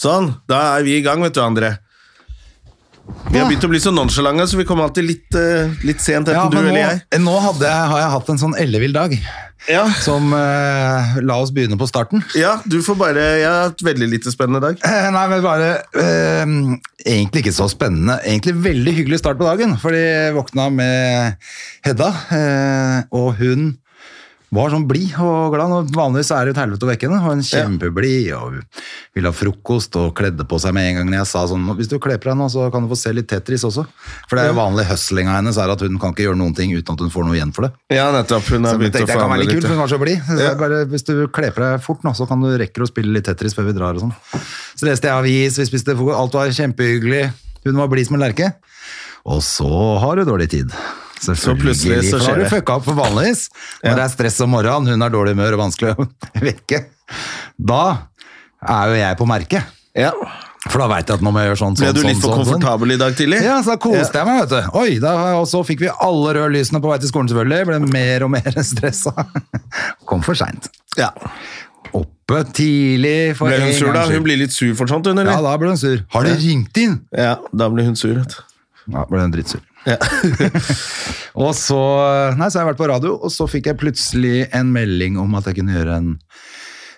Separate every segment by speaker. Speaker 1: Sånn, da er vi i gang, vet du, André. Vi har begynt å bli så nonchalante, så vi kommer alltid litt, eh, litt sent enten
Speaker 2: Ja,
Speaker 1: du
Speaker 2: men
Speaker 1: eller
Speaker 2: nå,
Speaker 1: jeg.
Speaker 2: nå hadde jeg, har jeg hatt en sånn ellevill dag
Speaker 1: Ja.
Speaker 2: som eh, La oss begynne på starten.
Speaker 1: ja, du får bare Jeg har hatt veldig lite spennende dag.
Speaker 2: Eh, Nei, men bare eh, Egentlig ikke så spennende. Egentlig veldig hyggelig start på dagen, fordi jeg våkna med Hedda, eh, og hun var sånn blid og glad. Nå, vanligvis er det jo et helvete å vekke henne. og Hun kjempeblid og ville ha frokost og kledde på seg med en gang. Når jeg sa sånn Hvis du kler på deg nå, så kan du få se litt Tetris også. For det er jo vanlig hustlinga hennes er at hun kan ikke gjøre noen ting uten at hun får noe igjen for det.
Speaker 1: Ja, nettopp. Hun har
Speaker 2: Så jeg
Speaker 1: begynt å
Speaker 2: tenkte jeg kan
Speaker 1: forandre
Speaker 2: være litt
Speaker 1: litt.
Speaker 2: kult, for hun var så blid. Så
Speaker 1: Ja.
Speaker 2: jeg Bare, hvis du kler på deg fort nå, så kan du rekke å spille litt Tetris før vi drar og sånn. Så leste jeg avis, vi spiste frokost, alt var kjempehyggelig. Hun var blid som en lerke. Og så har du dårlig tid.
Speaker 1: Så plutselig så
Speaker 2: for da
Speaker 1: skjer
Speaker 2: har
Speaker 1: det.
Speaker 2: du fucka opp for vanligvis. Når
Speaker 1: Ja.
Speaker 2: det er stress om morgenen, hun har dårlig humør og vanskelig å vekke. Da er jo jeg på merket.
Speaker 1: Ja.
Speaker 2: For da veit jeg at nå må jeg gjøre sånn,
Speaker 1: Ble
Speaker 2: sånn,
Speaker 1: du
Speaker 2: sånn.
Speaker 1: litt for
Speaker 2: sånn, sånn.
Speaker 1: komfortabel i dag tidlig?
Speaker 2: Ja, så da koste jeg meg, vet du. Oi, da, og så fikk vi alle røde lysene på vei til skolen selvfølgelig. Jeg ble mer og mer stressa. Kom for seint.
Speaker 1: Ja.
Speaker 2: Oppe tidlig for
Speaker 1: Ble hun
Speaker 2: en
Speaker 1: sur,
Speaker 2: gangs
Speaker 1: da?
Speaker 2: skyld.
Speaker 1: Hun blir litt sur for sånt, hun,
Speaker 2: Ja,
Speaker 1: eller?
Speaker 2: da ble hun sur. Har du ringt inn?
Speaker 1: Ja, da blir hun sur, vet du.
Speaker 2: Ja, ble hun drittsur.
Speaker 1: Ja.
Speaker 2: Og så Nei, så har jeg vært på radio, og så fikk jeg plutselig en melding om at jeg kunne gjøre en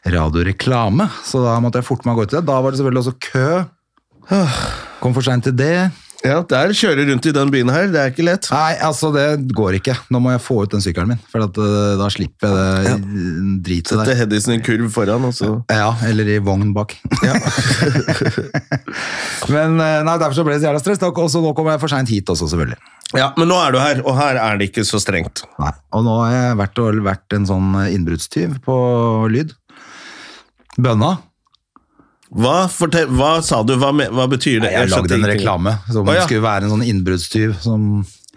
Speaker 2: radioreklame. Så da måtte jeg forte meg å gå til det. Da var det selvfølgelig også kø. Kom for seint til det.
Speaker 1: ja, der kjører rundt i den byen her. Det er ikke lett.
Speaker 2: Nei, altså det går ikke. Nå må jeg få ut den sykkelen min, for at, eh, da slipper jeg det dritet
Speaker 1: Sette
Speaker 2: der.
Speaker 1: Hedison i en kurv foran, og så
Speaker 2: Ja, eller i vogn bak. Men eh, nei, derfor så ble det så jævla stress. Og så nå kommer jeg for seint hit også, selvfølgelig.
Speaker 1: Ja, men nå er du her, og her er det ikke så strengt.
Speaker 2: Nei. Og nå har jeg vært, og, vært en sånn innbruddstyv på lyd. Bønna.
Speaker 1: Hva, fortell, hva sa du? Hva, me- hva betyr det?
Speaker 2: Nei, jeg
Speaker 1: skjønte
Speaker 2: lagde en
Speaker 1: ingenting.
Speaker 2: reklame som
Speaker 1: Å, ja.
Speaker 2: skulle være en sånn innbruddstyv som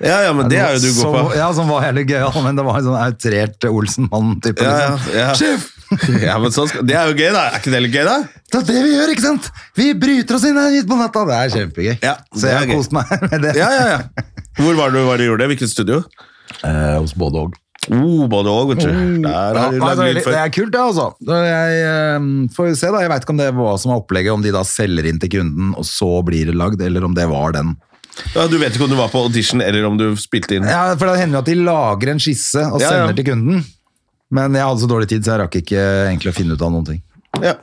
Speaker 1: Ja, ja, men det er jo du
Speaker 2: som,
Speaker 1: går på.
Speaker 2: Ja, som var jævlig gøyal, men det var en sånn outrert Olsenmann-type.
Speaker 1: Ja, ja,
Speaker 2: liksom.
Speaker 1: ja.
Speaker 2: Sjef!
Speaker 1: Ja, men sånn skal, det er jo gøy, da. Er ikke det litt gøy, da?
Speaker 2: Det er det vi gjør, ikke sant? Vi bryter oss inn her midt på natta. Det er kjempegøy.
Speaker 1: Ja,
Speaker 2: så
Speaker 1: det
Speaker 2: jeg
Speaker 1: er
Speaker 2: har
Speaker 1: gøy.
Speaker 2: kost meg med det.
Speaker 1: Ja, ja, ja. Hvor var du, hva du gjorde? Hvilket studio?
Speaker 2: Eh, hos både og.
Speaker 1: Oh, både òg, vet du. Der
Speaker 2: Ja,
Speaker 1: har du
Speaker 2: nei,
Speaker 1: lagd
Speaker 2: det,
Speaker 1: lyd
Speaker 2: er- det
Speaker 1: før.
Speaker 2: er kult, det, altså. Da Jeg, eh, får vi se, da. Jeg veit ikke om det var hva som var opplegget, om de da selger inn til kunden, og så blir det lagd, eller om det var den.
Speaker 1: Ja, du vet ikke om du var på audition, eller om du spilte inn.
Speaker 2: Ja, For det hender jo at de lager en skisse og
Speaker 1: Ja, ja.
Speaker 2: sender til kunden. Men jeg hadde så dårlig tid, så jeg rakk ikke egentlig å finne ut av noen ting.
Speaker 1: Ja.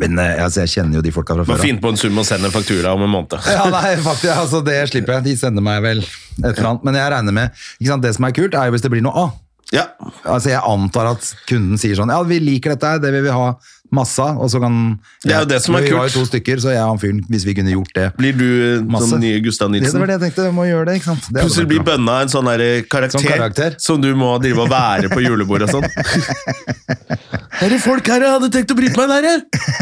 Speaker 2: Men eh, altså, jeg kjenner jo de folka fra
Speaker 1: Bare
Speaker 2: før av.
Speaker 1: finn på en sum og send en faktura om en måned.
Speaker 2: Ja, nei, faktisk, altså det slipper jeg. De sender meg vel et eller annet. Men jeg regner med ikke sant, Det som er kult, er jo hvis det blir noe av.
Speaker 1: Ja.
Speaker 2: Altså Jeg antar at kunden sier sånn Ja, vi liker dette, her, det vil vi ha masse av. Og så kan
Speaker 1: Det er jo det som er
Speaker 2: Men Vi var
Speaker 1: kult.
Speaker 2: jo to stykker, så jeg og han fyren, hvis vi kunne gjort det
Speaker 1: Blir du eh,
Speaker 2: Masse.
Speaker 1: sånn nye Gustav
Speaker 2: Det
Speaker 1: Nilsen?
Speaker 2: var det jeg tenkte, vi må gjøre det, ikke sant. Det hadde
Speaker 1: Plutselig blir
Speaker 2: vært bra.
Speaker 1: bønna en sånn der eh, karakter,
Speaker 2: Sånn karakter.
Speaker 1: som du må drive og være på julebordet og sånn. er det folk her jeg hadde tenkt å bryte meg der, jeg?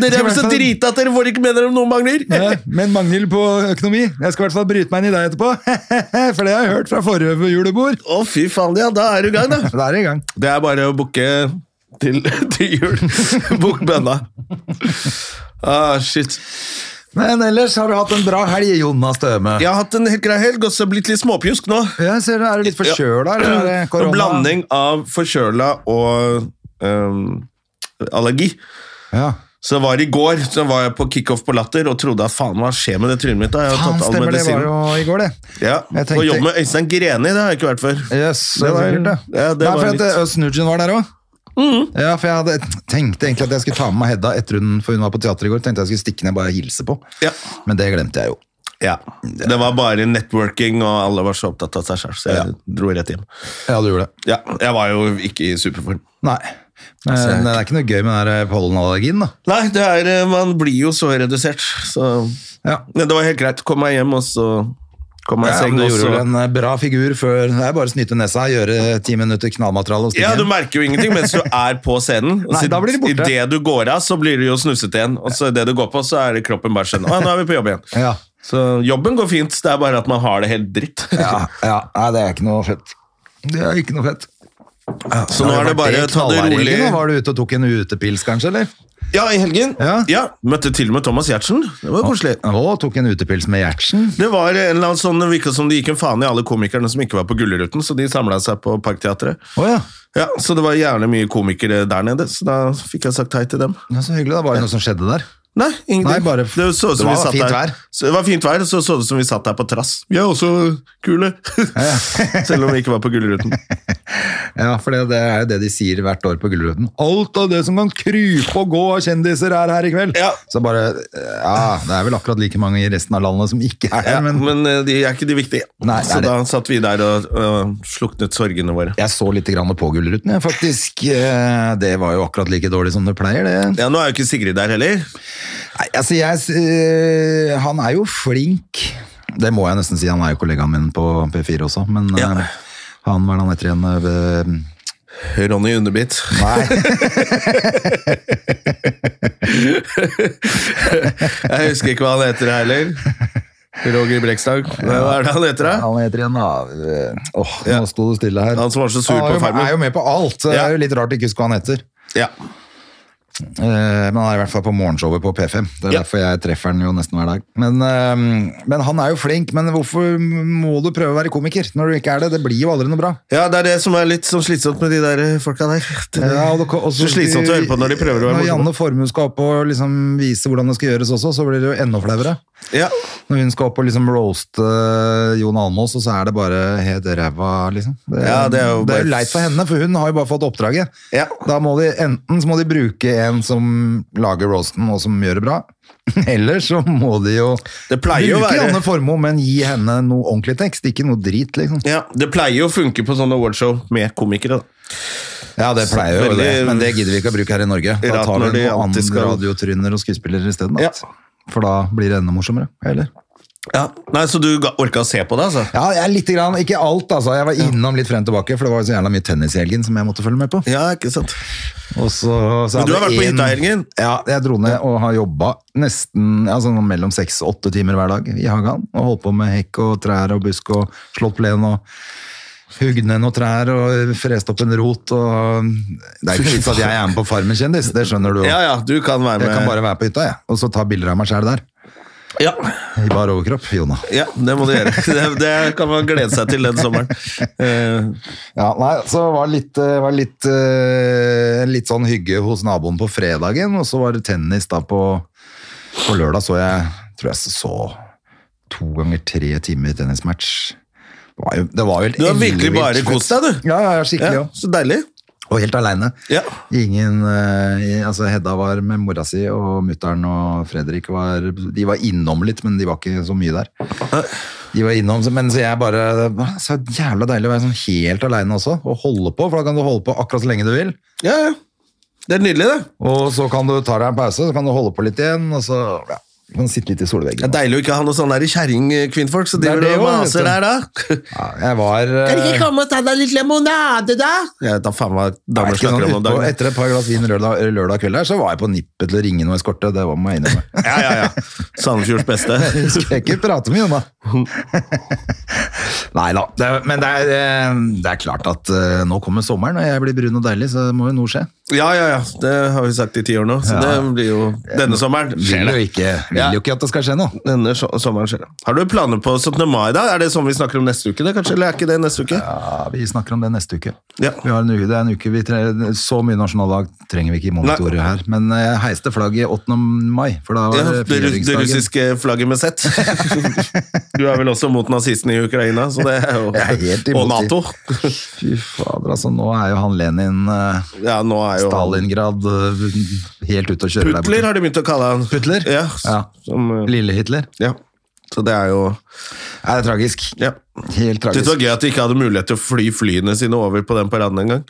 Speaker 1: Dere er vel så drita at dere får ikke med dere om noen mangler?
Speaker 2: Nei, men Eh, mangel på økonomi. Jeg skal i hvert fall bryte meg inn i deg etterpå. For det har jeg hørt fra forrige julebord.
Speaker 1: Å, fy faen, ja, da er du i gang, da.
Speaker 2: Da er det i gang.
Speaker 1: Det er bare å booke til, til jul. Bukk bønna. Ah, shit.
Speaker 2: Men ellers har du hatt en bra helg, Jonas Støme.
Speaker 1: Jeg har hatt en helt grei helg, og så blitt litt småpjusk nå.
Speaker 2: Jeg ser, er du litt forkjøla, eller er det korona?
Speaker 1: En blanding av forkjøla og ehm, allergi.
Speaker 2: Ja.
Speaker 1: Så det var i går så var jeg på kickoff på Latter og trodde at faen, hva skjer med det trynet mitt? da? Jeg har
Speaker 2: Faen,
Speaker 1: tatt all
Speaker 2: stemmer, det var
Speaker 1: medisinen.
Speaker 2: jo i går, det.
Speaker 1: Ja.
Speaker 2: Jeg tenkte-
Speaker 1: Og jobb med Øystein Greni, det har jeg ikke vært før.
Speaker 2: Yes,
Speaker 1: Det
Speaker 2: det
Speaker 1: var-
Speaker 2: var kult, det.
Speaker 1: ja, det
Speaker 2: Nei,
Speaker 1: var
Speaker 2: for at
Speaker 1: litt-
Speaker 2: Øst Nudgen var der òg. Ja, for jeg hadde tenkte egentlig at jeg skulle ta med meg Hedda etter hun, for hun var på teater i går. Tenkte jeg skulle stikke ned og bare hilse på.
Speaker 1: Ja.
Speaker 2: Men det glemte jeg jo.
Speaker 1: ja. Det var bare networking, og alle var så opptatt av seg selv, så jeg dro rett hjem.
Speaker 2: Ja, du gjorde det.
Speaker 1: Ja, Jeg var jo ikke i superform.
Speaker 2: Nei. Men eh,
Speaker 1: Altså,
Speaker 2: det er ikke noe gøy med den der eh, pollenallergien, da.
Speaker 1: Nei, det er, eh, man blir jo så redusert, så
Speaker 2: Ja.
Speaker 1: Men det var helt greit. Kom meg hjem, og så kom meg i
Speaker 2: Ja,
Speaker 1: seng.
Speaker 2: men du
Speaker 1: og så-
Speaker 2: gjorde vel en eh, bra figur før Det er bare å snyte nesa, gjøre ti minutter knallmateriale og stikke
Speaker 1: Ja, du
Speaker 2: hjem.
Speaker 1: merker jo ingenting mens du er på scenen.
Speaker 2: Nei, da blir det borte.
Speaker 1: I det du går av, så blir du jo snufset igjen. Og så i det du går på, så er det kroppen bare skjønner. Å, nå er vi på jobb igjen.
Speaker 2: Ja.
Speaker 1: Så jobben går fint, det er bare at man har det helt dritt.
Speaker 2: Ja, ja. Nei, det er ikke noe fett. Det er ikke noe fett.
Speaker 1: Så nå er det bare å ta det rolig.
Speaker 2: Nå var du ute og tok en utepils, kanskje? eller?
Speaker 1: Ja, i helgen.
Speaker 2: Ja.
Speaker 1: Møtte til og med Thomas Giertsen. Det var koselig.
Speaker 2: Å, tok en utepils med Gjertsen.
Speaker 1: Det var en eller annen sånn, det virket som det gikk en faen i alle komikerne som ikke var på Gullruten, så de samla seg på Parkteatret.
Speaker 2: Å ja.
Speaker 1: Ja, Så det var jævlig mye komikere der nede, så da fikk jeg sagt hei til dem.
Speaker 2: ja, så hyggelig. Da var det noe som skjedde der.
Speaker 1: Nei, ingenting.
Speaker 2: Nei, bare-
Speaker 1: det, så ut som vi
Speaker 2: det var
Speaker 1: satt
Speaker 2: fint
Speaker 1: der-
Speaker 2: vær.
Speaker 1: Så, det var fint vær, så så det ut som vi satt der på trass. Vi er også kule! Selv om vi ikke var på Gullruten.
Speaker 2: Ja, for det, det er jo det de sier hvert år på Gullruten. Alt av det som kan krype og gå av kjendiser er her i kveld.
Speaker 1: Ja.
Speaker 2: Så bare, ja, det er vel akkurat like mange i resten av landet som ikke er her,
Speaker 1: Ja,
Speaker 2: men
Speaker 1: men eh, de er ikke de viktige.
Speaker 2: Nei, det
Speaker 1: så
Speaker 2: er det.
Speaker 1: da satt vi der og øh, sluknet sorgene våre.
Speaker 2: jeg så litt grann på Gullruten, jeg, faktisk. Eh, Det var jo akkurat like dårlig som det pleier, det.
Speaker 1: Ja, Nå er jo ikke Sigrid der heller.
Speaker 2: Nei, altså, jeg, eh, han er jo flink. Det må jeg nesten si, han er jo kollegaen min på P4 også, men
Speaker 1: Ja.
Speaker 2: eh, han var han etter igjen eh, ved-
Speaker 1: Ronny Underbitt.
Speaker 2: Nei,
Speaker 1: Jeg husker ikke hva han heter heller. Roger Brekstad. Hva er det han heter? da?
Speaker 2: han heter igjen da eh, Åh,
Speaker 1: Ja.
Speaker 2: nå sto det stille her.
Speaker 1: Han som var så sur
Speaker 2: Han er
Speaker 1: på
Speaker 2: jo-
Speaker 1: Farmen.
Speaker 2: er jo med på alt, så det
Speaker 1: Ja.
Speaker 2: er jo litt rart ikke husker hva han heter.
Speaker 1: Ja.
Speaker 2: Eh, Men han er i hvert fall på morgenshowet på P5. Det er
Speaker 1: Ja.
Speaker 2: derfor jeg treffer han jo nesten hver dag. Men, eh, men han er jo flink, men hvorfor må du prøve å være komiker når du ikke er det? Det blir jo aldri noe bra.
Speaker 1: ja, det er det som er litt sånn slitsomt med de der eh, folka der. Det,
Speaker 2: Ja, og det- og
Speaker 1: så slitsomt å høre på når de prøver å være
Speaker 2: Når
Speaker 1: morsomme.
Speaker 2: Janne Formue skal opp og liksom vise hvordan det skal gjøres også, så blir det jo enda flauere.
Speaker 1: Ja.
Speaker 2: Når hun skal opp og liksom roaste Jon Almaas, og så er det bare helt ræva, liksom. Det,
Speaker 1: Ja, det er jo
Speaker 2: det er jo
Speaker 1: bare-
Speaker 2: leit for henne, for hun har jo bare fått oppdraget.
Speaker 1: Ja.
Speaker 2: Da må de, enten så må de bruke en som lager roasten og som gjør det bra, eller så må de jo
Speaker 1: Det pleier å
Speaker 2: bruke
Speaker 1: være-
Speaker 2: Janne Formoe, men gi henne noe ordentlig tekst, ikke noe drit, liksom.
Speaker 1: ja. Det pleier jo å funke på sånne awardshow med komikere, da.
Speaker 2: Ja, det pleier jo
Speaker 1: veldig-
Speaker 2: det, men det gidder vi ikke å bruke her i Norge. Da
Speaker 1: Rart
Speaker 2: tar
Speaker 1: når
Speaker 2: vi
Speaker 1: de
Speaker 2: noen
Speaker 1: alltid
Speaker 2: andre
Speaker 1: skal-
Speaker 2: radiotryner og skuespillere i stedet, da.
Speaker 1: Ja.
Speaker 2: For da blir det enda morsommere, eller?
Speaker 1: Ja. Nei, Så du ga- orka å se på det, altså?
Speaker 2: Ja, jeg er litt grann, ikke alt altså, jeg var innom litt frem og tilbake, for det var jo så jævla mye tennis i helgen som jeg måtte følge med på.
Speaker 1: Ja, ikke sant.
Speaker 2: Og så, så
Speaker 1: Men du har
Speaker 2: hadde
Speaker 1: vært på
Speaker 2: en-
Speaker 1: hytta i helgen?
Speaker 2: Ja, jeg dro ned og har jobba nesten ja, sånn mellom seks og åtte timer hver dag i hagen. Og holdt på med hekk og trær og busk og slått plen og hugd ned noen trær og frest opp en rot. Og det er jo ikke vits at jeg er med på Farmen kjendis, det skjønner du jo.
Speaker 1: Ja, ja, du kan være med.
Speaker 2: Jeg kan bare være på hytta, jeg. Og så ta bilder av meg sjæl der.
Speaker 1: ja.
Speaker 2: I bar overkropp, Jona.
Speaker 1: ja, det må du gjøre. Det, det kan man glede seg til den sommeren. Eh,
Speaker 2: Ja, nei, så var det litt, eh, var det litt, eh, litt sånn hygge hos naboen på fredagen, og så var det tennis da på, på lørdag så jeg, tror jeg så to ganger tre timer tennismatch. Det var jo, det var jo helt
Speaker 1: du har virkelig
Speaker 2: ellevilt
Speaker 1: bare
Speaker 2: fett.
Speaker 1: kost deg, du.
Speaker 2: Ja, ja, ja, skikkelig,
Speaker 1: Ja,
Speaker 2: ja.
Speaker 1: så deilig.
Speaker 2: Og helt alene.
Speaker 1: Ja.
Speaker 2: Ingen, eh, altså Hedda var med mora si, og mutteren og Fredrik var, de var innom litt, men de var ikke så mye der. De var innom, så- men så jeg bare, det var så jævla deilig å være sånn helt alene også, og holde på, for da kan du holde på akkurat så lenge du vil.
Speaker 1: Ja, ja. Det er nydelig, det.
Speaker 2: Og så kan du ta deg en pause, så kan du holde på litt igjen, og så ja, du kan sitte litt i solveggen.
Speaker 1: Det er deilig å ikke ha noe sånn der kjerring-kvinnfolk som
Speaker 2: Det er
Speaker 1: driver
Speaker 2: det
Speaker 1: og
Speaker 2: jo,
Speaker 1: maser
Speaker 2: vet
Speaker 1: der, da.
Speaker 2: Ja, jeg var... eh,
Speaker 1: komme og ta deg litt limonade, da? Jeg vet da faen hva
Speaker 2: jeg
Speaker 1: damer
Speaker 2: vet ikke,
Speaker 1: snakker om
Speaker 2: sånn
Speaker 1: om
Speaker 2: utpå-
Speaker 1: dagen.
Speaker 2: Etter et par glass vin lørdag, lørdag kveld her, så var jeg på nippet til å ringe noe eskorte, det var meg innrømme.
Speaker 1: Ja, ja, ja. Sandefjords beste.
Speaker 2: Skal jeg ikke prate mye om det? Nei da. Det, er- men det er, eh, det er klart at eh, nå kommer sommeren, og jeg blir brun og deilig, så det må jo noe skje.
Speaker 1: Ja, ja, ja. Det har vi sagt i ti år nå, så det blir jo denne sommeren.
Speaker 2: Vil jo ikke,
Speaker 1: Ja.
Speaker 2: vil jo ikke at det skal skje noe.
Speaker 1: Denne so sommeren skjer det. Har du planer på 17. mai, da? Er det sånn vi snakker om neste uke, det, kanskje? Eller er ikke det neste uke?
Speaker 2: Ja, vi snakker om det neste uke.
Speaker 1: Ja.
Speaker 2: Vi har en uke, det er en uke vi tre, Så mye nasjonaldag trenger vi ikke i monitorer her. Men eh, jeg heiste flagget 8. mai, for da
Speaker 1: Ja,
Speaker 2: var
Speaker 1: det, ru-
Speaker 2: det
Speaker 1: det
Speaker 2: frigjøringsdagen.
Speaker 1: russiske flagget med Z. Du er vel også mot nazistene i Ukraina, så det er jo
Speaker 2: Jeg er helt imot
Speaker 1: Og Nato.
Speaker 2: Fy fader, altså. Nå er jo han Lenin eh,
Speaker 1: Ja, nå er jo
Speaker 2: Stalingrad eh, helt ute å kjøre der
Speaker 1: Putler
Speaker 2: borte.
Speaker 1: har de begynt å kalle han.
Speaker 2: Putler?
Speaker 1: Ja.
Speaker 2: Ja.
Speaker 1: Som, eh,
Speaker 2: Lille Hitler?
Speaker 1: ja. Så det er jo
Speaker 2: Nei, det er tragisk.
Speaker 1: ja.
Speaker 2: Helt
Speaker 1: Synes
Speaker 2: tragisk.
Speaker 1: det var gøy at de ikke hadde mulighet til å fly flyene sine over på den paraden engang.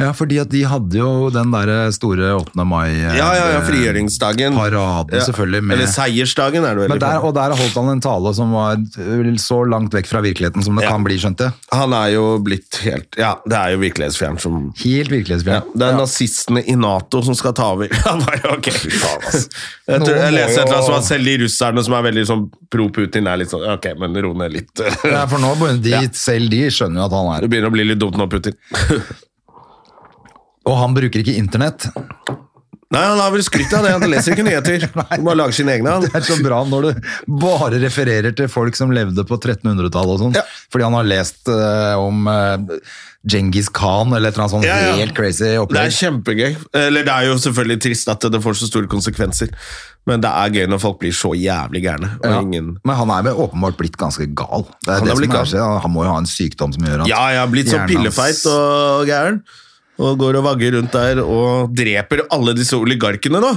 Speaker 2: Ja, fordi at de hadde jo den der store 8. mai eh,
Speaker 1: Ja, ja, ja, frigjøringsdagen.
Speaker 2: Paraden,
Speaker 1: Ja.
Speaker 2: selvfølgelig. Med,
Speaker 1: Eller seiersdagen, er det vel.
Speaker 2: men der, og der holdt han en tale som var eh, så langt vekk fra virkeligheten som det
Speaker 1: Ja.
Speaker 2: kan bli, skjønte jeg.
Speaker 1: Han er jo blitt helt Ja, det er jo virkelighetsfjern som
Speaker 2: Helt
Speaker 1: ja,
Speaker 2: virkelighetsfjern.
Speaker 1: Det er nazistene i Nato som skal ta over. Ja, bare, ok. Jeg,
Speaker 2: Noen
Speaker 1: tror, jeg
Speaker 2: må
Speaker 1: leste et eller annet som
Speaker 2: jo-
Speaker 1: at selv de russerne som er veldig sånn pro Putin, er litt sånn Ok, men ro ned litt.
Speaker 2: Ja,
Speaker 1: Det
Speaker 2: for nå begynner de, selv de skjønner jo at han er
Speaker 1: begynner å bli litt dumt nå, Putin.
Speaker 2: Og han bruker ikke internett.
Speaker 1: Nei, han har vel skrytt av det. Han leser ikke nyheter. Han bare lager sine egne.
Speaker 2: Det
Speaker 1: han.
Speaker 2: er så bra når du bare refererer til folk som levde på 1300-tallet og sånn.
Speaker 1: Ja.
Speaker 2: Fordi han har lest eh, om uh, Genghis Khan eller et eller annet sånt
Speaker 1: Ja, ja.
Speaker 2: helt crazy
Speaker 1: Det er
Speaker 2: opplegg.
Speaker 1: kjempegøy. Eller det er jo selvfølgelig trist at det får så store konsekvenser, men det er gøy når folk blir så jævlig gærne. Og
Speaker 2: Ja.
Speaker 1: ingen...
Speaker 2: Men han er vel åpenbart blitt ganske gal.
Speaker 1: Han
Speaker 2: Det er
Speaker 1: er
Speaker 2: det som
Speaker 1: blitt
Speaker 2: er, skjedd. han må jo ha en sykdom som gjør at
Speaker 1: Ja, jeg har blitt så
Speaker 2: hjernen hans-
Speaker 1: pillefeit og gæren. Og går og vagger rundt der og dreper alle disse oligarkene nå.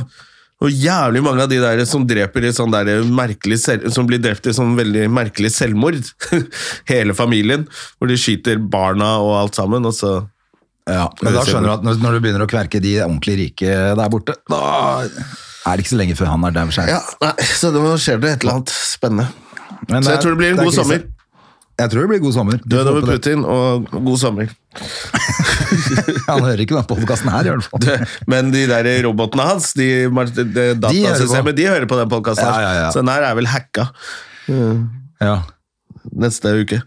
Speaker 1: Og jævlig mange av de der som dreper i sånn der merkelig selv, som blir drept i sånn veldig merkelig selvmord. Hele familien. Hvor de skyter barna og alt sammen, og så
Speaker 2: Ja, men da skjønner du at når, når du begynner å kverke de ordentlig rike der borte, da er det ikke så lenge før han er der. for seg.
Speaker 1: Ja, nei, så da skjer det et eller annet spennende. Så
Speaker 2: Men det er-
Speaker 1: jeg tror det blir en
Speaker 2: er
Speaker 1: god
Speaker 2: krise.
Speaker 1: sommer.
Speaker 2: Jeg tror det blir god sommer.
Speaker 1: Død
Speaker 2: Vi får
Speaker 1: over
Speaker 2: håpe det.
Speaker 1: Putin og god sommer.
Speaker 2: Han hører ikke denne podkasten her, i hvert fall.
Speaker 1: Det- Men de der robotene hans, de, de, de datasystemet, de hører på den podkasten.
Speaker 2: Ja, ja, ja.
Speaker 1: Så den her er vel hacka
Speaker 2: Ja.
Speaker 1: neste uke.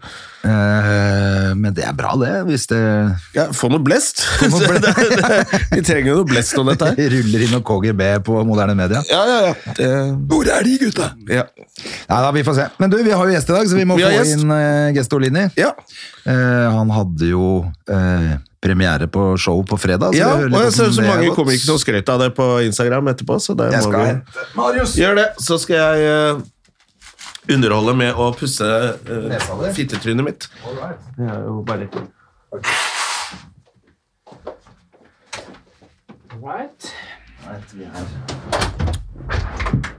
Speaker 2: Eh, men det er bra, det. Hvis det
Speaker 1: Ja, få noe blest!
Speaker 2: noe blest.
Speaker 1: Det- det- Vi trenger jo noe blest om dette her.
Speaker 2: ruller inn noe KGB på moderne media.
Speaker 1: Ja, ja, ja. Det,
Speaker 2: Hvor er de, gutta?
Speaker 1: ja.
Speaker 2: Nei da, vi får se. Men du, vi har jo gjest i dag, så vi må
Speaker 1: Vi har
Speaker 2: få
Speaker 1: gjest.
Speaker 2: inn uh, Gestolini.
Speaker 1: ja.
Speaker 2: Eh, han hadde jo eh, premiere på show på fredag.
Speaker 1: ja.
Speaker 2: vi hører litt
Speaker 1: Og jeg ser
Speaker 2: hvordan
Speaker 1: så
Speaker 2: det har
Speaker 1: mange
Speaker 2: gått.
Speaker 1: komikere som skrøt av det på Instagram etterpå, så det
Speaker 2: Jeg
Speaker 1: må
Speaker 2: skal
Speaker 1: vi
Speaker 2: hente Marius!
Speaker 1: Gjør det, så skal jeg eh, underholde med å pusse
Speaker 2: Nesa
Speaker 1: uh,
Speaker 2: di?
Speaker 1: fittetrynet mitt. Det er jo bare litt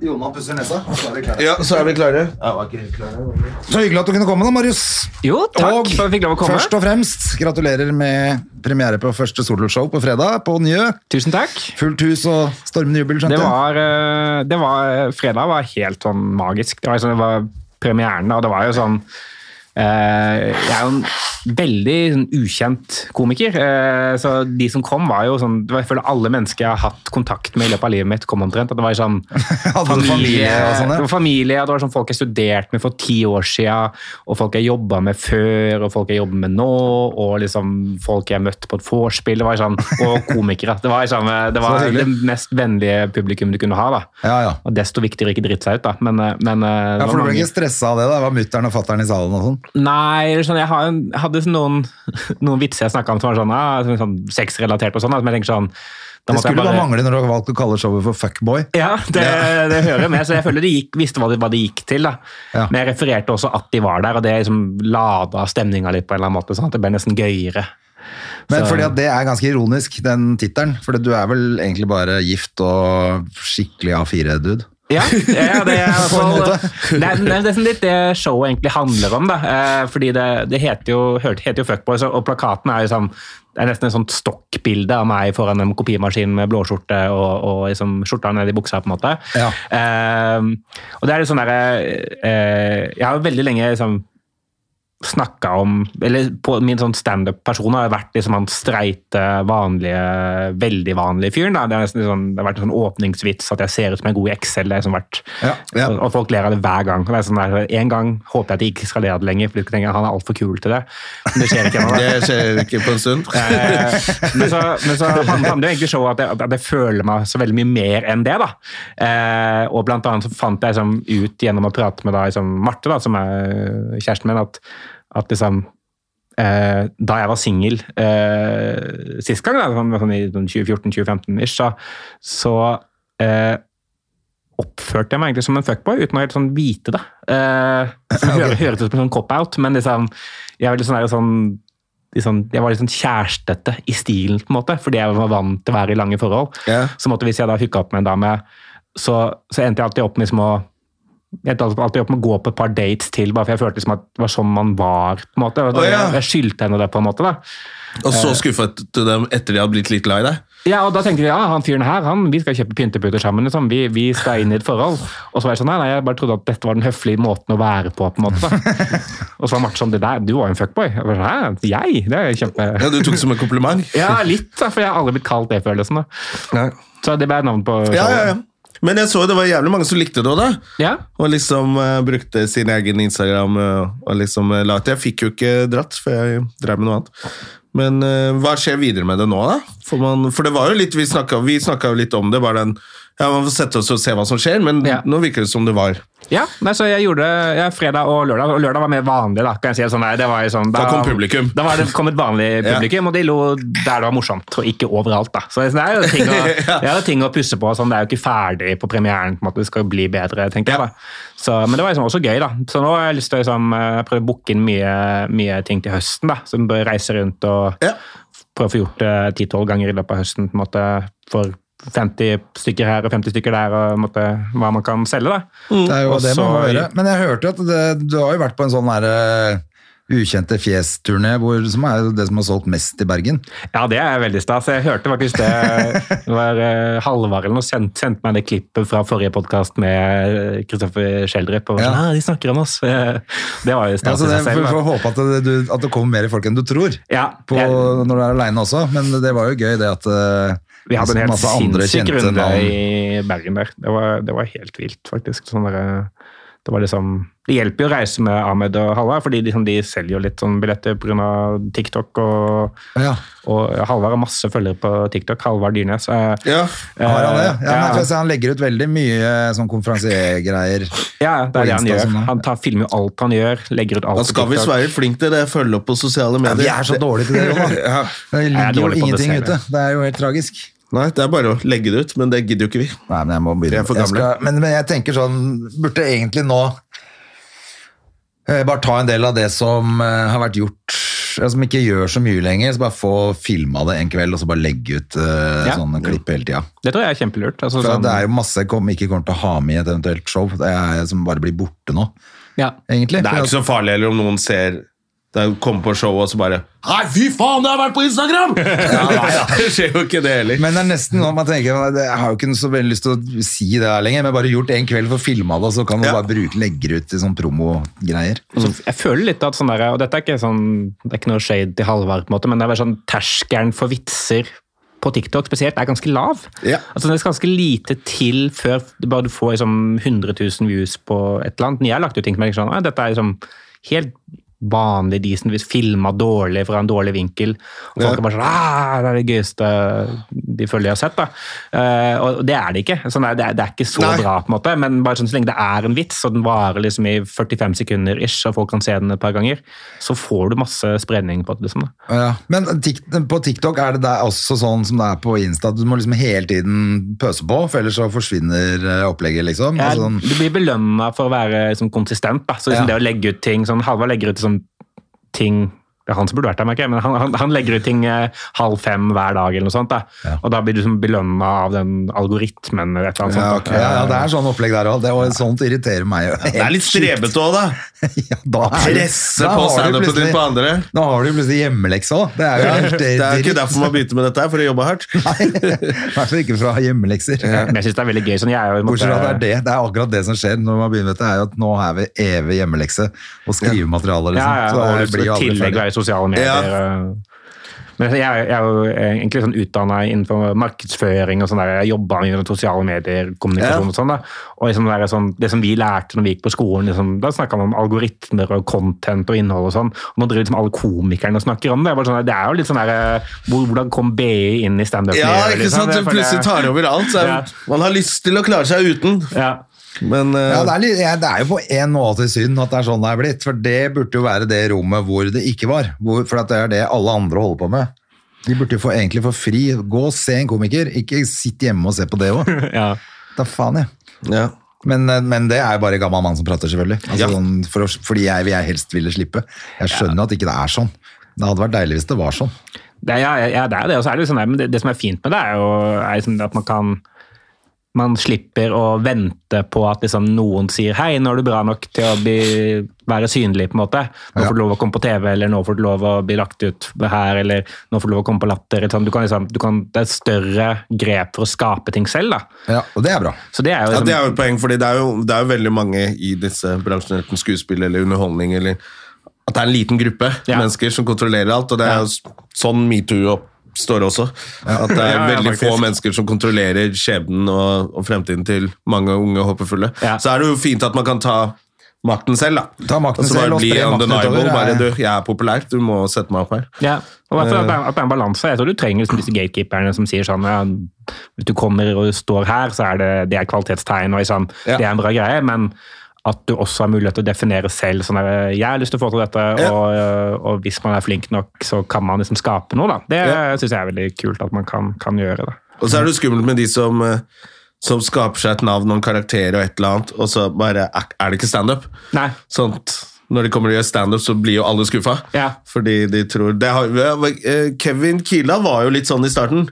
Speaker 2: Jonna pusser nesa. Så, er vi klare.
Speaker 1: Ja, så er vi klare. Ja, var ikke helt klare.
Speaker 2: så hyggelig at du kunne komme, da, Marius.
Speaker 3: Jo, takk for at jeg fikk lov å komme.
Speaker 2: Først og fremst, gratulerer med premiere på første soloshow på fredag på Njø.
Speaker 3: Tusen takk.
Speaker 2: Fullt hus og stormende jubel,
Speaker 3: Det
Speaker 2: skjønte jeg.
Speaker 3: var, eh, det var Fredag var helt sånn magisk. Det var, liksom, det var premieren, og det var jo sånn eh, Jeg er jo en veldig sånn, ukjent komiker, eh, så de som kom, var jo sånn det var, Jeg føler alle mennesker jeg har hatt kontakt med i løpet av livet mitt, kom omtrent. At det var sånn
Speaker 2: Hadde du familie og sånn,
Speaker 3: det
Speaker 2: ja?
Speaker 3: var familie, og det var sånn folk jeg studerte med for ti år siden, og folk jeg jobba med før, og folk jeg jobber med nå, og liksom folk jeg møtte på et vorspiel, det var sånn, og komikere. Det var, liksom, det,
Speaker 2: Så
Speaker 3: var
Speaker 2: hyggelig.
Speaker 3: det mest vennlige publikum du kunne ha. da.
Speaker 2: Ja, ja.
Speaker 3: Og desto viktigere ikke drite seg ut, da. Men, eh, men eh,
Speaker 2: Ja,
Speaker 3: det var
Speaker 2: for du ble
Speaker 3: mange-
Speaker 2: ikke stressa av det? da? Det var mutter'n og fatter'n i salen og sånn?
Speaker 3: Nei, eller sånn, jeg har en- hadde sånn noen, noen vitser jeg snakka om som var sånn, ah, sånn, sånn sexrelatert og sånn, da, som jeg tenker sånn da
Speaker 2: Det
Speaker 3: måtte jeg
Speaker 2: skulle bare mangle når du har valgt å kalle showet for Fuckboy.
Speaker 3: Ja, det, det hører jeg med, så jeg føler de gikk, visste hva det, hva de gikk til. Da.
Speaker 2: Ja.
Speaker 3: Men jeg refererte også at de var der, og det liksom lada stemninga litt. på en eller annen måte, sånn at Det ble nesten gøyere.
Speaker 2: Men
Speaker 3: Så-
Speaker 2: fordi at det er ganske ironisk, den tittelen. For du er vel egentlig bare gift og skikkelig A4-dude.
Speaker 3: Ja, ja det er i hvert
Speaker 2: På en
Speaker 3: fall
Speaker 2: måte.
Speaker 3: det er, det er nesten litt det showet egentlig handler om. da, eh, fordi det, det heter jo, hørte- heter jo Fuckboys, og- og plakaten er jo sånn det er nesten et sånt stokkbilde av meg foran en kopimaskin med blåskjorte og, og liksom skjorta ned i buksa. på en måte.
Speaker 2: Ja.
Speaker 3: Eh, og det er litt sånn derre eh, Jeg har jo veldig lenge liksom, snakka om Eller på min sånn standup-person har jo vært liksom han streite, vanlige, veldig vanlige fyren. da. Det, er nesten litt sånn, det har vært en sånn åpningsvits at jeg ser ut som jeg er god i Excel. Det har liksom vært,
Speaker 2: Ja, ja.
Speaker 3: Og, og folk ler av det hver gang. Og Det er sånn der, en gang håper jeg at de ikke skal le av det lenger, for de skal tenke at han er altfor kul til det. Men det skjer ikke ennå. da.
Speaker 1: Det skjer ikke på en stund.
Speaker 3: Eh, men så, men så handler handler jo egentlig showet at jeg, at jeg føler meg så veldig mye mer enn det. da. Eh, og blant annet så fant jeg liksom, ut gjennom å prate med da, liksom, Marte, da, som er kjæresten min, at, at liksom eh, da jeg var singel eh, sist gang, da, sånn, sånn i 2014-2015-ish, så, så eh, oppførte jeg meg egentlig som en fuckboy, uten å helt sånn vite det. Eh, som hø- høres ut som en sånn cop-out, men liksom, jeg, var litt sånn, der sånn, litt sånn- jeg var litt sånn kjærestete i stilen, på en måte, fordi jeg var vant til å være i lange forhold.
Speaker 2: Ja.
Speaker 3: Så måtte, hvis jeg da hooka opp med en dame, så, så endte jeg alltid opp med liksom å jeg endte alltid alltid opp med å gå på et par dates til, bare for jeg følte liksom at det var sånn man var. på en måte. Og
Speaker 1: Å,
Speaker 3: jeg,
Speaker 1: ja.
Speaker 3: jeg skyldte henne det, på en måte. da.
Speaker 1: Og så skuffet du dem etter de hadde blitt litt glad i deg?
Speaker 3: Ja, og da tenkte vi ja, han fyren her, han, vi skal kjøpe pynteputer sammen. Liksom. Vi, vi skal inn i et forhold. Og så var jeg sånn, nei, nei, jeg bare trodde at dette var den høflige måten å være på. på en måte. da. Og så var Marte sånn, det der, du var jo en fuckboy. Jeg var sånn, hæ, jeg? Det er kjempe...
Speaker 1: Ja, Du tok det som en kompliment?
Speaker 3: Ja, litt, da, for jeg har aldri blitt kalt det følelsen. da.
Speaker 1: Nei.
Speaker 3: Så det ble navnet på
Speaker 1: Ja, ja,
Speaker 3: showet.
Speaker 1: ja. Men jeg så jo det var jævlig mange som likte det òg, da.
Speaker 3: Ja,
Speaker 1: Og liksom eh, brukte sin egen Instagram eh, og liksom eh, la til. Jeg fikk jo ikke dratt, for jeg drev med noe annet. Men eh, hva skjer videre med det nå, da? For, man, for det var jo litt, vi snakka vi snakka jo litt om det, bare den Ja, man får sette oss og se hva som skjer, men
Speaker 3: Ja.
Speaker 1: nå virker det som det var.
Speaker 3: Ja, nei, så jeg gjorde ja, fredag og lørdag, og lørdag var mer vanlig. Da kan jeg si det sånn, nei, det var jo sånn,
Speaker 1: Da kom publikum.
Speaker 3: Da var det kom et vanlig publikum, og de lo der det var morsomt, og ikke overalt. da. Så det er jo ting å, det er jo ting å pusse på. sånn, Det er jo ikke ferdig på premieren. på en måte, Det skal jo bli bedre, tenker
Speaker 1: Ja.
Speaker 3: jeg. da. Så, men det var liksom også gøy, da. Så nå har jeg lyst til å liksom, eh, prøve å booke inn mye, mye ting til høsten. da, Som bør reise rundt og
Speaker 1: Ja.
Speaker 3: prøve å få gjort det 10-12 ganger i løpet av høsten. på en måte, for 50 stykker her og 50 stykker der, og på en måte, hva man kan selge. da.
Speaker 2: Det er jo
Speaker 3: Og
Speaker 2: det man må
Speaker 3: så-
Speaker 2: gjøre. Men jeg hørte jo at det, du har jo vært på en sånn der eh, ukjente fjes-turné, hvor- som er jo det som har solgt mest i Bergen.
Speaker 3: Ja, det er veldig stas. Jeg hørte faktisk det, det var eh, Halvard eller noe sendte sendt meg det klippet fra forrige podkast med Kristoffer Schjelderup. Og var
Speaker 2: Ja.
Speaker 3: sånn, ja. de snakker om oss. Eh, Det var jo
Speaker 2: Ja,
Speaker 3: stas
Speaker 2: så
Speaker 3: i
Speaker 2: det,
Speaker 3: seg
Speaker 2: for,
Speaker 3: selv.
Speaker 2: for
Speaker 3: da.
Speaker 2: å håpe at det, du, at det kommer mer folk enn du tror,
Speaker 3: Ja,
Speaker 2: på,
Speaker 3: jeg,
Speaker 2: når du er aleine også. Men det var jo gøy det at eh,
Speaker 3: vi hadde en helt
Speaker 2: masse andre
Speaker 3: sinnssyk
Speaker 2: kjente
Speaker 3: runde
Speaker 2: navn.
Speaker 3: i Bergen der. Det var, det var helt vilt, faktisk. Sånn der, eh, det var liksom det hjelper jo å reise med Ahmed og Halvard, fordi liksom de selger jo litt sånn billetter pga. TikTok. Og,
Speaker 2: Ja,
Speaker 3: og Halvard har masse følgere på TikTok. Halvard Dyrnes. eh,
Speaker 1: Ja.
Speaker 2: har han det? Ja,
Speaker 3: eh,
Speaker 2: men for jeg ser han legger ut veldig mye eh, sånn konferansiergreier.
Speaker 3: Ja, det
Speaker 2: På
Speaker 3: er det
Speaker 2: Insta
Speaker 3: han
Speaker 2: og
Speaker 3: gjør.
Speaker 2: sånn, ja.
Speaker 3: Han tar, filmer jo alt han gjør. legger ut alt.
Speaker 1: Han
Speaker 3: på
Speaker 1: skal
Speaker 3: TikTok.
Speaker 1: visst være flink til det, følge opp på sosiale medier.
Speaker 2: Vi er så dårlige til det, Jon. da.
Speaker 1: Ja.
Speaker 2: Det
Speaker 3: Jeg er
Speaker 2: ligger
Speaker 3: dårlig
Speaker 2: jo
Speaker 3: på å
Speaker 2: ingenting
Speaker 3: dosere.
Speaker 2: ute. Det er jo helt tragisk.
Speaker 1: Nei, det er bare å legge det ut, men det gidder jo ikke vi.
Speaker 2: Nei, men jeg må
Speaker 1: Dere
Speaker 2: begynne.
Speaker 1: er for
Speaker 2: Jeg
Speaker 1: gamle.
Speaker 2: skal, men, men jeg tenker sånn, burde egentlig nå eh, bare ta en del av det som eh, har vært gjort, eh, som ikke gjør så mye lenger, så bare få filma det en kveld, og så bare legge ut eh,
Speaker 3: Ja.
Speaker 2: sånne klipp hele tida.
Speaker 3: Det tror jeg er kjempelurt. Altså,
Speaker 2: For
Speaker 3: sånn,
Speaker 2: det er jo masse jeg kom, ikke kommer til å ha med i et eventuelt show, det er, som bare blir borte nå,
Speaker 3: ja.
Speaker 2: egentlig.
Speaker 1: Det er jo ikke så farlig heller om noen ser det er- kommer på showet og så bare Nei, fy faen, det har vært på Instagram! det skjer jo ikke det heller.
Speaker 2: Men det er nesten sånn at man tenker "Nei, det- Jeg har jo ikke så veldig lyst til å si det her lenger, men bare gjort en kveld for å filme det, og så kan man
Speaker 1: Ja.
Speaker 2: bare bruke, legge det ut i sånn promogreier.
Speaker 3: Så Altså, jeg føler litt at sånn der, og dette er ikke, sånn, det er ikke noe shade til Halvard, på en måte, men det er bare sånn terskelen for vitser på TikTok spesielt er ganske lav.
Speaker 1: Ja.
Speaker 3: Altså, det skal ganske lite til før du bare du får liksom, 100 000 views på et eller annet. Men Jeg har lagt ut ting som er sånn, «Å, dette er liksom helt vanlig decent, hvis filma dårlig fra en dårlig vinkel. Og folk er bare sånn «Ah, Det er det gøyeste de føler de har sett. da. Eh, og det er det ikke. Sånn, er det, det er ikke så
Speaker 1: Nei.
Speaker 3: bra, på en måte, men bare sånn, så lenge det er en vits, og den varer liksom i 45 sekunder ish, og folk kan se den et par ganger, så får du masse spredning på det. liksom. da.
Speaker 2: Ja. Men Tik- på TikTok er det der også sånn som det er på Insta, at du må liksom hele tiden pøse på, for ellers så forsvinner eh, opplegget, liksom.
Speaker 3: Ja,
Speaker 2: Altså sånn,
Speaker 3: Du blir belønna for å være liksom, konsistent. Da. Så liksom,
Speaker 2: Ja.
Speaker 3: det å legge ut ting sånn, Halvard legger ut liksom, ting det er han som burde vært der, merker jeg, men han, han, han legger ut ting eh, halv fem hver dag. eller noe sånt da. Og da blir du liksom belønna av den algoritmen. eller et eller annet
Speaker 2: ja,
Speaker 3: sånt.
Speaker 2: ok. ja, ja, det er sånn opplegg der òg. Og sånt irriterer meg. jo.
Speaker 1: Det er litt strebete òg, da.
Speaker 2: Ja, da er det-
Speaker 1: Presse
Speaker 2: da
Speaker 1: på
Speaker 2: har du
Speaker 1: standupen din
Speaker 2: plutselig-
Speaker 1: på andre.
Speaker 2: Da har du jo plutselig hjemmelekse òg. Det er jo helt
Speaker 1: Det er jo ikke
Speaker 2: dritt.
Speaker 1: derfor man begynte med dette, her, for å jobbe hardt.
Speaker 2: I hvert fall ikke fra hjemmelekser.
Speaker 3: Men jeg synes det er veldig gøy. Sånn, jeg er jo, i en måte-
Speaker 2: Bortsett fra at det er det, det er akkurat det som skjer når man begynner med det, er jo at nå er vi evig hjemmelekse og skrivemateriale,
Speaker 3: Ja,
Speaker 2: liksom.
Speaker 3: ja,
Speaker 2: Så
Speaker 3: og
Speaker 2: det blir jo
Speaker 3: i
Speaker 2: aldri
Speaker 3: tillegg
Speaker 2: ferdig.
Speaker 3: være i sosiale medier. og- Men jeg, jeg er jo egentlig sånn utdanna innenfor markedsføring og sånn. der, Jeg jobba mye med sosiale medier, kommunikasjon og sånn. da. Og liksom det, er sånn, det som vi lærte når vi gikk på skolen, liksom, da snakka man om algoritmer og content og innhold og sånn. Og nå driver liksom alle komikerne og snakker om det. Jeg bare Sånn, der, det er jo litt sånn der, hvor, Hvordan kom BI inn i standup-miljøet? liksom?
Speaker 1: Ja, ikke sant? Du
Speaker 3: Jeg føler-
Speaker 1: plutselig tar over alt. Så
Speaker 3: Ja.
Speaker 1: er, man har lyst til å klare seg uten,
Speaker 3: ja.
Speaker 1: men eh,
Speaker 2: Ja, det er, litt, ja, det er jo på en måte synd at det er sånn det er blitt, for det burde jo være det rommet hvor det ikke var. Hvor, for at det er det alle andre holder på med. De burde jo få, egentlig få fri. Gå og se en komiker, ikke sitt hjemme og se på det òg.
Speaker 3: ja.
Speaker 2: Da faen, jeg.
Speaker 1: eh, ja.
Speaker 2: Men, men det er jo bare gammel mann som prater, selvfølgelig. Altså,
Speaker 1: Ja.
Speaker 2: sånn, for, å- fordi jeg, jeg helst ville slippe. Jeg skjønner at ikke det er sånn. Det hadde vært deilig hvis det var sånn.
Speaker 3: Det, er- ja, ja, det er det. Og så er det, liksom, men det, det som er fint med det, er jo er liksom at man kan man slipper å vente på at liksom noen sier 'hei, nå er du bra nok til å bli, være synlig'. på en måte. 'Nå får du lov å komme på TV', eller 'nå får du lov å bli lagt ut her', eller 'nå får du lov å komme på Latter'. Liksom. Du kan liksom, du kan, det er et større grep for å skape ting selv. da.
Speaker 2: Ja, og det er bra.
Speaker 3: Så det er
Speaker 1: Ja,
Speaker 3: jo liksom,
Speaker 1: det er jo et poeng, fordi det er jo, det er jo veldig mange i disse bransjene, enten skuespill eller underholdning, eller at det er en liten gruppe
Speaker 3: Ja.
Speaker 1: mennesker som kontrollerer alt, og det er jo s- sånn metoo oppstår også. At det er
Speaker 3: Ja, ja,
Speaker 1: veldig
Speaker 3: faktisk.
Speaker 1: få mennesker som kontrollerer skjebnen og, og fremtiden til mange unge og håpefulle.
Speaker 3: Ja.
Speaker 1: Så er det jo fint at man kan ta makten selv, da.
Speaker 2: Ta makten
Speaker 1: og så bare
Speaker 2: selv og
Speaker 1: bli
Speaker 2: spre makten
Speaker 1: undeniable.
Speaker 2: utover,
Speaker 1: Bare
Speaker 2: ja.
Speaker 1: du, jeg er populær, du må sette meg opp her.
Speaker 3: Ja, Eh. og i hvert fall at det, er, at det er en balanse. Jeg tror du trenger liksom disse gatekeeperne som sier sånn ja, Hvis du kommer og står her, så er det, det er kvalitetstegn, og sånn,
Speaker 1: Ja.
Speaker 3: det er en bra greie. men at du også har mulighet til å definere selv. sånn der, 'Jeg har lyst til å få til dette',
Speaker 1: Ja.
Speaker 3: og, øh, og hvis man er flink nok, så kan man liksom skape noe. da. Det
Speaker 1: Ja.
Speaker 3: synes syns jeg er veldig kult at man kan, kan gjøre. da.
Speaker 1: Og så er det skummelt med de som, eh, som skaper seg et navn og en karakter og et eller annet, og så bare er er det ikke standup.
Speaker 3: Nei,
Speaker 1: Sånt. Sånn Når de kommer og gjør standup, så blir jo alle skuffa.
Speaker 3: Ja.
Speaker 1: Fordi de tror det har, eh, Kevin Kila var jo litt sånn i starten.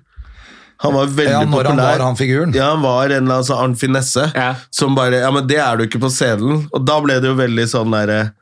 Speaker 1: Han var veldig
Speaker 2: Ja, når
Speaker 1: populær.
Speaker 2: han var han figuren.
Speaker 1: Ja, han var en eller annen sånn Arn Finesse
Speaker 3: Ja.
Speaker 1: som bare Ja, men det er du ikke på scenen. Og da ble det jo veldig sånn derre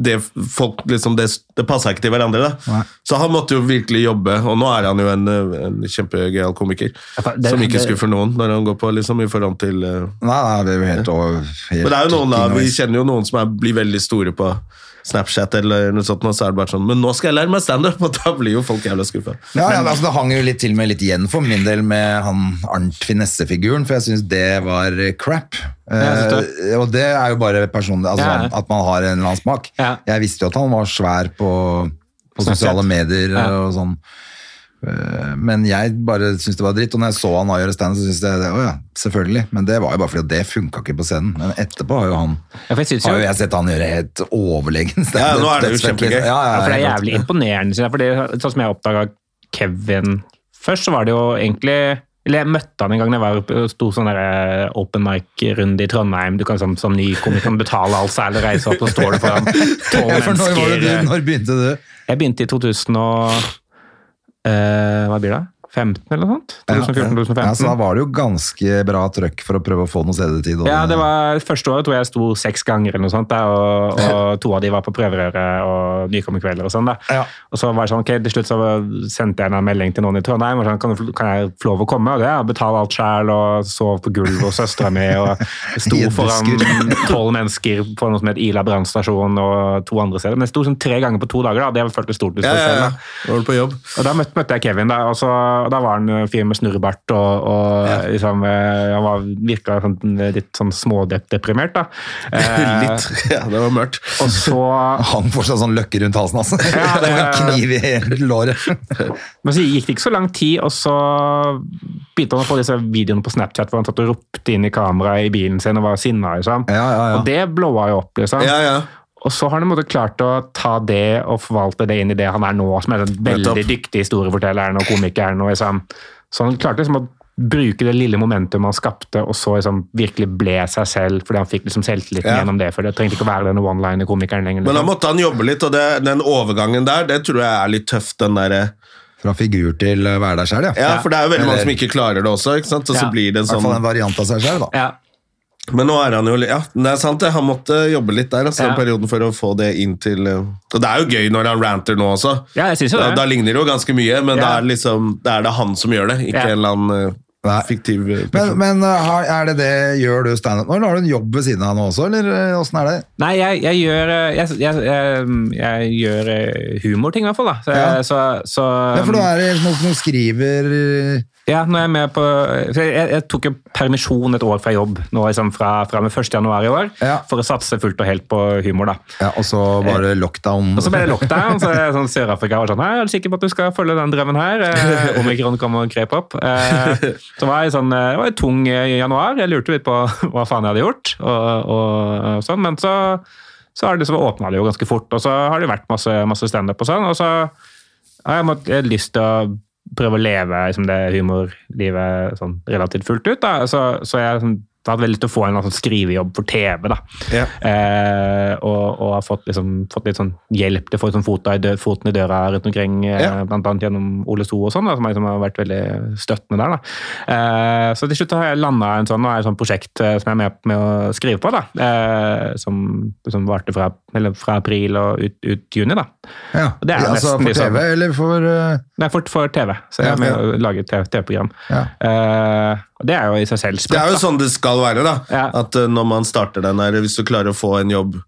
Speaker 1: det, folk liksom, det, det passa ikke til hverandre. da
Speaker 2: Nei.
Speaker 1: Så han måtte jo virkelig jobbe, og nå er han jo en, eh, en kjempegøyal komiker.
Speaker 3: Ja, for det-
Speaker 1: som ikke
Speaker 3: det-
Speaker 1: skuffer noen når han går på liksom, i forhold til eh,
Speaker 2: Nei, nei, det er jo helt over. helt
Speaker 1: Men det er jo noen da, vi
Speaker 2: innovis.
Speaker 1: kjenner jo noen som er, blir veldig store på Snapchat eller noe sånt, og så er det bare sånn Men nå skal jeg lære meg standup, og da blir jo folk jævla skuffa.
Speaker 2: Ja, ja, altså, det hang jo litt til og med litt igjen for min del med han Arnt Finesse-figuren, for jeg syns det var crap.
Speaker 3: jeg synes
Speaker 2: Eh, og det er jo bare personlig, altså,
Speaker 3: Ja, ja.
Speaker 2: at man har en eller annen smak.
Speaker 3: Ja.
Speaker 2: Jeg visste jo at han var svær på, på
Speaker 3: Snapchat.
Speaker 2: sosiale medier
Speaker 3: Ja.
Speaker 2: og sånn. Eh, Men jeg bare syntes det var dritt, og når jeg så han gjøre stand, så syntes jeg det, å ja, selvfølgelig. Men det var jo bare fordi det funka ikke på scenen. Men etterpå har jo han
Speaker 3: Ja, for jeg synes jo-
Speaker 2: har jo jeg sett han gjøre helt overlegen standup.
Speaker 1: Ja, nå er det jo
Speaker 2: dødsfett,
Speaker 1: kjempegøy.
Speaker 2: liksom. Ja, ja,
Speaker 3: Ja, for det er
Speaker 2: helt
Speaker 3: jævlig imponerende, synes jeg. For det, sånn som jeg oppdaga Kevin først, så var det jo egentlig eller Jeg møtte han en gang da jeg var oppe og sto sånn der eh, open mic-runde i Trondheim. Du kan som, som ny komiker kan betale alt seg eller reise opp, og står du foran tolv
Speaker 2: Ja, for når, var det
Speaker 3: mennesker. eh,
Speaker 2: du, når begynte du?
Speaker 3: Jeg begynte i 2000 og eh, Hva blir det? 15 eller noe sånt?
Speaker 2: Ja, så da
Speaker 3: 2014-2015.
Speaker 2: var det jo ganske bra trøkk for å prøve å få noe CD-tid. og-
Speaker 3: Ja, det var første året tror jeg jeg sto seks ganger eller noe sånt, da, og, og to av de var på prøverøret og nykommerkvelder og sånn. da.
Speaker 2: Ja.
Speaker 3: Og så var det sånn, ok, til slutt så sendte jeg en melding til noen i Trondheim og sånn, kan, du- kan jeg få lov å komme? Og det, ja, betale alt selv og sov på gulvet hos søstra mi og sto
Speaker 2: I en
Speaker 3: foran tolv mennesker på noe som het Ila brannstasjon og to andre steder. Men jeg sto sånn tre ganger på to dager da, det føltes stort ut
Speaker 1: Ja,
Speaker 3: for
Speaker 1: ja,
Speaker 3: selv
Speaker 1: ja.
Speaker 3: da.
Speaker 1: Nå er du på jobb.
Speaker 3: Og da møtte, møtte jeg Kevin, da, og, så, og da var han en fyr med snurrebart og, og liksom, eh, han var, virka sånn, litt sånn smådeprimert da. Eh,
Speaker 1: Litt. Ja, det var mørkt.
Speaker 3: Og så
Speaker 2: Hang fortsatt sånn løkke rundt halsen, altså.
Speaker 3: Ja, det-
Speaker 2: Og en kniv i hele låret.
Speaker 3: Men så gikk det ikke så lang tid, og så begynte han å få disse videoene på Snapchat hvor han satt og ropte inn i kameraet i bilen sin og var sinna. Liksom.
Speaker 2: Ja, ja, ja.
Speaker 3: Og det blåa jo opp. Liksom.
Speaker 1: Ja, ja.
Speaker 3: Og så har han på en måte klart å ta det og forvalte det inn i det han er nå, som er den veldig
Speaker 1: Nettopp.
Speaker 3: dyktig historiefortelleren og komikeren. Og, liksom. Så han klarte liksom å bruke det lille momentumet han skapte, og så liksom virkelig ble seg selv, fordi han fikk liksom selvtilliten
Speaker 1: Ja.
Speaker 3: gjennom det. For det trengte ikke å være denne one-liner-komikeren lenger.
Speaker 1: Men da
Speaker 3: Liksom.
Speaker 1: måtte han jobbe litt, og det, den overgangen der, det tror jeg er litt tøft. den der, eh.
Speaker 2: Fra figur til å være deg sjæl, ja.
Speaker 1: ja, For det er jo veldig mange
Speaker 2: Eller-
Speaker 1: som ikke klarer det også, ikke sant? og så
Speaker 3: Ja.
Speaker 1: blir det
Speaker 2: I
Speaker 1: en
Speaker 2: hvert fall en
Speaker 1: sånn
Speaker 2: variant av seg sjæl, da.
Speaker 3: Ja.
Speaker 1: Men nå er han jo li- Ja, det er sant, det. Han måtte jobbe litt der, altså, den
Speaker 3: Ja.
Speaker 1: perioden, for å få det inn til eh, Og det er jo gøy når han ranter nå også.
Speaker 3: ja, jeg synes jo
Speaker 1: Da,
Speaker 3: det.
Speaker 1: da ligner det jo ganske mye, men
Speaker 3: Ja.
Speaker 1: da er det liksom, da er det han som gjør det, ikke
Speaker 3: Ja.
Speaker 1: en eller annen eh,
Speaker 2: Nei.
Speaker 1: fiktiv eh,
Speaker 2: Men,
Speaker 1: person.
Speaker 2: men uh, har- er det det, gjør du standup nå, eller har du en jobb ved siden av nå også, eller eh, åssen er det?
Speaker 3: Nei, jeg, jeg gjør, eh, jeg, jeg, jeg, jeg gjør eh, humorting i hvert fall. Da. Så,
Speaker 2: Ja.
Speaker 3: jeg, så, så
Speaker 2: Ja, for du er det noen som skriver uh,
Speaker 3: ja, nå er jeg med på for jeg, jeg- jeg tok jo permisjon et år fra jobb nå, liksom fra, fra og med 1. januar i år
Speaker 2: Ja.
Speaker 3: for å satse fullt og helt på humor. da.
Speaker 2: ja, Og så var det lockdown.
Speaker 3: Eh, Og så ble det lockdown, så er det sånn Sør-Afrika var sånn Hei, er du sikker på at du skal følge den drømmen her? Eh, Omikron kom og grep opp. Eh, så var jeg sånn, eh, det var en tung eh, januar. Jeg lurte litt på hva faen jeg hadde gjort, og, og sånn. Men så, så har det liksom åpna det jo ganske fort, og så har det vært masse, masse standup og sånn. Og så har jeg mått- jeg har lyst til å prøve å leve liksom det humorlivet sånn relativt fullt ut, da. Så, så jeg har sånn, hatt veldig lyst til å få en eller annen sånn skrivejobb for TV, da.
Speaker 1: Ja.
Speaker 3: Eh, og, og har fått, liksom, fått litt sånn hjelp til å få liksom, fota i dø foten i døra rundt omkring, eh,
Speaker 1: Ja.
Speaker 3: blant annet gjennom Ole So og sånn, da, som har liksom, har vært veldig støttende der. Da. Eh, så til slutt har jeg landa en sånn, nå er det et sånt prosjekt eh, som jeg er med, med å skrive på, da, eh, som, som varte fra, eller, fra april og ut, ut juni. da.
Speaker 2: Ja.
Speaker 3: Og det er
Speaker 2: altså,
Speaker 3: nesten
Speaker 2: for
Speaker 3: litt sånn-
Speaker 2: TV, eller for uh,
Speaker 3: Nei, for, for TV, så jeg
Speaker 2: Ja,
Speaker 3: er med
Speaker 2: ja.
Speaker 3: og lager et TV-program.
Speaker 2: Ja.
Speaker 3: Eh, og det er jo i seg selv
Speaker 1: Det
Speaker 3: sprøtt.
Speaker 1: er jo
Speaker 3: da.
Speaker 1: sånn det skal være, da.
Speaker 3: Ja.
Speaker 1: At eh, når man starter den her, hvis du klarer å få en jobb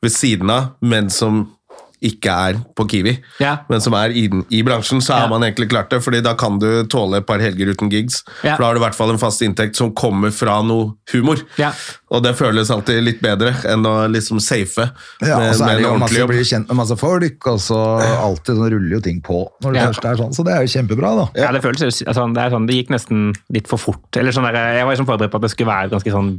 Speaker 1: ved siden av, men som ikke er på Kiwi,
Speaker 3: Ja.
Speaker 1: men som er i, den- i bransjen, så er
Speaker 3: Ja.
Speaker 1: man egentlig klart det. fordi da kan du tåle et par helger uten gigs.
Speaker 3: Ja.
Speaker 1: For da har du i hvert fall en fast inntekt som kommer fra noe humor.
Speaker 3: Ja.
Speaker 1: Og det føles alltid litt bedre enn å liksom safe
Speaker 2: Ja, og
Speaker 1: med, med
Speaker 2: så er det
Speaker 1: en
Speaker 2: jo
Speaker 1: ordentlig
Speaker 2: masse,
Speaker 1: jobb.
Speaker 2: blir du kjent med masse folk, og så alltid sånn ruller jo ting på når det
Speaker 3: Ja.
Speaker 2: først er sånn, så det er jo kjempebra da.
Speaker 3: Ja, det føles jo sånn, det, er sånn, det gikk nesten litt for fort. Eller sånn der, jeg var liksom forberedt på at det skulle være ganske sånn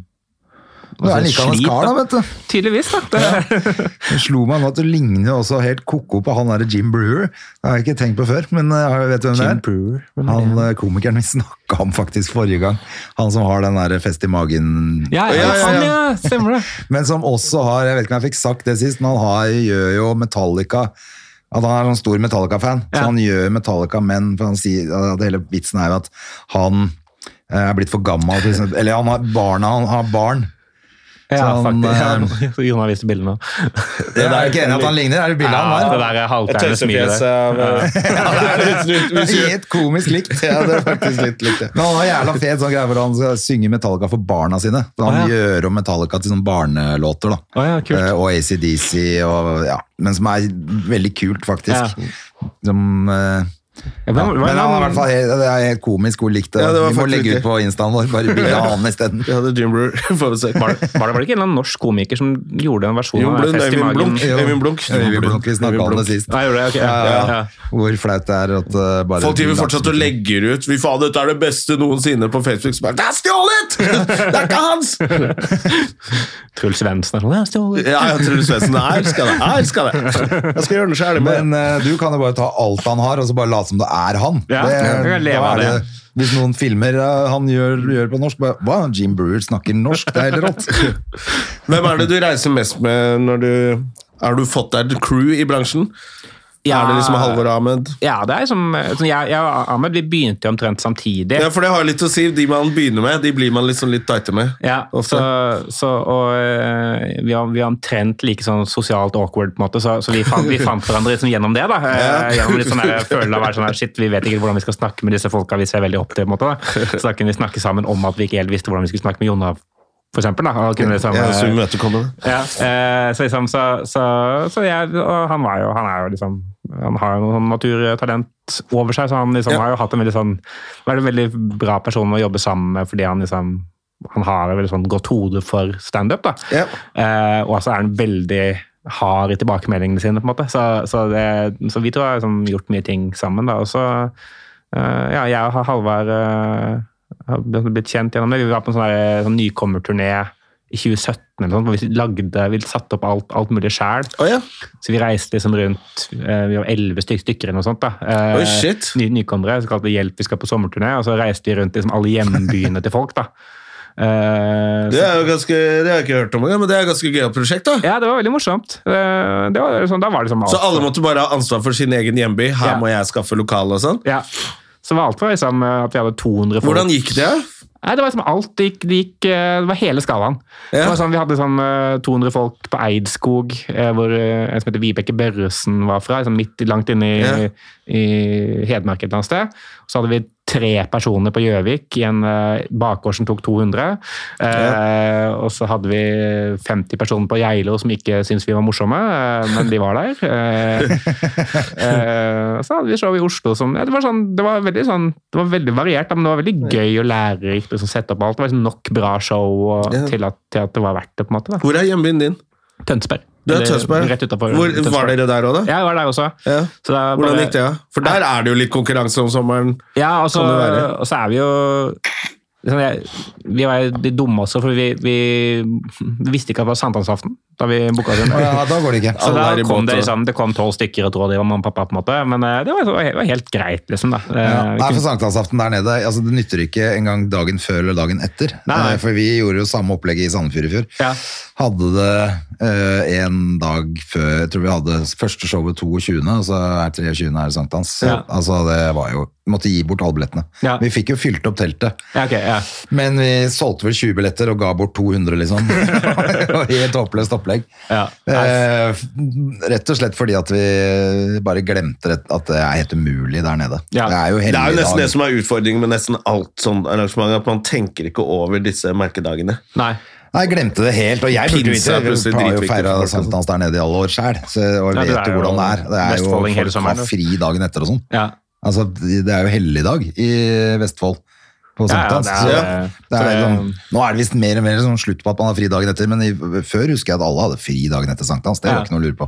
Speaker 3: altså,
Speaker 2: Du er like hans
Speaker 3: slit,
Speaker 2: kar da,
Speaker 3: da.
Speaker 2: vet du.
Speaker 3: Tydeligvis, da. Det,
Speaker 2: Det slo meg nå at du ligner jo også helt koko på han der Jim Brewer. Det har jeg ikke tenkt på før, men jeg vet du hvem det er.
Speaker 3: Brewer. hvem er det?
Speaker 2: Han eh, komikeren vi snakket om faktisk forrige gang. Han som har den der fest i magen
Speaker 3: Ja, ja,
Speaker 1: Ja, ja,
Speaker 3: han,
Speaker 1: ja.
Speaker 3: ja, stemmer det.
Speaker 2: Men som også har, jeg vet ikke om jeg fikk sagt det sist, men han har, gjør jo Metallica at han er en stor Metallica-fan, så
Speaker 3: Ja.
Speaker 2: han gjør Metallica, men for han sier at hele vitsen er jo at han eh, er blitt for gammel, for eksempel. eller han har barna, han har barn.
Speaker 3: Ja,
Speaker 2: Så han,
Speaker 3: faktisk. Ja, Jon har vist bildet nå.
Speaker 2: Jeg er ikke enig i at han ligner, er det bildet
Speaker 3: Ja,
Speaker 2: han
Speaker 3: det
Speaker 2: har?
Speaker 3: der er
Speaker 1: Et
Speaker 3: halvtegne smilet.
Speaker 1: tøysefjes eh. av
Speaker 2: Det er helt komisk likt.
Speaker 1: Ja, det er faktisk litt likt det.
Speaker 2: Men han har jævla fet sånn greie hvor han skal synge Metallica for barna sine. Så Han
Speaker 3: Å, ja.
Speaker 2: gjør om Metallica til sånne barnelåter, da.
Speaker 3: Å, ja, kult.
Speaker 2: Eh, Og ACDC, og, ja. men som er veldig kult, faktisk. Som, eh,
Speaker 3: Ja,
Speaker 2: ja.
Speaker 3: men-
Speaker 2: Men
Speaker 3: men-
Speaker 2: han er i hvert fall helt, det er helt komisk hvor likt det
Speaker 1: Ja,
Speaker 2: er.
Speaker 1: det var
Speaker 2: Vi må
Speaker 1: faktisk
Speaker 2: legge
Speaker 1: riktig.
Speaker 2: ut på instaen vår, bare bilde av han isteden.
Speaker 1: Ja, det er Jim Brewer. Får vi se.
Speaker 3: Var det, var det var det ikke en eller annen norsk komiker som gjorde en versjon
Speaker 1: Jon
Speaker 3: av
Speaker 1: Blund,
Speaker 3: Fest i
Speaker 1: Øyvind
Speaker 3: magen?
Speaker 1: Blunk.
Speaker 2: Jo.
Speaker 1: Øyvind Blunk.
Speaker 2: Øyvind Blunk, vi snakka om det sist.
Speaker 3: Ja, gjorde det? Ok.
Speaker 2: Ja, ja,
Speaker 3: Ja.
Speaker 2: ja. Hvor flaut det er at eh, bare
Speaker 1: Folk driver fortsatt og legger ut Fy faen, dette er det beste noensinne på Facebook. Så bare, det er stjålet! Det er ikke hans!
Speaker 3: Truls Svendsen er sånn ja, stjålet.
Speaker 1: Ja, jeg tror Svendsen her skal det. Her skal det. Jeg skal gjøre det sjæl.
Speaker 2: Men eh, du kan jo bare ta alt han har, og så bare late som det er han.
Speaker 3: Ja, jeg kan
Speaker 2: da
Speaker 3: leve av
Speaker 2: er Hvis noen filmer eh, han gjør, gjør på norsk, bare Hva? Jim Brewer snakker norsk? Det er helt rått.
Speaker 1: Hvem er det du reiser mest med når du Har du fått deg et crew i bransjen? Er det liksom Halvor Ahmed?
Speaker 3: Ja, det er som sånn, jeg, jeg og Ahmed vi begynte jo omtrent samtidig.
Speaker 1: Ja, for det har litt å si. De man begynner med, de blir man liksom litt tighte med.
Speaker 3: Ja, så, så, og eh, vi var, vi var omtrent like sånn sosialt awkward, på en måte, så, så vi, fant, vi fant hverandre liksom gjennom det. da. Eh, Gjennom litt sånn der, følelsen av å være sånn her, shit, Vi vet ikke hvordan vi skal snakke med disse folka vi ser veldig opp til. på en måte da. Så da kunne vi snakke sammen om at vi ikke helt visste hvordan vi skulle snakke med Jonna, for eksempel. Da. Og kunne liksom,
Speaker 1: Ja, så
Speaker 3: eh,
Speaker 1: imøtekommende.
Speaker 3: Ja, eh, så liksom, så, så, så jeg, og han var jo, han er jo liksom, han har jo noen naturtalent over seg, så han liksom
Speaker 1: Ja.
Speaker 3: har jo hatt en veldig sånn, vært en veldig bra person å jobbe sammen med, fordi han liksom, han har et veldig sånn godt hode for stand-up da.
Speaker 2: Ja.
Speaker 3: Eh, og så er han veldig hard i tilbakemeldingene sine, på en måte. Så, så, det, så vi to har liksom gjort mye ting sammen, da. Og så eh, Ja, jeg og Halvard eh, har blitt kjent gjennom det. Vi var på en sånn, der, sånn nykommerturné i 2017 eller sånt, hvor vi lagde, vi satte opp alt, alt mulig sjæl.
Speaker 1: Å ja.
Speaker 3: Så vi reiste liksom rundt eh, Vi var elleve styk, stykker eller noe sånt. da. Eh,
Speaker 1: Oi, shit.
Speaker 3: Ny, nykommere. Så kalte det Hjelp, vi skal på sommerturné. Og så reiste vi rundt liksom, alle hjembyene til folk, da. Eh,
Speaker 1: Det er jo ganske, det har jeg ikke hørt om engang, men det er et ganske gøyalt prosjekt. da.
Speaker 3: Ja, det var veldig morsomt. Eh, Det var, sånn, da var det liksom alt.
Speaker 1: Så alle måtte bare ha ansvar for sin egen hjemby. Her
Speaker 3: Ja.
Speaker 1: må jeg skaffe lokale og sånn.
Speaker 3: Ja. Så var alt for liksom, eh, at vi hadde 200 folk.
Speaker 1: Hvordan gikk det?
Speaker 3: Nei, det var liksom alt. Det, gikk, det, gikk, eh, det var hele skalaen.
Speaker 1: Ja.
Speaker 3: Det var sånn, vi hadde sånn eh, 200 folk på Eidskog, eh, hvor eh, en som heter Vibeke Børresen var fra. Liksom midt i- langt inne i,
Speaker 1: Ja.
Speaker 3: i Hedmark et eller annet sted. Så hadde vi tre personer på Gjøvik i en eh, bakgård som tok 200. Eh, Og så hadde vi 50 personer på Geilo som ikke syntes vi var morsomme, eh, men de var der. Eh, Eh, så hadde vi show i Oslo som ja, det, var sånn, det, var veldig sånn, det var veldig variert, da, men det var veldig gøy og lærerikt. Liksom, sette opp alt. Det var liksom nok bra show og,
Speaker 1: Ja.
Speaker 3: til, at, til at det var verdt det. på en måte da.
Speaker 1: Hvor er hjembyen din?
Speaker 3: Tønsberg.
Speaker 1: Du er
Speaker 3: Eller
Speaker 1: Tønsberg.
Speaker 3: Rett utenfor
Speaker 1: Hvor,
Speaker 3: Tønsberg.
Speaker 1: var dere der òg, da?
Speaker 3: Ja, jeg var der også.
Speaker 1: Ja.
Speaker 3: Så det er
Speaker 1: Hvordan
Speaker 3: bare-
Speaker 1: gikk det? Ja? For der er det jo litt konkurranse om sommeren.
Speaker 3: Ja, og så,
Speaker 1: Kan det være?
Speaker 3: og så er vi jo liksom, jeg, Vi var jo de dumme også, for vi, vi, vi visste ikke at det var sankthansaften da vi booka oss inn.
Speaker 2: Å Ja, da går det ikke.
Speaker 3: Så
Speaker 1: Alle er
Speaker 3: da
Speaker 1: i
Speaker 3: kom
Speaker 1: båt,
Speaker 3: det
Speaker 1: og-
Speaker 3: liksom, det kom tolv stykker og trodde det var mamma og pappa, på en måte. men eh, det var, det var helt greit. liksom da. Eh,
Speaker 2: Ja.
Speaker 3: vi
Speaker 2: Nei,
Speaker 3: kunne-
Speaker 2: for sankthansaften der nede, altså det nytter ikke engang dagen før eller dagen etter.
Speaker 3: Nei, nei.
Speaker 2: Eh, For vi gjorde jo samme opplegget i Sandefjord i fjor.
Speaker 3: Ja.
Speaker 2: Hadde det eh, en dag før, jeg tror vi hadde første showet 22., og så er 23. er det sankthans.
Speaker 3: Ja.
Speaker 2: Altså det var jo, vi måtte gi bort alle billettene.
Speaker 3: Ja.
Speaker 2: Vi fikk jo fylt opp teltet,
Speaker 3: Ja, ok, ja.
Speaker 2: men vi solgte vel 20 billetter og ga bort 200 liksom. det var helt håpløst opplegg.
Speaker 3: Ja.
Speaker 2: Eh, rett og slett fordi at vi bare glemte rett- at det er helt umulig der nede.
Speaker 3: Ja.
Speaker 2: Det er jo
Speaker 1: Det er jo
Speaker 2: helligdag.
Speaker 1: nesten det som er utfordringen med nesten alt sånn arrangement, at man tenker ikke over disse merkedagene.
Speaker 3: Nei.
Speaker 2: Nei, jeg glemte det helt. Og jeg burde jo
Speaker 1: Pinse
Speaker 2: ikke
Speaker 1: er plutselig
Speaker 2: jeg har jo
Speaker 1: dritviktig
Speaker 2: feira
Speaker 1: for folk, altså.
Speaker 2: sankthans der nede i alle år sjøl, og jeg
Speaker 3: Ja,
Speaker 2: vet
Speaker 3: du er
Speaker 2: jo
Speaker 3: jo
Speaker 2: hvordan det er. Det er jo
Speaker 3: vestfolding hele
Speaker 2: Folk
Speaker 3: sommeren,
Speaker 2: har
Speaker 3: du.
Speaker 2: fri dagen etter og sånn.
Speaker 3: Ja.
Speaker 2: Altså, det er jo helligdag i Vestfold på
Speaker 3: Ja, ja,
Speaker 2: sankthans.
Speaker 3: det
Speaker 2: så-
Speaker 3: er, ja.
Speaker 2: Det er sånn, nå er det visst mer og mer sånn slutt på at man har fri dagen etter, men i, før husker jeg at alle hadde fri dagen etter sankthans. Det er
Speaker 3: Ja.
Speaker 2: jo ikke noe å lure på.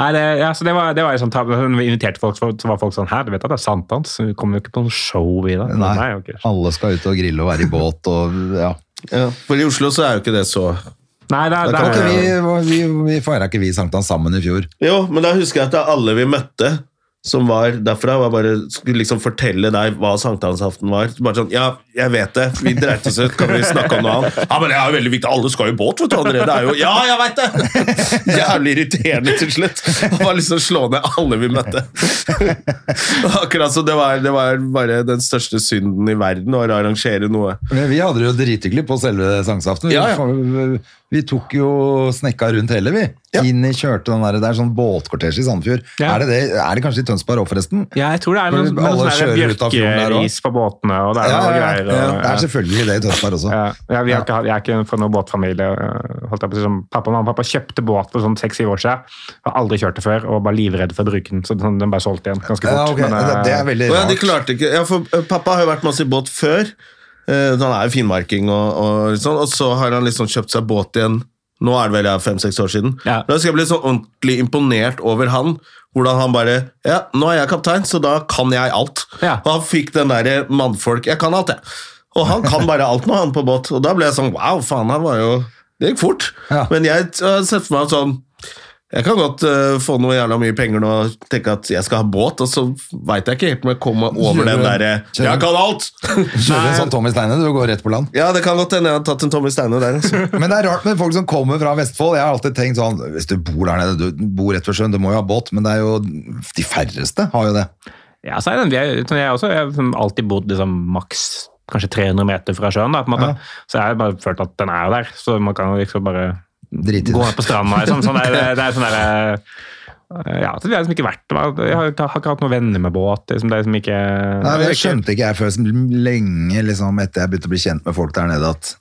Speaker 3: Nei, det, ja, så det var, det var jo sånn, tab- når vi inviterte folk, så så var folk sånn Hæ, du vet at det er sankthans? Vi kommer jo ikke på noe show i dag.
Speaker 2: Nei,
Speaker 3: ok.
Speaker 2: Alle skal ut og grille og være i båt og ja.
Speaker 1: Ja. For i Oslo så er jo ikke det så
Speaker 3: Nei, det,
Speaker 1: Da
Speaker 3: er- det,
Speaker 1: kan
Speaker 2: Ok,
Speaker 3: er-
Speaker 2: vi vi, vi feira ikke vi sankthans sammen i fjor.
Speaker 1: Jo, men da husker jeg at det er alle vi møtte som var derfra, var bare, skulle liksom fortelle deg hva sankthansaften var. Bare sånn, ja, jeg vet det, vi dreit oss ut, kan vi snakke om noe annet? Ja, men det er jo veldig viktig, alle skal jo i båt, vet du, André. Det er jo, ja, jeg vet det! Jævlig irriterende til slutt. Han var liksom slå ned alle vi møtte. Akkurat så det var, det var bare den største synden i verden, å arrangere noe.
Speaker 2: Men vi hadde det jo drithyggelig på selve sankthansaften. Vi,
Speaker 1: Ja, ja.
Speaker 2: fa- vi tok jo snekka rundt hele, vi.
Speaker 1: Ja.
Speaker 2: Inn i kjørte den der, det er sånn båtkvartesje i Sandfjord.
Speaker 3: Ja.
Speaker 2: Er, det det, er det kanskje i Tønsberg òg, forresten?
Speaker 3: ja, jeg tror det er
Speaker 2: Fordi
Speaker 3: noe, noe
Speaker 2: alle
Speaker 3: sånn der
Speaker 2: kjører ut av fjorden der også.
Speaker 3: bjørkeris på båtene, og det er noe greier.
Speaker 2: ja.
Speaker 3: Og,
Speaker 2: Det er selvfølgelig det i Tønsberg også.
Speaker 3: Ja, ja, vi har ikke, hatt- jeg er ikke fra noen båtfamilie. øh, Holdt jeg på å si, som pappa, mamma og pappa kjøpte båt for sånn seks-syv år siden. Har aldri kjørt det før og var livredd for å bruke den, så den den ble solgt igjen ganske fort.
Speaker 2: Ja, ok.
Speaker 3: men,
Speaker 2: det,
Speaker 3: øh,
Speaker 2: det er veldig
Speaker 1: Å ja,
Speaker 2: rart.
Speaker 1: de klarte ikke. Ja, for eh, pappa har jo vært masse i båt før. Eh, han er jo finmarking og, og sånn, og så har han liksom kjøpt seg båt igjen. Nå er det vel ja, fem-seks år siden.
Speaker 3: Ja.
Speaker 1: Da skal jeg bli så ordentlig imponert over han. Hvordan han bare Ja, nå er jeg kaptein, så da kan jeg alt.
Speaker 3: Ja.
Speaker 1: Og han fikk den derre mannfolk Jeg kan alt, jeg. Og han kan bare alt nå, han på båt. Og da ble jeg sånn Wow, faen, han var jo Det gikk fort.
Speaker 2: Ja.
Speaker 1: Men jeg t- har sett for meg sånn jeg kan godt eh, få noe jævla mye penger nå og tenke at jeg skal ha båt, og så veit jeg ikke helt om jeg kommer over den derre
Speaker 2: Kjører.
Speaker 1: 'jeg kan alt'!
Speaker 2: Kjører en sånn Tommy Steine, du går rett på land.
Speaker 1: Ja, det kan godt hende jeg har tatt en Tommy Steine der. Altså.
Speaker 2: Men det er rart med folk som kommer fra Vestfold. Jeg har alltid tenkt sånn, hvis du bor der nede, du bor rett ved sjøen, du må jo ha båt, men det er jo, de færreste har jo det.
Speaker 3: Ja, så er den, jeg, jeg, også, jeg har liksom alltid bodd liksom, maks kanskje 300 meter fra sjøen, da, på en måte.
Speaker 2: Ja.
Speaker 3: så jeg har bare følt at den er jo der. Så man kan jo liksom bare
Speaker 2: Drit i
Speaker 3: gå
Speaker 2: det.
Speaker 3: ned på stranda. Liksom. Sånn der, det er sånn der, eh, ja, så vi har liksom ikke vært Jeg har, har ikke hatt noen venner med båt. Liksom. Det er liksom ikke
Speaker 2: Nei,
Speaker 3: det er
Speaker 2: det
Speaker 3: ikke-
Speaker 2: skjønte ikke jeg før som lenge liksom, etter jeg begynte å bli kjent med folk der nede. At,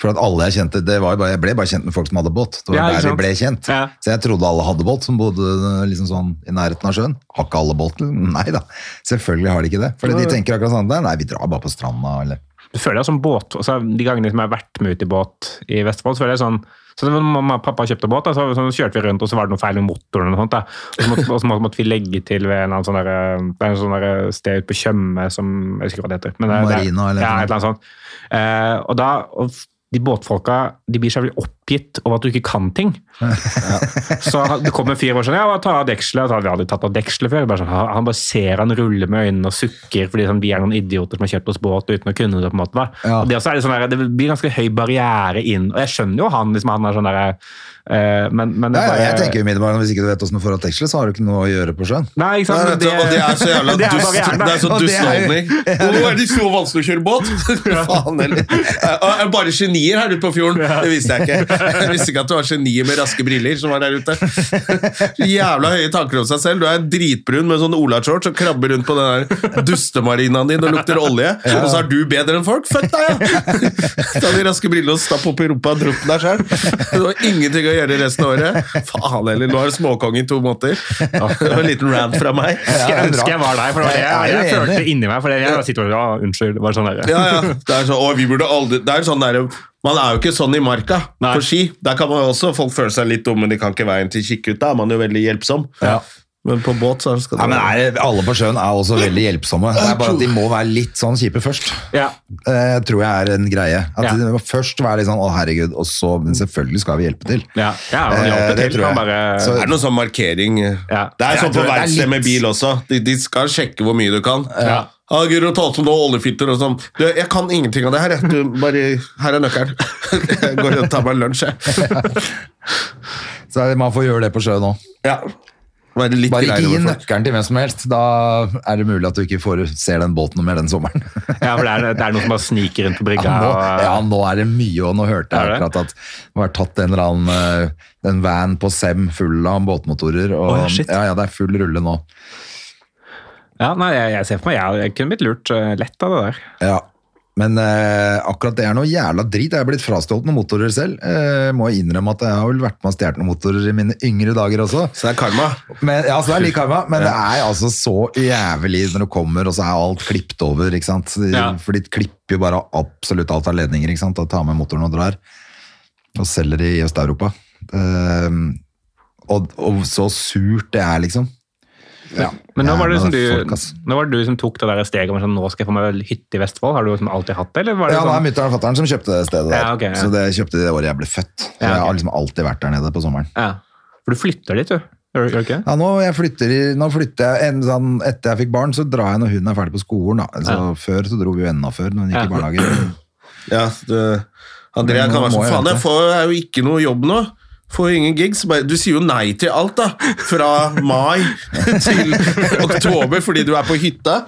Speaker 2: for at alle jeg kjente, det var jo bare, jeg ble bare kjent med folk som hadde båt. Det var
Speaker 3: Ja, ikke
Speaker 2: der vi
Speaker 3: sant?
Speaker 2: ble kjent.
Speaker 3: Ja.
Speaker 2: Så jeg trodde alle hadde båt som bodde liksom sånn i nærheten av sjøen. Har ikke alle båt? liksom? Nei da, selvfølgelig har de ikke det. Fordi de tenker akkurat sånn, nei, nei, vi drar bare på stranda, eller...
Speaker 3: Du føler deg som båt, altså, De gangene som jeg har vært med ut i båt i Vestfold, så føler jeg sånn så det var Mamma og pappa kjøpte båt, da, så, så kjørte vi rundt, og så var det noe feil med motoren. Og noe sånt da. Og så måtte, og så måtte, måtte vi legge til ved en eller annen sånn der, det er en sånn der sted ute på Tjøme som Jeg husker ikke hva det heter. Men det, det,
Speaker 2: Marina, eller
Speaker 3: ja,
Speaker 2: noe.
Speaker 3: et eller annet sånt. Eh, og da, og f- de båtfolka de blir så jævlig oppgitt over at du ikke kan ting. Så han- det kommer en fyr og bare sånn, ja, hva, ta av dekselet. Og så hadde Vi aldri tatt av dekselet før. Bare sånn, han han bare ser han rulle med øynene og sukker fordi sånn, vi er noen idioter som har kjøpt oss båt uten å kunne det. på en måte. Da.
Speaker 2: Ja.
Speaker 3: Og det, også er litt sånn der, det blir ganske høy barriere inn. Og jeg skjønner jo han, liksom, han er sånn der, eh, men, men det
Speaker 2: Ja,
Speaker 3: er
Speaker 2: ja,
Speaker 3: bare-
Speaker 2: jeg tenker jo umiddelbart, hvis ikke du vet hvordan du får av tekstlet, så har du ikke noe å gjøre på sjøen.
Speaker 3: Nei, ikke sant?
Speaker 1: Nei, vet du, og det er så jævla
Speaker 3: det er
Speaker 1: dust.
Speaker 3: barrieren,
Speaker 1: Det
Speaker 3: da.
Speaker 1: er så
Speaker 2: Og det
Speaker 1: dust
Speaker 2: er jo-
Speaker 1: holdning. Nå er det så vanskelig å kjøre båt! Faen heller. Eh, eh, Bare genier her ute på fjorden. Det visste jeg ikke. Jeg visste ikke at det var genier med raske briller som var der ute. Så Jævla høye tanker om seg selv. Du er dritbrun med sånn olashorts og krabber rundt på den der dustemarinaen din og lukter olje. Og så er du bedre enn folk? Fuck deg, ja! Ta de raske brillene og stapp opp i rumpa og drukne deg sjøl. Du har ingenting å gjøre resten av året. Faen heller, nå er du småkonge i to måneder. Det var en liten rant fra meg.
Speaker 2: Ja,
Speaker 3: Jeg
Speaker 2: det er bra.
Speaker 3: ønsker jeg var der, for det var det
Speaker 2: Jeg
Speaker 3: jeg,
Speaker 2: er jo
Speaker 3: jeg,
Speaker 2: enig.
Speaker 3: følte inni meg. for det- jeg sitter og, ja, unnskyld, bare sånn der.
Speaker 1: Ja, ja. Det er sånn, å, vi burde aldri Det er sånn der, man er jo ikke sånn i marka
Speaker 3: Nei.
Speaker 1: på ski. Der kan man jo også Folk føler seg litt dumme, de kan ikke veien til Kikkut. Da er man jo veldig hjelpsom.
Speaker 2: Ja.
Speaker 1: Men på båt så skal
Speaker 2: Ja, men er, alle på sjøen er også veldig hjelpsomme. Det er bare at de må være litt sånn kjipe først.
Speaker 3: Ja.
Speaker 2: Eh, tror jeg er en greie. At
Speaker 3: Ja.
Speaker 2: de må først være litt sånn 'å, herregud', og så Men selvfølgelig skal vi hjelpe til.
Speaker 3: Ja, ja, han
Speaker 2: Eh,
Speaker 3: hjalp
Speaker 2: det
Speaker 3: til.
Speaker 2: tror jeg.
Speaker 3: Han bare,
Speaker 1: det er noe sånn markering
Speaker 3: Ja.
Speaker 1: Det er
Speaker 2: Jeg
Speaker 1: sånn på
Speaker 2: tror det er
Speaker 1: verksted med
Speaker 2: litt-
Speaker 1: bil også. De, de skal sjekke hvor mye du kan.
Speaker 3: Ja.
Speaker 1: Ah, Guro, ta opp som noe oljefilter og sånn. Du, jeg kan ingenting av det her. jeg. Du, bare, her er nøkkelen. Jeg går og tar meg en lunsj, jeg.
Speaker 2: Så man får gjøre det på sjøen òg.
Speaker 1: Ja. Være litt
Speaker 2: Bare
Speaker 1: greiere
Speaker 2: ikke gi
Speaker 1: med folk.
Speaker 2: nøkkelen til hvem som helst. Da er det mulig at du ikke får, ser den båten noe mer den sommeren.
Speaker 3: ja, for det er, det er noen som bare sniker rundt på brygga.
Speaker 2: Ja, nå,
Speaker 3: og-
Speaker 2: ja, nå er det mye, og nå hørte
Speaker 3: Er
Speaker 2: jeg
Speaker 3: det?
Speaker 2: akkurat at det var tatt en eller annen eh, en van på Sem full av båtmotorer. Og,
Speaker 3: Å, ja, shit.
Speaker 2: ja, ja, det er full rulle nå.
Speaker 3: Ja, nei, jeg, jeg ser for meg, jeg, jeg kunne blitt lurt eh, lett av det der.
Speaker 2: Ja. Men eh, akkurat det er noe jævla drit. Jeg er blitt frastjålet noen motorer selv. Eh, må jeg innrømme at jeg har vel vært med og stjålet noen motorer i mine yngre dager også.
Speaker 1: Så det er karma.
Speaker 2: Men, ja, så det er lik karma, men det er altså så jævlig når du kommer, og så er alt klippet over, ikke sant? De-
Speaker 3: Ja.
Speaker 2: For de klipper jo bare absolutt alt av ledninger, ikke sant? Og tar med motoren og drar, og selger i Øst-Europa. Ehm, og, og så surt det er, liksom. Ja.
Speaker 3: Men nå var det liksom
Speaker 2: Jævla folk,
Speaker 3: du,
Speaker 2: ass.
Speaker 3: nå var det du som tok det der steget om sånn, nå skal jeg få meg hytte i Vestfold. Har du liksom alltid hatt det, eller var det
Speaker 2: Ja, det er
Speaker 3: sånn?
Speaker 2: mutter'n og fatter'n som kjøpte det stedet der.
Speaker 3: Ja, ok, ja.
Speaker 2: Så det kjøpte de det året jeg ble født. Så
Speaker 3: Ja,
Speaker 2: Jeg
Speaker 3: ok.
Speaker 2: har liksom alltid vært der nede på sommeren.
Speaker 3: Ja. For du flytter dit, du. Gjør gjør du ikke?
Speaker 2: Ja, nå, jeg flytter, i- nå flytter jeg en, sånn, Etter jeg fikk barn, så drar jeg når hun er ferdig på skolen. Da. Altså,
Speaker 3: Ja.
Speaker 2: Før så dro vi jo enda før, når hun gikk i
Speaker 3: Ja.
Speaker 2: barnehagen.
Speaker 1: Ja, det, Andrea
Speaker 2: Men
Speaker 1: kan
Speaker 2: nå
Speaker 1: være
Speaker 2: må
Speaker 1: sånn
Speaker 2: jeg
Speaker 1: Faen,
Speaker 2: vente."
Speaker 1: jeg får, er jo ikke noe jobb nå. Får ingen gigs. Bare, du sier jo nei til alt, da. Fra mai til oktober fordi du er på hytta.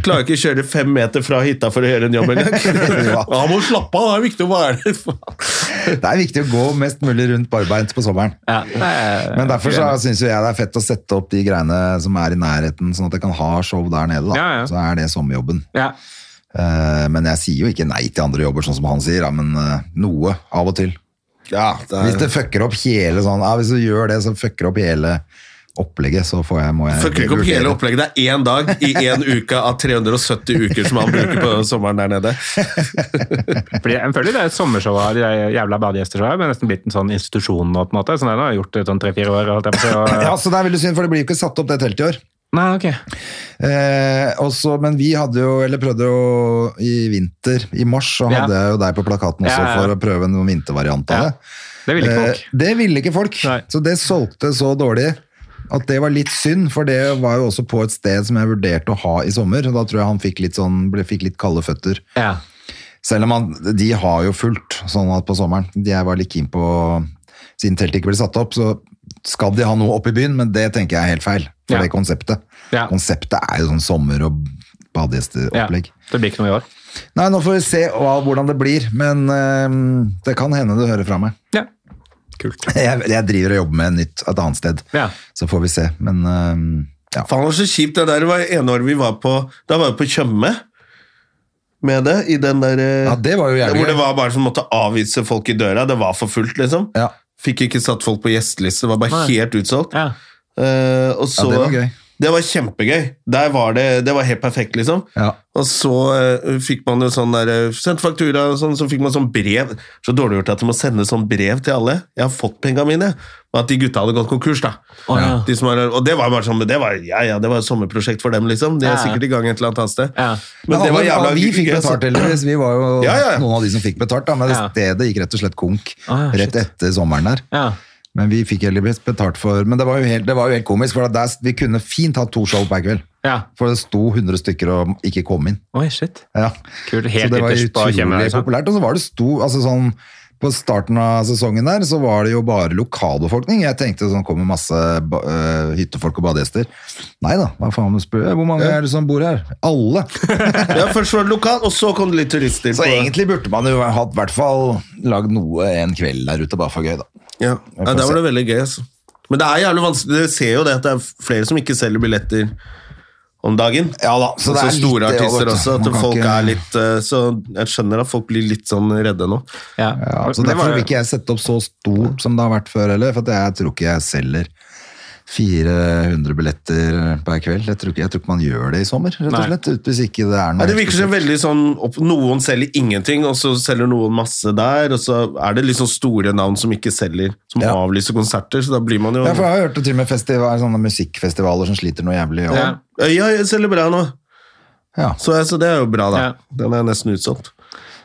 Speaker 1: Klarer ikke å kjøre fem meter fra hytta for å gjøre en jobb engang.
Speaker 2: Ja.
Speaker 1: Ja, må slappe av, det er viktig å være der. faen.
Speaker 2: Det er viktig å gå mest mulig rundt barbeint på sommeren.
Speaker 3: Ja. Nei,
Speaker 2: Men derfor så syns jeg det er fett å sette opp de greiene som er i nærheten, sånn at jeg kan ha show der nede. Da.
Speaker 3: Ja, ja.
Speaker 2: Så er det sommerjobben.
Speaker 3: ja.
Speaker 2: Eh, men jeg sier jo ikke nei til andre jobber, sånn som han sier, da, men eh, noe av og til.
Speaker 1: Ja, det
Speaker 2: Hvis
Speaker 1: er,
Speaker 2: det fucker opp hele sånn ja, Hvis du gjør det, så fucker det opp hele opplegget, så får jeg, må jeg
Speaker 1: fucker ikke opp
Speaker 2: vurdere.
Speaker 1: hele opplegget. Det er én dag i én uke av 370 uker som han bruker på sommeren der nede.
Speaker 3: Fordi jeg føler det er et sommershow av de der jævla badegjestershow, men nesten blitt en sånn institusjon nå, på en måte. Sånn jeg har jeg gjort det i sånn tre-fire år. Holdt jeg på, å si, og,
Speaker 2: Ja, så Det er veldig synd, for det blir jo ikke satt opp det teltet i år.
Speaker 3: Nei, ok.
Speaker 2: Eh, og så- men vi hadde jo, eller prøvde jo i vinter, i mars, så
Speaker 3: Ja.
Speaker 2: hadde jeg jo deg på plakaten også
Speaker 3: Ja, ja, ja.
Speaker 2: for å prøve noen vintervariant av
Speaker 3: Ja.
Speaker 2: det.
Speaker 3: Det ville ikke folk.
Speaker 2: Eh, det ville ikke folk.
Speaker 3: Nei.
Speaker 2: Så det solgte så dårlig at det var litt synd, for det var jo også på et sted som jeg vurderte å ha i sommer, og da tror jeg han fikk litt, sånn, ble, fikk litt kalde føtter.
Speaker 3: Ja.
Speaker 2: Selv om han, de har jo fullt sånn at på sommeren. De- Jeg var litt keen på Siden teltet ikke ble satt opp, så skal de ha noe oppe i byen, men det tenker jeg er helt feil. For
Speaker 3: Ja.
Speaker 2: det konseptet.
Speaker 3: Ja.
Speaker 2: Konseptet er jo sånn sommer- og
Speaker 3: ja.
Speaker 2: badegjesteopplegg.
Speaker 3: Det blir ikke noe i år.
Speaker 2: Nei, nå får vi se hva, hvordan det blir, men eh, det kan hende du hører fra meg.
Speaker 3: Ja. Kult.
Speaker 2: Jeg, jeg driver og jobber med nytt et annet sted,
Speaker 3: Ja.
Speaker 2: så får vi se. Men øhm, ja.
Speaker 1: Faen, det var så kjipt. Det der var ene året vi var på Da var vi på Tjøme med det. I den der eh,
Speaker 2: ja, det var jo jævlig
Speaker 1: Hvor det
Speaker 2: gøy.
Speaker 1: var bare som måtte avvise folk i døra. Det var for fullt, liksom.
Speaker 2: Ja.
Speaker 1: Fikk ikke satt folk på gjesteliste. Det var bare
Speaker 3: Nei.
Speaker 1: helt utsolgt.
Speaker 3: Ja.
Speaker 1: Eh, og så,
Speaker 2: Ja, det var gøy.
Speaker 1: Det var kjempegøy. Der var det, det var helt perfekt, liksom.
Speaker 2: Ja.
Speaker 1: Og så eh, fikk man jo sånn der eh, Sendt faktura og sånn, så fikk man sånn brev. Så dårlig gjort at du må sende sånn brev til alle. Jeg har fått penga mine. Men at de gutta hadde gått konkurs, da.
Speaker 3: Å, ja.
Speaker 1: De som har, og det var bare sånn Det var ja, ja, det var et sommerprosjekt for dem, liksom. De er
Speaker 3: Ja, ja.
Speaker 1: sikkert i gang et eller annet annet sted.
Speaker 3: Ja.
Speaker 2: Men
Speaker 1: det var
Speaker 2: alle-
Speaker 1: jævla altså.
Speaker 2: alle vi fikk
Speaker 1: gøy, så-
Speaker 2: betalt, heldigvis. Vi var jo
Speaker 1: Ja, ja, ja.
Speaker 2: noen av de som fikk betalt, da, men
Speaker 3: Ja.
Speaker 2: stedet gikk rett og slett konk
Speaker 3: Ah, ja, shit.
Speaker 2: rett etter sommeren der.
Speaker 3: Ja.
Speaker 2: Men vi fikk heldigvis betalt for Men det var jo helt, det var jo helt komisk, for at der, vi kunne fint hatt to show per kveld.
Speaker 3: ja.
Speaker 2: For det sto 100 stykker og ikke kom inn.
Speaker 3: Oi, shit.
Speaker 2: Ja.
Speaker 3: Kult.
Speaker 2: Så
Speaker 3: Helt
Speaker 2: det var
Speaker 3: ytterst på kjemmen.
Speaker 2: utrolig
Speaker 3: Liksom.
Speaker 2: populært. Og så var det sto, altså sånn, på starten av sesongen der, så var det jo bare lokalbefolkning. Jeg tenkte sånn, kommer masse ba- øh, hyttefolk og badegjester. Nei da, hva faen du spør? Hvor mange er det som bor her? Alle.
Speaker 1: Ja, først var det lokal, og så kom det litt turister.
Speaker 2: Så
Speaker 1: på-
Speaker 2: egentlig burde man jo hatt i hvert fall lagd noe en kveld der ute, bare for gøy, da.
Speaker 1: Ja,
Speaker 2: Vi
Speaker 1: ja
Speaker 2: får
Speaker 1: der
Speaker 2: se.
Speaker 1: var det veldig gøy. Altså. Men det er jævlig vanskelig. Du ser jo det at det er flere som ikke selger billetter om dagen.
Speaker 2: Ja da, så
Speaker 1: Og
Speaker 2: det
Speaker 1: så
Speaker 2: er litt
Speaker 1: store
Speaker 2: det,
Speaker 1: artister
Speaker 2: Albert.
Speaker 1: også.
Speaker 2: Man
Speaker 1: At
Speaker 2: kan
Speaker 1: folk
Speaker 2: ikke-
Speaker 1: er litt eh, Så jeg skjønner at folk blir litt sånn redde nå.
Speaker 3: Ja.
Speaker 2: Ja, så
Speaker 3: Men det
Speaker 2: Derfor
Speaker 3: var-
Speaker 2: vil ikke jeg sette opp så stort som det har vært før heller, for at jeg tror ikke jeg selger 400 billetter per kveld. Jeg tror ikke, jeg tror ikke man gjør det i sommer, rett og
Speaker 3: Nei.
Speaker 2: slett. ut- Hvis ikke det er noe
Speaker 1: Nei, det virker som
Speaker 2: spesielt.
Speaker 1: veldig sånn opp, Noen selger ingenting, og så selger noen masse der, og så er det liksom store navn som ikke selger, som
Speaker 2: Ja.
Speaker 1: avlyser konserter, så da blir man jo
Speaker 2: Ja, for jeg har hørt det til og med festival, sånne musikkfestivaler som sliter noe jævlig. Og,
Speaker 3: Ja.
Speaker 1: Øya selger bra nå,
Speaker 2: ja.
Speaker 1: så, jeg- så det er jo bra, da.
Speaker 3: Ja.
Speaker 1: Den er nesten utsolgt.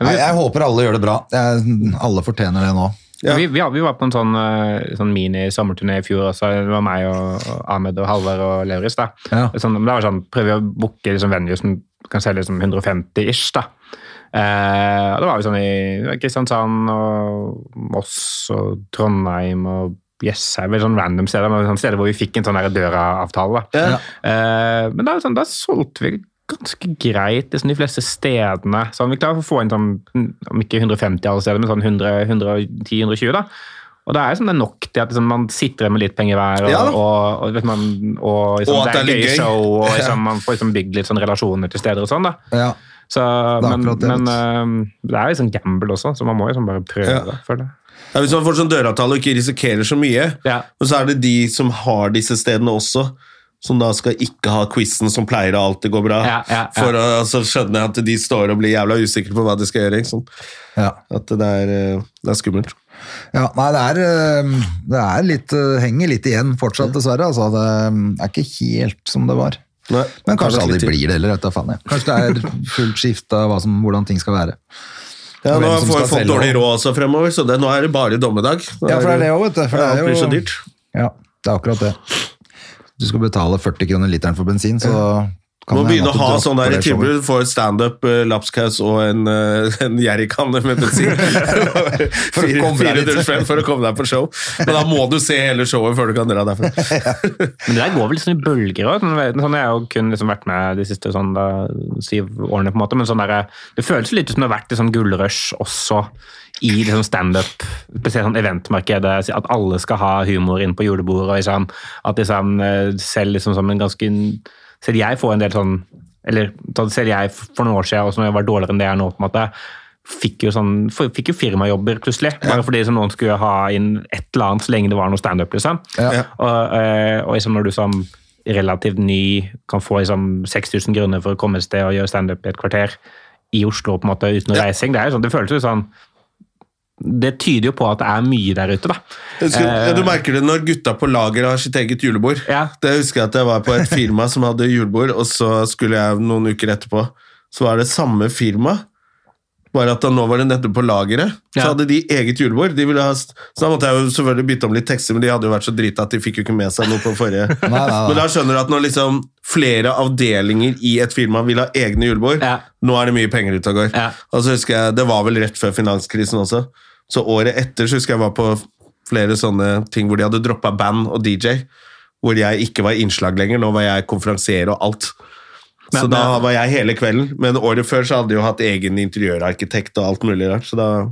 Speaker 2: Nei, jeg håper alle gjør det bra. Jeg, alle fortjener det nå.
Speaker 1: Ja.
Speaker 3: Vi, vi, vi var på en sånn, eh, sånn mini-sommerturné i fjor også. Det var meg og og Ahmed og Halvard og Lauritz. da.
Speaker 2: Ja.
Speaker 3: Sånn, men det var sånn, Prøve å booke liksom, venue som kan selge liksom, 150-ish. da. Eh, og da var vi sånn i Kristiansand og Moss og Trondheim og Jessheim. eller Sånn random steder, men sånn steder hvor vi fikk en sånn der døra-avtale. da.
Speaker 1: Ja.
Speaker 3: Eh, men da, er det sånn, da solgte vi ganske greit liksom, de fleste stedene. Sånn, vi klarer å få inn sånn, om ikke 150 alle steder, men sånn 110-120. da. Og det er jo sånn, det er nok til at liksom, man sitter igjen med litt penger hver, og,
Speaker 1: Ja da.
Speaker 3: og, og, vet man, og, liksom,
Speaker 1: Og at
Speaker 3: det er
Speaker 1: det er
Speaker 3: gøy
Speaker 1: litt gøy.
Speaker 3: show, og liksom, man får liksom, bygd litt sånn relasjoner til steder og sånn. da.
Speaker 2: Ja.
Speaker 3: Så,
Speaker 2: Det er
Speaker 3: men
Speaker 2: akkurat det,
Speaker 3: men
Speaker 2: vet
Speaker 3: eh, det er jo liksom gamble også, så man må jo liksom bare prøve,
Speaker 1: Ja.
Speaker 3: føler jeg.
Speaker 1: Ja, hvis man får sånn døravtale og ikke risikerer så mye,
Speaker 3: Ja.
Speaker 1: og så er det de som har disse stedene også, som da skal ikke ha quizen som pleier å alltid gå bra.
Speaker 3: Ja, ja, ja.
Speaker 1: For å- altså, skjønner jeg at de står og blir jævla usikre på hva de skal gjøre. Ikke sant?
Speaker 2: Ja.
Speaker 1: At det er, eh, det er skummelt.
Speaker 2: Ja, nei, det er, eh, det er litt, eh, henger litt igjen fortsatt, dessverre. Altså, det eh, er ikke helt som det var.
Speaker 1: Nei,
Speaker 2: Men kanskje
Speaker 1: litt
Speaker 2: aldri
Speaker 1: tid.
Speaker 2: blir det heller, vet du faen jeg. Kanskje det er fullt skifte av hva som- hvordan ting skal være.
Speaker 1: Ja,
Speaker 2: og
Speaker 1: nå
Speaker 2: hvem som
Speaker 1: får
Speaker 2: skal
Speaker 1: folk
Speaker 2: selge
Speaker 1: dårlig
Speaker 2: og-
Speaker 1: råd også fremover, så det, nå er det bare dommedag. Nå
Speaker 2: Ja, for det er det også, vet du, for
Speaker 1: ja,
Speaker 2: det er
Speaker 1: alt blir
Speaker 2: jo-
Speaker 1: så dyrt.
Speaker 2: Ja, det er akkurat det. Du skal betale 40 kroner literen for bensin, så
Speaker 1: Du
Speaker 2: kan
Speaker 1: må
Speaker 2: det hende
Speaker 1: begynne å
Speaker 2: at du
Speaker 1: ha
Speaker 2: dropper
Speaker 1: sånn der
Speaker 2: det showet.
Speaker 1: tilbud for standup, eh, lapskaus og en, eh, en jerrykanne med bensin. for,
Speaker 2: å komme deg litt.
Speaker 1: for å komme deg på show. Men da må du se hele showet før du kan dra derfra.
Speaker 3: Men det der går vel sånn i bølger òg. Sånn, sånn, jeg har jo kun liksom vært med de siste sånn, da, syv årene, på en måte. Men sånn der, det føles litt som det har vært et sånn gullrush også i liksom standup, spesielt sånn eventmarkedet. At alle skal ha humor inn på julebordet. Og liksom, at liksom, eh, selv liksom som en ganske Selv jeg får en del sånn Eller sånn, selv jeg for noen år siden, også når jeg var dårligere enn det jeg er nå, på en måte fikk jo, sånn, f- fikk jo firmajobber plutselig, bare fordi liksom noen skulle ha inn et eller annet så lenge det var noe standup. Liksom.
Speaker 2: Ja.
Speaker 3: Og, eh, og liksom når du som relativt ny kan få liksom 6000 grunner for å komme et sted og gjøre standup i et kvarter i Oslo på en måte uten
Speaker 1: Ja.
Speaker 3: reising, det, er jo sånn, det føles jo sånn Det tyder jo på at det er mye der ute, da.
Speaker 1: Jeg Husker, ja, du merker det når gutta på lager har sitt eget julebord.
Speaker 3: Eh. Ja.
Speaker 1: Det husker jeg at jeg var på et firma som hadde julebord, og så skulle jeg noen uker etterpå, så var det samme firma, bare at da nå var det nettopp på lageret, så
Speaker 3: Ja.
Speaker 1: hadde de eget julebord. De ville ha, st- så da måtte jeg jo selvfølgelig bytte om litt tekster, men de hadde jo vært så drita at de fikk jo ikke med seg noe på forrige.
Speaker 2: Nei, nei,
Speaker 1: Men
Speaker 2: nei.
Speaker 1: da skjønner du at når liksom flere avdelinger i et firma vil ha egne julebord,
Speaker 3: Ja.
Speaker 1: nå er det mye penger ute og går.
Speaker 3: Ja.
Speaker 1: Og så husker jeg, Det var vel rett før finanskrisen også. Så året etter så husker jeg var på flere sånne ting hvor de hadde droppa band og DJ. Hvor jeg ikke var innslag lenger. Nå var jeg konferansier og alt. så
Speaker 3: Men-
Speaker 1: da
Speaker 3: men-
Speaker 1: var jeg hele kvelden. Men året før så hadde de jo hatt egen interiørarkitekt og alt mulig rart. Så da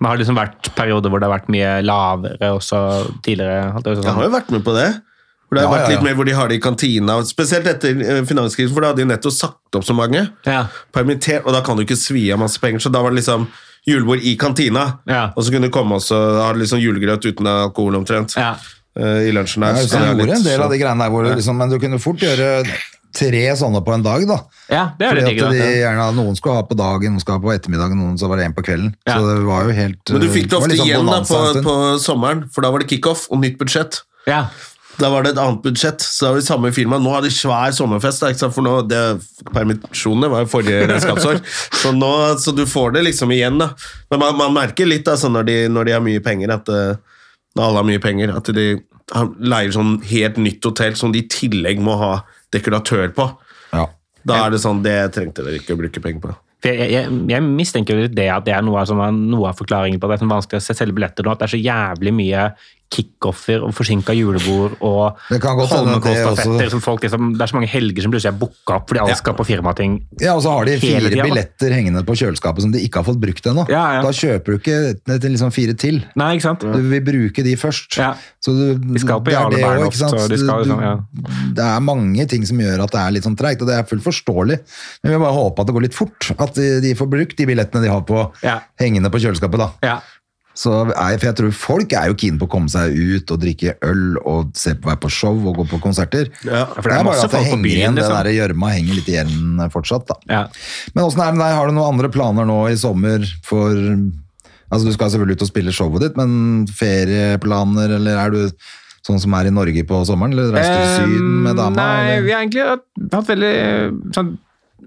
Speaker 3: Men har det liksom vært perioder hvor det har vært mye lavere også tidligere? holdt jeg på å si,
Speaker 1: Jeg har
Speaker 3: Sånn.
Speaker 1: jo vært med på det. Hvor det har
Speaker 2: Ja,
Speaker 1: vært
Speaker 2: ja, ja.
Speaker 1: litt mer hvor de har det i kantina. Spesielt etter eh, finanskrisen, for da hadde de nettopp sagt opp så mange.
Speaker 3: Ja.
Speaker 1: permittert, og da kan du ikke svi av masse penger. Så da var det liksom julebord i kantina,
Speaker 3: Ja.
Speaker 1: og så kunne du komme og så ha liksom julegrøt uten alkohol omtrent
Speaker 3: Ja.
Speaker 1: eh, i lunsjen
Speaker 2: Ja,
Speaker 1: her.
Speaker 2: Jeg
Speaker 1: så det er
Speaker 2: husker du
Speaker 1: litt
Speaker 2: gjorde en del av
Speaker 1: sånn-
Speaker 2: de greiene der, hvor du liksom, men du kunne fort gjøre tre sånne på en dag, da.
Speaker 3: ja, det er
Speaker 2: Fordi
Speaker 3: litt
Speaker 2: at
Speaker 3: digg.
Speaker 2: de
Speaker 3: da.
Speaker 2: gjerne, noen skulle ha på dagen, noen skulle ha på ettermiddagen, noen så var det en på kvelden.
Speaker 3: Ja.
Speaker 2: Så det var jo helt
Speaker 1: Men du fikk det
Speaker 2: var
Speaker 1: ofte
Speaker 2: litt sånn
Speaker 1: igjen da
Speaker 2: bonanza
Speaker 1: på,
Speaker 2: en stund.
Speaker 1: på sommeren, for da var det kickoff og nytt budsjett.
Speaker 3: Ja.
Speaker 1: Da var det et annet budsjett, så da var det samme firma. Nå har de svær sommerfest, da, ikke sant? for nå, det, permisjonene var jo forrige regnskapsår. Så, nå, så du får det liksom igjen, da. Men man, man merker litt da, sånn når, de, når de har mye penger, at eh, når alle har mye penger, at de har- leier sånn helt nytt hotell som de i tillegg må ha dekoratør på.
Speaker 2: Ja.
Speaker 1: Da er det sånn, det trengte dere ikke å bruke penger på.
Speaker 3: For jeg, jeg, jeg mistenker jo litt det at det er noe av, som er noe av forklaringen på at det er sånn vanskelig å se- selge billetter nå. At det er så jævlig mye kickoffer og forsinka julebord og
Speaker 2: Det kan godt hende at det
Speaker 3: Holmenkollstafetter.
Speaker 2: også-
Speaker 3: som folk liksom, det er så mange helger som plutselig er booka opp fordi alle
Speaker 1: Ja.
Speaker 3: skal på firmating.
Speaker 2: ja, og så har de
Speaker 3: Hele
Speaker 2: fire
Speaker 3: tida, da.
Speaker 2: billetter hengende på kjøleskapet som de ikke har fått brukt ennå.
Speaker 3: Ja, ja.
Speaker 2: Da kjøper du ikke et- liksom fire til.
Speaker 3: Nei, ikke sant?
Speaker 2: Du vil bruke de først.
Speaker 3: Ja.
Speaker 2: Så du,
Speaker 3: De skal på
Speaker 2: det er det
Speaker 3: Jarle
Speaker 2: også,
Speaker 3: Bernhoft,
Speaker 2: ikke sant?
Speaker 3: og de skal liksom, ja.
Speaker 2: Det er mange ting som gjør at det er litt sånn treigt, og det er fullt forståelig. Men vi bare håper at det går litt fort, at de, de får brukt de billettene de har på
Speaker 3: Ja.
Speaker 2: hengende på kjøleskapet. da.
Speaker 3: Ja.
Speaker 2: Så er, for jeg tror folk er jo keen på å komme seg ut og drikke øl og se på, være på show og gå på konserter.
Speaker 1: Ja,
Speaker 3: for det er
Speaker 2: bare
Speaker 3: masse
Speaker 2: at det
Speaker 3: folk på
Speaker 2: henger
Speaker 3: byen,
Speaker 2: igjen,
Speaker 3: liksom.
Speaker 2: det der gjørma henger litt igjen fortsatt, da.
Speaker 3: Ja.
Speaker 2: Men åssen er det med deg, har du noen andre planer nå i sommer for Altså, du skal selvfølgelig ut og spille showet ditt, men ferieplaner, eller er du sånn som er i Norge på sommeren, eller reiser du til Syden med dama?
Speaker 3: Eh, Nei,
Speaker 2: eller?
Speaker 3: vi har egentlig hatt, hatt veldig eh, sånn,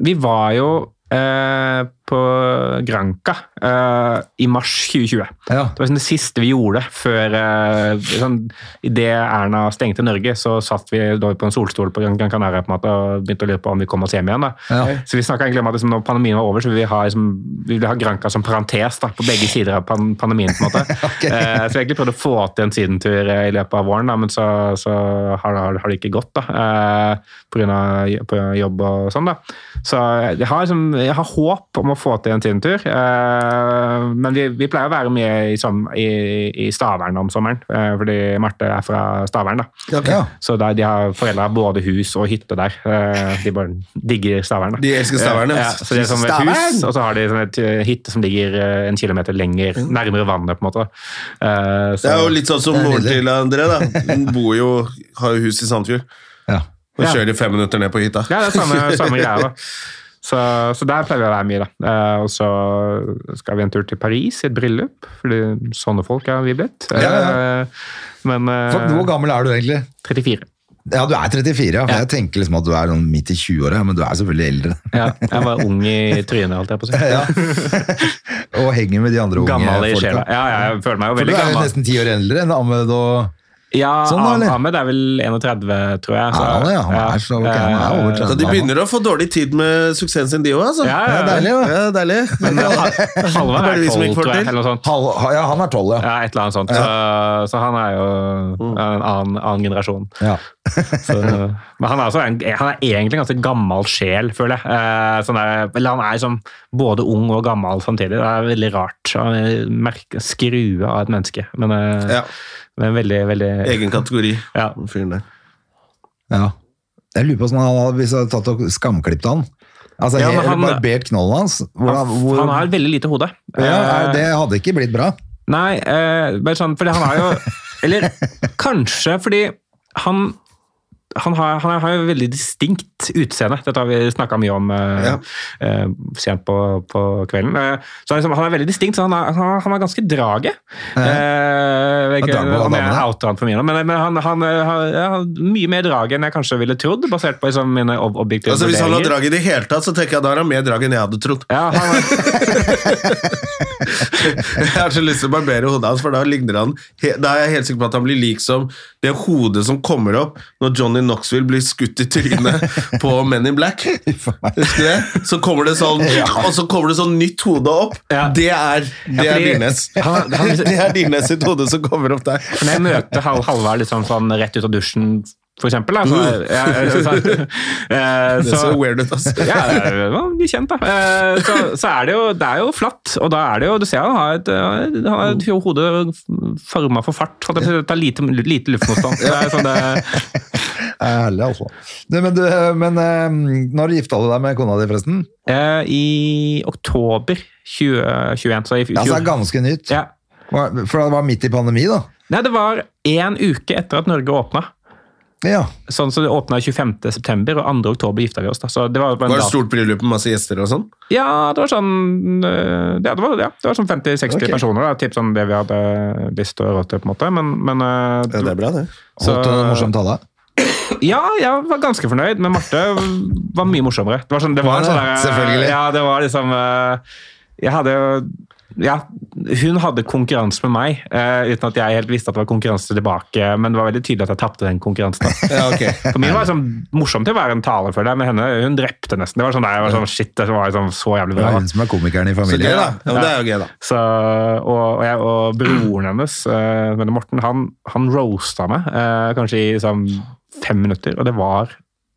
Speaker 3: Vi var jo eh, på Granca eh, i mars 2020.
Speaker 2: Ja.
Speaker 3: Det var sånn det siste vi gjorde før eh, sånn, Idet Erna stengte Norge, så satt vi da på en solstol på Gran Canaria på en måte, og begynte å lure på om vi kom oss hjem igjen. Da.
Speaker 2: Ja.
Speaker 3: Så vi snakka egentlig om at liksom, når pandemien var over, så ville vi ha, liksom, vi ville ha Granca som parentes da, på begge sider av pan pandemien. på en måte. eh, så vi egentlig prøvde å få til en sydentur eh, i løpet av våren, da, men så, så har, har, har det ikke gått. da, eh, Pga. jobb og sånn. da. Så jeg har, liksom, jeg har håp om å få til en Tinder-tur. Eh, men vi, vi pleier å være med i, som, i, i Stavern om sommeren, eh, fordi Marte er fra Stavern. da.
Speaker 2: Ja.
Speaker 3: Så da, de har foreldre har både hus og hytte der. Eh, de bare digger Stavern. da.
Speaker 1: De elsker Stavern, ja.
Speaker 3: ja. Så det er som et hus,
Speaker 1: Stavern!
Speaker 3: og så har de sånn et eh, hytte som ligger eh, en kilometer lenger, nærmere vannet, på en måte. Eh, så-
Speaker 1: Det er jo litt sånn som
Speaker 2: Det er
Speaker 1: moren
Speaker 2: nydelig.
Speaker 1: til André, da. Hun bor jo, har jo hus i Sandfjord.
Speaker 2: Ja.
Speaker 1: Og
Speaker 3: Ja.
Speaker 1: kjører fem minutter ned på hytta.
Speaker 3: Ja, det er samme, samme greia, da. Så, så der pleier vi å være mye, da. Eh, og så skal vi en tur til Paris i et bryllup, fordi sånne folk er vi blitt. Eh,
Speaker 2: Ja,
Speaker 3: Men eh,
Speaker 2: For, hvor gammel er du egentlig?
Speaker 3: 34.
Speaker 2: Ja, du er 34, ja. For jeg tenker liksom at du er sånn midt i 20-åra, men du er selvfølgelig eldre.
Speaker 3: Ja, jeg var ung i trynet, holdt jeg på å si.
Speaker 2: Ja. og henger med de andre unge
Speaker 3: Gammel i sjela.
Speaker 2: folka.
Speaker 3: Ja, ja, jeg føler meg jo
Speaker 2: For du
Speaker 3: veldig
Speaker 2: er jo
Speaker 3: gammel.
Speaker 2: nesten ti år eldre enn Ahmed og
Speaker 3: Ja,
Speaker 2: Sånn, da, eller?
Speaker 3: Ahmed er vel 31, tror jeg.
Speaker 2: Ja, han er- han er så- altså. ok, han er over
Speaker 3: Eh,
Speaker 1: Så de begynner å få deilig tid med suksessen sin, de òg, altså.
Speaker 3: Ja,
Speaker 2: Det
Speaker 3: ja,
Speaker 2: er deilig, da.
Speaker 1: Ja, deilig.
Speaker 3: Men
Speaker 2: eh,
Speaker 3: Hal- Halvard
Speaker 1: Bare
Speaker 3: er
Speaker 1: vi som
Speaker 3: 12,
Speaker 1: ikke får
Speaker 3: tror jeg,
Speaker 1: til.
Speaker 3: eller noe sånt.
Speaker 2: Halv, ja, han er tolv, ja.
Speaker 3: Ja, et eller annet sånt. Så, så han er jo
Speaker 1: Mm.
Speaker 3: en annen, annen generasjon.
Speaker 2: ja.
Speaker 3: Så, men han er, også en, han er egentlig en ganske gammel sjel, føler jeg. Eh, Sånn der, eller han er liksom både ung og gammel samtidig. Det er veldig rart. Han er en merke- Skrue av et menneske. Men, eh,
Speaker 1: Ja.
Speaker 3: men veldig, veldig
Speaker 1: Egen kategori,
Speaker 3: ja.
Speaker 1: den fyren der.
Speaker 2: ja. Jeg lurer på hvordan han hadde, hvis jeg hadde tatt og skamklippet han. Altså,
Speaker 3: Ja, men
Speaker 2: helt
Speaker 3: han-
Speaker 2: barbert knollen hans. Hvordan,
Speaker 3: Han,
Speaker 2: hvor,
Speaker 3: han har veldig lite hode.
Speaker 2: ja, er-
Speaker 3: Eh,
Speaker 2: det hadde ikke blitt bra.
Speaker 3: Nei, eh, bare sånn, fordi han er jo Eller kanskje fordi han han har, han har jo veldig distinkt utseende. Dette har vi snakka mye om eh,
Speaker 1: Ja.
Speaker 3: eh, sent på, på kvelden. Eh, så han liksom, han er veldig distinkt, så han er, han, han er ganske draget. Eh, jeg vet
Speaker 2: Ja,
Speaker 3: ikke
Speaker 2: draget var
Speaker 3: om
Speaker 2: navnet,
Speaker 3: jeg
Speaker 2: ja.
Speaker 3: outer han for mine, men, men han, han eh, har ja, har mye mer drag enn jeg kanskje ville trodd, basert på liksom, mine ob objektive
Speaker 1: Altså, hvis han har drag i det hele tatt, så tenker jeg da har han mer drag enn jeg hadde trodd.
Speaker 3: Ja, han er,
Speaker 1: Jeg har så lyst til å barbere hodet hans, for da ligner han he- Da er jeg helt sikker på at han blir lik som det hodet som kommer opp når Johnny Knoxville blir skutt i trynet på Men in Black. Husker du det? Så kommer det sånn, og så kommer det sånn nytt hode opp.
Speaker 3: Ja.
Speaker 1: Det er, det
Speaker 3: Ja,
Speaker 1: er
Speaker 3: fordi-
Speaker 1: Dyrnes.
Speaker 3: han- han-
Speaker 1: Det er Dyrnes sitt hode som kommer opp der.
Speaker 3: Men jeg møter Hal Halvard liksom sånn rett ut av dusjen, for eksempel. Da. Så, ja, så, så, eh,
Speaker 1: Det er så weird ut, altså.
Speaker 3: ja, det er jo- man blir kjent, da. Eh, Så, så er det jo, det er jo flatt, og da er det jo Du ser han har et, eh, han har et hode forma for fart. holdt jeg på å si. Det tar lite, lite luftmotstand. Det er sånn det,
Speaker 2: Det er herlig, altså. Du, men, du, men eh, når gifta du deg med kona di, forresten?
Speaker 3: eh, I oktober 2021, så
Speaker 2: Ja, så det
Speaker 3: i
Speaker 2: er
Speaker 3: fjor.
Speaker 2: Altså, ganske nytt.
Speaker 3: Ja.
Speaker 2: Hva- For det var midt i pandemi, da.
Speaker 3: Nei, det var én uke etter at Norge åpna.
Speaker 2: Ja.
Speaker 3: Sånn så Det åpna 25.9., og 2.10 gifta vi oss. da. Så det var,
Speaker 1: Var det stort bryllup med masse gjester og sånn?
Speaker 3: Ja, det var sånn øh, ja, det var, ja, det var sånn 50-60
Speaker 2: Ok.
Speaker 3: personer. Da, typ sånn det vi hadde lyst til å råd til, på en måte. Men, men øh,
Speaker 1: Ja, det er bra, det.
Speaker 3: Så-
Speaker 2: Holdt du en morsom tale?
Speaker 3: ja, jeg var ganske fornøyd. Men Marte var mye morsommere. Det var sånn, det var en
Speaker 2: Ja,
Speaker 3: sånn der, øh,
Speaker 2: selvfølgelig.
Speaker 3: Ja, det var liksom øh, Jeg hadde jo ja, hun hadde konkurranse med meg, øh, uten at jeg helt visste at det var konkurranse tilbake. Men det var veldig tydelig at jeg tapte den konkurransen. da.
Speaker 1: Ja, ok.
Speaker 3: For min var det sånn morsomt til å være en taler for deg, men henne, hun drepte nesten. Det var sånn der, jeg var sånn, shit, det var sånn, så jævlig
Speaker 2: Det
Speaker 3: bra.
Speaker 2: var
Speaker 3: da.
Speaker 2: hun som er komikeren i
Speaker 1: Så gøy,
Speaker 2: familien.
Speaker 1: da. Ja, men det er jo gøy, da.
Speaker 3: Så, og, og, jeg, og broren hennes, eh, men Morten, han, han roasta meg eh, kanskje i sånn, fem minutter, og det var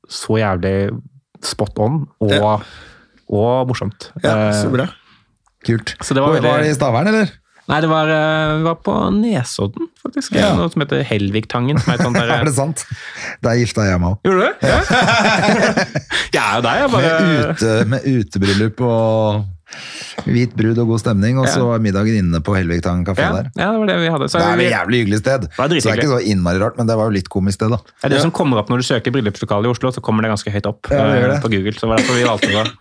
Speaker 3: så jævlig spot on og,
Speaker 1: Ja.
Speaker 3: og morsomt.
Speaker 1: Ja,
Speaker 3: Eh,
Speaker 1: så bra.
Speaker 2: Kult.
Speaker 3: Så det var
Speaker 2: Hvor-
Speaker 3: veldig-
Speaker 2: Var det i Stavern, eller?
Speaker 3: Nei, det var, eh, vi var på Nesodden, faktisk.
Speaker 2: Ja.
Speaker 3: Noe som heter Helvigtangen. Som er et sånt der,
Speaker 2: Er det sant? Der gifta jeg meg òg.
Speaker 3: Gjorde du det? Ja. jeg er jo der, jeg bare
Speaker 2: Med, ute, med utebryllup og hvit brud og god stemning, og så
Speaker 3: Ja.
Speaker 2: var middagen inne på Helvigtangen kafé
Speaker 3: ja,
Speaker 2: der.
Speaker 3: ja, det var det vi hadde. Så
Speaker 2: Det er
Speaker 3: vi,
Speaker 2: et jævlig hyggelig sted. Så det er
Speaker 3: drithyggelig.
Speaker 2: ikke så innmari rart, men det var jo litt komisk sted, da.
Speaker 3: det er det som kommer opp når du søker bryllupslokale i Oslo, så kommer det ganske høyt opp
Speaker 2: Ja, det gjør
Speaker 3: eh,
Speaker 2: det.
Speaker 3: på Google. Så det var derfor vi valgte det.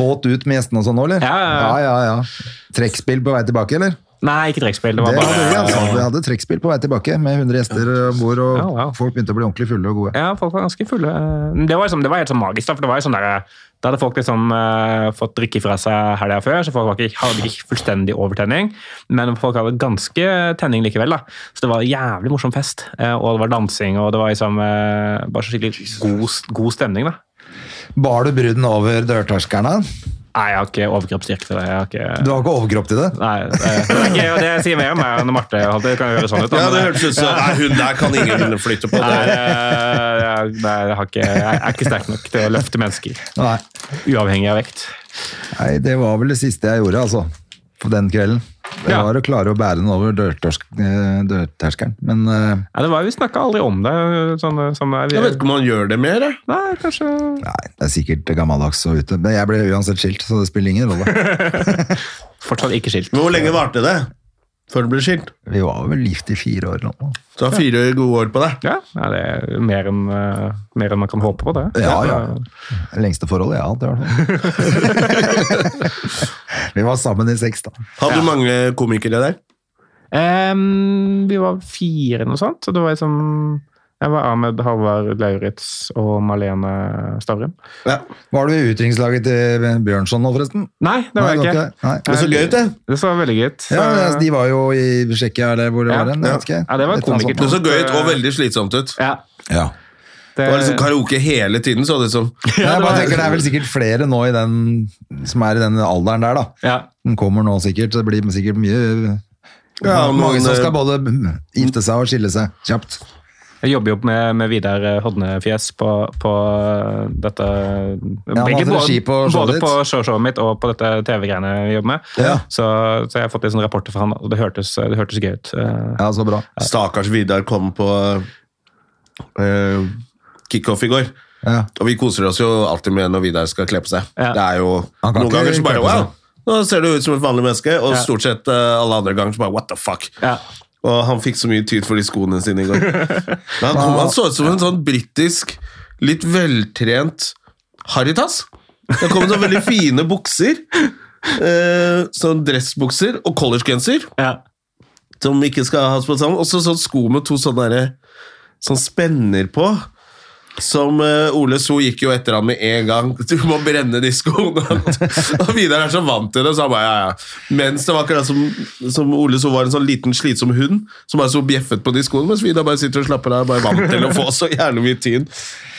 Speaker 2: Båt ut med gjestene og sånn nå, eller?
Speaker 3: Ja, ja,
Speaker 2: ja, ja. Trekkspill på vei tilbake, eller?
Speaker 3: Nei, ikke trekkspill. Det
Speaker 2: Det
Speaker 3: var
Speaker 2: hadde vi,
Speaker 3: bare
Speaker 2: altså. Vi hadde trekkspill på vei tilbake med 100 gjester om bord, og
Speaker 3: Ja, wow.
Speaker 2: folk begynte å bli ordentlig fulle og gode.
Speaker 3: Ja, folk var ganske fulle. Men Det var, liksom, det var helt sånn magisk, da, for det var jo sånn der, da hadde folk liksom eh, fått drikke fra seg helga før, så folk var ikke, hadde ikke fullstendig overtenning, men folk hadde ganske tenning likevel. da. Så det var en jævlig morsom fest, eh, og det var dansing, og det var liksom eh, bare så skikkelig god, god stemning. da.
Speaker 2: Bar du bruden over dørterskelen?
Speaker 3: Nei, jeg har ikke overkroppsstyrke til det. jeg har ikke...
Speaker 2: Du har ikke overkropp til det?
Speaker 3: Nei, eh, det, er ikke, det sier mer om meg enn Marte. Det kan jo høres sånn ut. da,
Speaker 1: Ja,
Speaker 3: men
Speaker 1: det
Speaker 3: det-
Speaker 1: hørtes ut som Nei, hun der kan ingen flytte på.
Speaker 3: Nei,
Speaker 1: Det.
Speaker 3: eh, jeg, nei, jeg, har ikke, jeg er ikke sterk nok til å løfte mennesker.
Speaker 2: Nei.
Speaker 3: Uavhengig av vekt.
Speaker 2: Nei, det var vel det siste jeg gjorde, altså. På den kvelden. Det
Speaker 3: Ja.
Speaker 2: var å klare å bære den over dørtorsk- eh, dørterskelen. Men eh,
Speaker 3: Ja, det var, vi snakka aldri om det. Sånn, sånn er vi.
Speaker 1: Jeg vet ikke om han gjør det mer. jeg.
Speaker 3: Nei, kanskje
Speaker 2: nei, det er sikkert gammeldags og ute. Men jeg ble uansett skilt, så det spiller ingen rolle.
Speaker 3: Fortsatt ikke skilt.
Speaker 1: Men hvor lenge varte det før du ble skilt?
Speaker 2: Vi var vel gift i fire år eller noe.
Speaker 1: Du har fire gode år på deg.
Speaker 3: Ja, ja, det er mer enn, eh, mer enn man kan håpe på, det.
Speaker 2: Ja, ja. Det lengste forholdet jeg har hatt, i hvert fall. Vi var sammen i seks, da.
Speaker 1: Hadde du mange komikere der?
Speaker 3: Em, vi var fire, noe sånt. Så det var liksom Jeg var Ahmed, Halvard Lauritz og Malene Stavrum.
Speaker 2: Var du i utdrikningslaget til Bjørnson nå, forresten?
Speaker 3: Nei, det var jeg
Speaker 2: Nei,
Speaker 3: ikke.
Speaker 2: det var ikke-
Speaker 1: Det
Speaker 2: Nei.
Speaker 1: er så gøy ut, det.
Speaker 3: Det så veldig gøy ut.
Speaker 2: Ja, men, altså, de var jo i Tsjekkia, eller hvor det
Speaker 3: Ja,
Speaker 2: var den. jeg vet ikke.
Speaker 3: ja. Ja, det var
Speaker 2: Et eller
Speaker 1: Det
Speaker 2: annet
Speaker 3: komikert.
Speaker 1: så gøy ut og veldig slitsomt ut.
Speaker 3: ja,
Speaker 2: sånt. Ja.
Speaker 3: det,
Speaker 1: Det var liksom karaoke hele tiden, så det ut som.
Speaker 2: Nei, jeg
Speaker 3: det
Speaker 2: bare
Speaker 3: var-
Speaker 2: tenker det er vel sikkert flere nå i den, som er i den alderen der, da.
Speaker 3: ja.
Speaker 2: Den kommer nå sikkert, så det blir sikkert mye
Speaker 1: Ja,
Speaker 2: Mange
Speaker 1: noen,
Speaker 2: som
Speaker 1: eh,
Speaker 2: skal både gifte seg og skille seg kjapt.
Speaker 3: Jeg jobber jo med, med Vidar eh, Hodnefjes på, på eh, dette
Speaker 2: han
Speaker 3: begge,
Speaker 2: hadde regi på showet
Speaker 3: både
Speaker 2: ditt.
Speaker 3: på showshowet mitt og på dette TV-greiene vi jobber med.
Speaker 2: Ja.
Speaker 3: Så, så jeg har fått litt sånne rapporter fra han, og det hørtes, det hørtes gøy ut. Eh,
Speaker 2: Ja, så bra.
Speaker 1: Stakkars Vidar kom på eh, kickoff i går.
Speaker 2: Ja.
Speaker 1: Og vi koser oss jo alltid med når Vidar skal kle på seg.
Speaker 3: Ja.
Speaker 1: Det er jo
Speaker 2: Han kan
Speaker 1: Noen
Speaker 2: ikke
Speaker 1: ganger så bare
Speaker 2: kle på seg.
Speaker 1: wow, nå ser du ut som et vanlig menneske, og
Speaker 3: Ja.
Speaker 1: stort sett eh, alle andre ganger så bare what the fuck.
Speaker 3: Ja.
Speaker 1: Og han fikk så mye tyd for de skoene sine i går. Men han, kom, han så ut som en sånn britisk, litt veltrent Haritas. Det kom med sånne veldig fine bukser. Eh, sånn dressbukser og collegegenser
Speaker 3: Ja.
Speaker 1: som ikke skal ha spurt sammen. Også sånn sko med to sånne der, sånn spenner på. Som eh, Ole So gikk jo etter han med en gang. Du må brenne de skoene! og Vidar er så vant til det, så han bare ja, ja. Mens det var akkurat som, som Ole So var en sånn liten, slitsom hund som bare så bjeffet på de skoene, mens Vidar bare sitter og slapper av. Bare vant til å få så jævlig mye tyn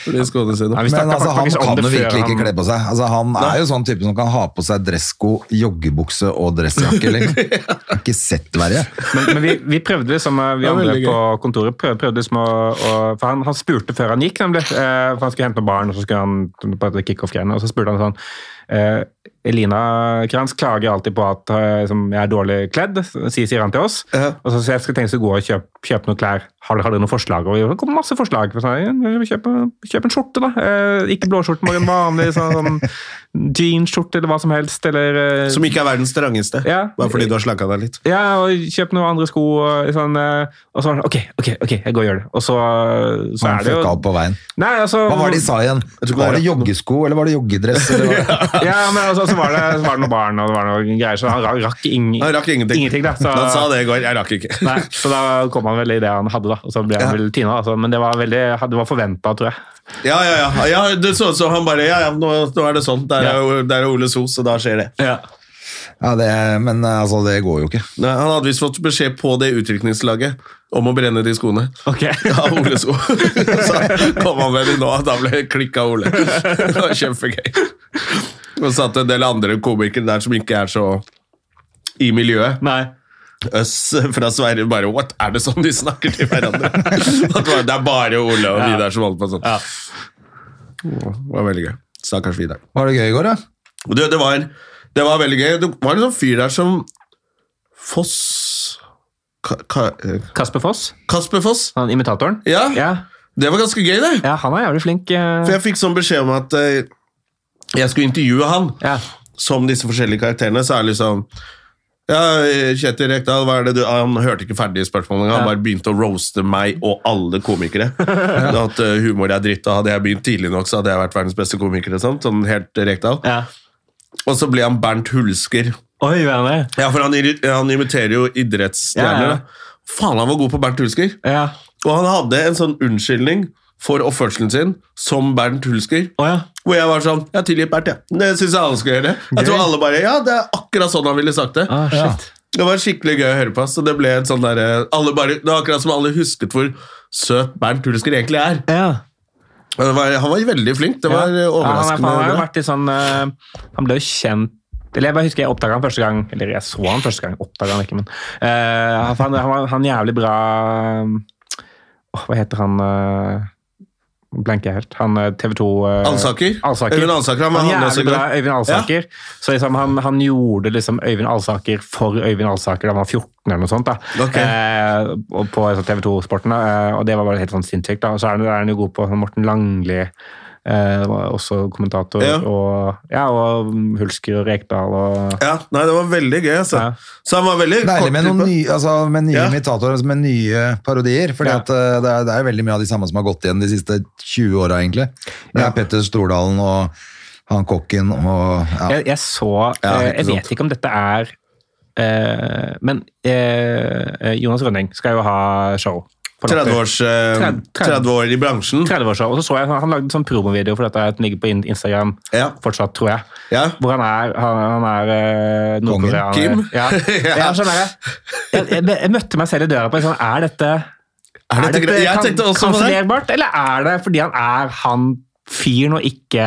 Speaker 1: for de skoene
Speaker 3: Nei,
Speaker 1: sine.
Speaker 3: vi snakket
Speaker 2: Men altså, han
Speaker 3: faktisk om
Speaker 2: kan
Speaker 3: det
Speaker 2: jo
Speaker 3: før
Speaker 2: virkelig ikke
Speaker 3: han-
Speaker 2: kle på seg. Altså, han er jo sånn type som kan ha på seg dressko, joggebukse og dressjakke. Liksom. Ikke sett verre.
Speaker 3: Men, men vi, vi prøvde liksom, eh, vi
Speaker 1: Det var
Speaker 3: andre
Speaker 1: veldig gøy.
Speaker 3: på kontoret prøvde, prøvde liksom å, å For han, han spurte før han gikk, nemlig. eh, For han skulle hente noen barn, og så skulle han på dette kickoff-greiene. Og så spurte han sånn eh, Elina Kranz klager alltid på at eh, som jeg er dårlig kledd, sier, sier han til oss.
Speaker 1: Ja.
Speaker 3: Og så sier jeg skal tenke å gå og kjøpe, kjøpe noen klær. Har, dere- har dere noen forslag? Og det kom masse forslag. Så jeg, «Ja, kjøp, kjøp en skjorte, da. Eh, ikke blåskjorte, men en vanlig sånn, sånn jeansskjorte eller hva som helst. Eller eh,
Speaker 1: Som ikke er verdens strangeste.
Speaker 3: Ja.
Speaker 1: Bare fordi du har slanka deg litt.
Speaker 3: ja, og kjøp noen andre sko. Og, sånn, eh, og så var det ok, ok, ok, jeg går og gjør det. Og så, eh, så
Speaker 2: Han
Speaker 3: er det jo
Speaker 2: fucka opp på veien.
Speaker 3: Nei, altså,
Speaker 2: Hva var det de sa igjen?
Speaker 1: tror ikke
Speaker 2: Var
Speaker 1: det
Speaker 2: det joggesko, eller var det joggedress? Eller hva?
Speaker 3: ja, men altså, så, var det, så var det noen barn og det var noen greier, så han rakk, rakk ing,
Speaker 1: Han rakk ingenting.
Speaker 3: da. Så,
Speaker 1: Han sa det i går. Jeg rakk ikke.
Speaker 3: Nei, så da kom han vel i det han hadde, da. Og så ble han vel tina. Altså, men det var, veldig, det var forventa, tror jeg.
Speaker 1: Ja, ja, ja. ja det så ut som han bare Ja, ja, nå, nå er det sånn. Der er, jo- der er Ole So, så da skjer det.
Speaker 3: Ja.
Speaker 2: Ja, det, men altså, det går jo ikke.
Speaker 1: Nei, han hadde visst fått beskjed på det utrykningslaget om å brenne de skoene.
Speaker 3: Ok.
Speaker 1: Ja, Ole So. Så kom han med de nå, og da ble det klikk av Ole. Det var kjempegøy. Og satt en del andre komikere der som ikke er så i miljøet.
Speaker 3: Nei.
Speaker 1: Øss fra Sverige bare What? Er det sånn de snakker til hverandre? At det var- Det er bare Ole og
Speaker 3: Ja.
Speaker 1: Vidar som holder på sånn.
Speaker 3: Ja.
Speaker 1: Det var veldig gøy. Stakkars Vidar.
Speaker 2: Var det gøy i går, da?
Speaker 1: Og Det, det, var, det var veldig gøy. Det var en sånn fyr der som Foss Ka, Ka, eh,
Speaker 3: Kasper Foss,
Speaker 1: Kasper Foss.
Speaker 3: han imitatoren.
Speaker 1: Ja,
Speaker 3: Ja.
Speaker 1: det var ganske gøy, det.
Speaker 3: ja, han er jævlig flink. eh,
Speaker 1: For jeg fikk sånn beskjed om at eh, jeg skulle intervjue han
Speaker 3: Ja.
Speaker 1: som disse forskjellige karakterene. Så er det liksom ja, Kjetil Rekdal, hva er det du Han hørte ikke ferdig spørsmålet engang. Han
Speaker 3: Ja.
Speaker 1: bare begynte å roaste meg og alle komikere. At eh, humor er dritt. Og hadde jeg begynt tidlig nok, så hadde jeg vært verdens beste komiker. og Sånt, sånn helt Rekdal.
Speaker 3: ja.
Speaker 1: Og så ble han Bernt Hulsker.
Speaker 3: Oi, hva er det?
Speaker 1: Ja, for han, irri- han imiterer jo idrettsstjerner.
Speaker 3: Ja, ja.
Speaker 1: da. Faen, han var god på Bernt Hulsker.
Speaker 3: Ja.
Speaker 1: Og han hadde en sånn unnskyldning for oppførselen sin som Bernt Hulsker.
Speaker 3: Å ja.
Speaker 1: Hvor jeg var sånn Jeg tilgir Bernt, jeg. Det syns jeg alle skal gjøre. Jeg tror alle bare Ja, det er akkurat sånn han ville sagt det.
Speaker 3: Ah, shit.
Speaker 1: Det var skikkelig gøy å høre på. Så det ble et sånn derre alle bare- Det var akkurat som alle husket hvor søt Bernt Hulsker egentlig er.
Speaker 3: ja.
Speaker 1: Og det var, han var veldig flink. Det var eh,
Speaker 3: Ja,
Speaker 1: overraskende.
Speaker 3: han, er, han, har jo
Speaker 1: bra.
Speaker 3: vært i sånn, eh, han ble jo kjent eller Jeg bare husker jeg oppdaga han første gang Eller jeg så han første gang. Oppdaget han ikke, men eh, han, han, var- han jævlig bra eh, åh, Hva heter han eh, blanker helt. Han eh, TV 2
Speaker 1: Alsaker?
Speaker 3: Alsaker.
Speaker 1: Øyvind Alsaker, han var han også i
Speaker 3: jævlig
Speaker 1: går.
Speaker 3: bra, Øyvind Alsaker. Så liksom han, han gjorde liksom Øyvind Alsaker for Øyvind Alsaker da han var 14 eller noe sånt. da.
Speaker 1: Ok.
Speaker 3: Eh, og på sånn TV 2-sporten, da, eh, og det var bare helt sånn sinnssykt. da. Og så er han, er han jo god på sånn Morten Langli, eh, var også kommentator,
Speaker 1: Ja.
Speaker 3: og, ja, og Hulsker og Rekdal og
Speaker 1: Ja, nei, det var veldig gøy, altså.
Speaker 3: Ja.
Speaker 1: Så han var veldig
Speaker 2: Deilig
Speaker 1: kort
Speaker 2: med noen
Speaker 1: type.
Speaker 2: nye, altså, med nye
Speaker 1: Ja.
Speaker 2: imitatorer, altså, med nye parodier. For
Speaker 3: Ja.
Speaker 2: det, er- det er veldig mye av de samme som har gått igjen de siste 20 åra, egentlig. Det er Petter Stordalen og han kokken og ja.
Speaker 3: jeg, jeg så
Speaker 1: Ja,
Speaker 3: eh,
Speaker 1: ikke
Speaker 3: Jeg
Speaker 1: sant.
Speaker 3: vet ikke om dette er eh, Men eh, Jonas Rønning skal jo ha show. på Latter.
Speaker 1: 30 års, eh,
Speaker 3: Tred- tred-
Speaker 1: 30 år i bransjen.
Speaker 3: 30-årsshow. Og så så jeg han lagde en sånn promovideo for dette. Den ligger på in- Instagram
Speaker 1: Ja.
Speaker 3: fortsatt, tror jeg.
Speaker 1: Ja.
Speaker 3: Hvor han er, han, han er eh, nordkoreaner.
Speaker 1: Kim?
Speaker 3: Ja.
Speaker 1: Ja.
Speaker 3: ja, sånn er det. Jeg, jeg, jeg møtte meg selv i døra på en sånn Er dette,
Speaker 1: Er dette greit? Jeg tenkte
Speaker 3: kan-
Speaker 1: også på det.
Speaker 3: kansellerbart, eller er det fordi han er han fyren og ikke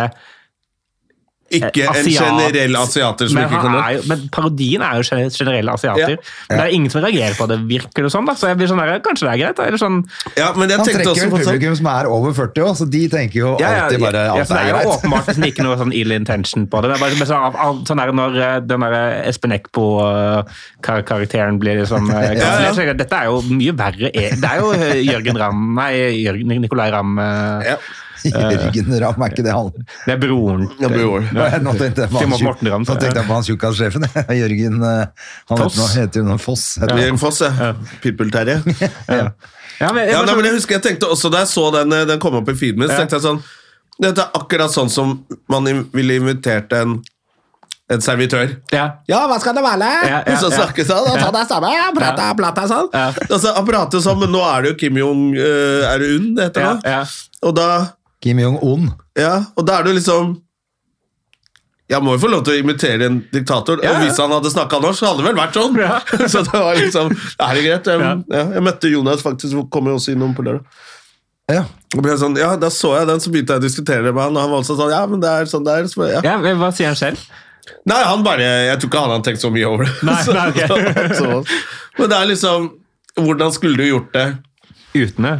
Speaker 1: Ikke en
Speaker 3: asiat.
Speaker 1: generell asiater som
Speaker 3: men,
Speaker 1: ikke
Speaker 3: han
Speaker 1: kan det.
Speaker 3: er jo, men parodien er jo gener- generelle asiater.
Speaker 1: Ja.
Speaker 3: Men det er ingen som reagerer på det, virker det som. da, Så jeg blir sånn der, kanskje det er greit? da, eller sånn,
Speaker 1: Ja, men jeg
Speaker 2: Han
Speaker 1: tenkte
Speaker 2: trekker
Speaker 1: også
Speaker 2: vel
Speaker 1: på sånn.
Speaker 2: publikum som er over 40 år, så de tenker jo
Speaker 3: Ja, ja,
Speaker 2: alltid bare
Speaker 3: ja,
Speaker 2: alt
Speaker 3: for
Speaker 2: er
Speaker 3: det er jo
Speaker 2: greit.
Speaker 3: åpenbart liksom ikke noe sånn ill intention på det. Det er bare sånn, av, av, sånn der når eh, den der Espen Eckbo-karakteren blir liksom eh,
Speaker 1: Ja, ja.
Speaker 3: kansellert, så er det- Dette er jo mye verre. e- Det er jo eh, Jørgen Ramm Nei, Jørgen, Nicolai Ramm. eh,
Speaker 1: Ja.
Speaker 2: Jørgen Ramm er ikke det han
Speaker 3: Det er broren.
Speaker 1: Ja, bror.
Speaker 2: Nå tenkte jeg på
Speaker 3: Til
Speaker 2: han
Speaker 3: Morten
Speaker 2: tjukk-
Speaker 3: Morten Ramm,
Speaker 2: nå tenkte jeg på han tjukkassjefen. Jørgen eh, Han
Speaker 3: Foss.
Speaker 2: heter noe- heter jo noe Foss. heter han.
Speaker 1: Jørgen Foss, ja. Pitbull-Terje.
Speaker 3: Ja, men, jeg
Speaker 1: Ja, nei,
Speaker 3: bare sånn-
Speaker 1: men jeg husker jeg tenkte også da jeg så den, eh, den kom opp i feeden min, så
Speaker 3: Ja.
Speaker 1: tenkte jeg sånn Dette er akkurat sånn som man im- ville invitert en, en servitør.
Speaker 3: ja,
Speaker 2: Ja, hva skal det være?
Speaker 3: ja, ja,
Speaker 1: Og så
Speaker 3: ja.
Speaker 1: snakke sånn, og ta deg sammen, ja, prate, prate sånn. Og så han prater sånn, men nå er det jo Kim Jong eh, Er det Un, det heter
Speaker 3: Ja,
Speaker 1: nå?
Speaker 3: ja.
Speaker 1: Og da,
Speaker 2: Kim Jong-un.
Speaker 1: ja, og da er det jo liksom Jeg må jo få lov til å imitere en diktator.
Speaker 3: Ja,
Speaker 1: Og
Speaker 3: ja.
Speaker 1: hvis han hadde snakka norsk, så hadde det vel vært sånn!
Speaker 3: Ja.
Speaker 1: så det var liksom Er det greit? Jeg, ja. jeg møtte Jonas, faktisk, hun kom jo også innom på lørdag.
Speaker 2: Ja.
Speaker 1: Og ble sånn, ja, Da så jeg den, så begynte jeg å diskutere det med han, og han var også sånn Ja, men det er sånn det er. Så, bare, ja.
Speaker 3: ja, men Hva sier han selv?
Speaker 1: Nei, han bare Jeg tror ikke han hadde tenkt så mye over det.
Speaker 3: Nei,
Speaker 1: Så-
Speaker 3: nei, ok.
Speaker 1: så han så oss. men det er liksom Hvordan skulle du gjort det
Speaker 3: Uten det.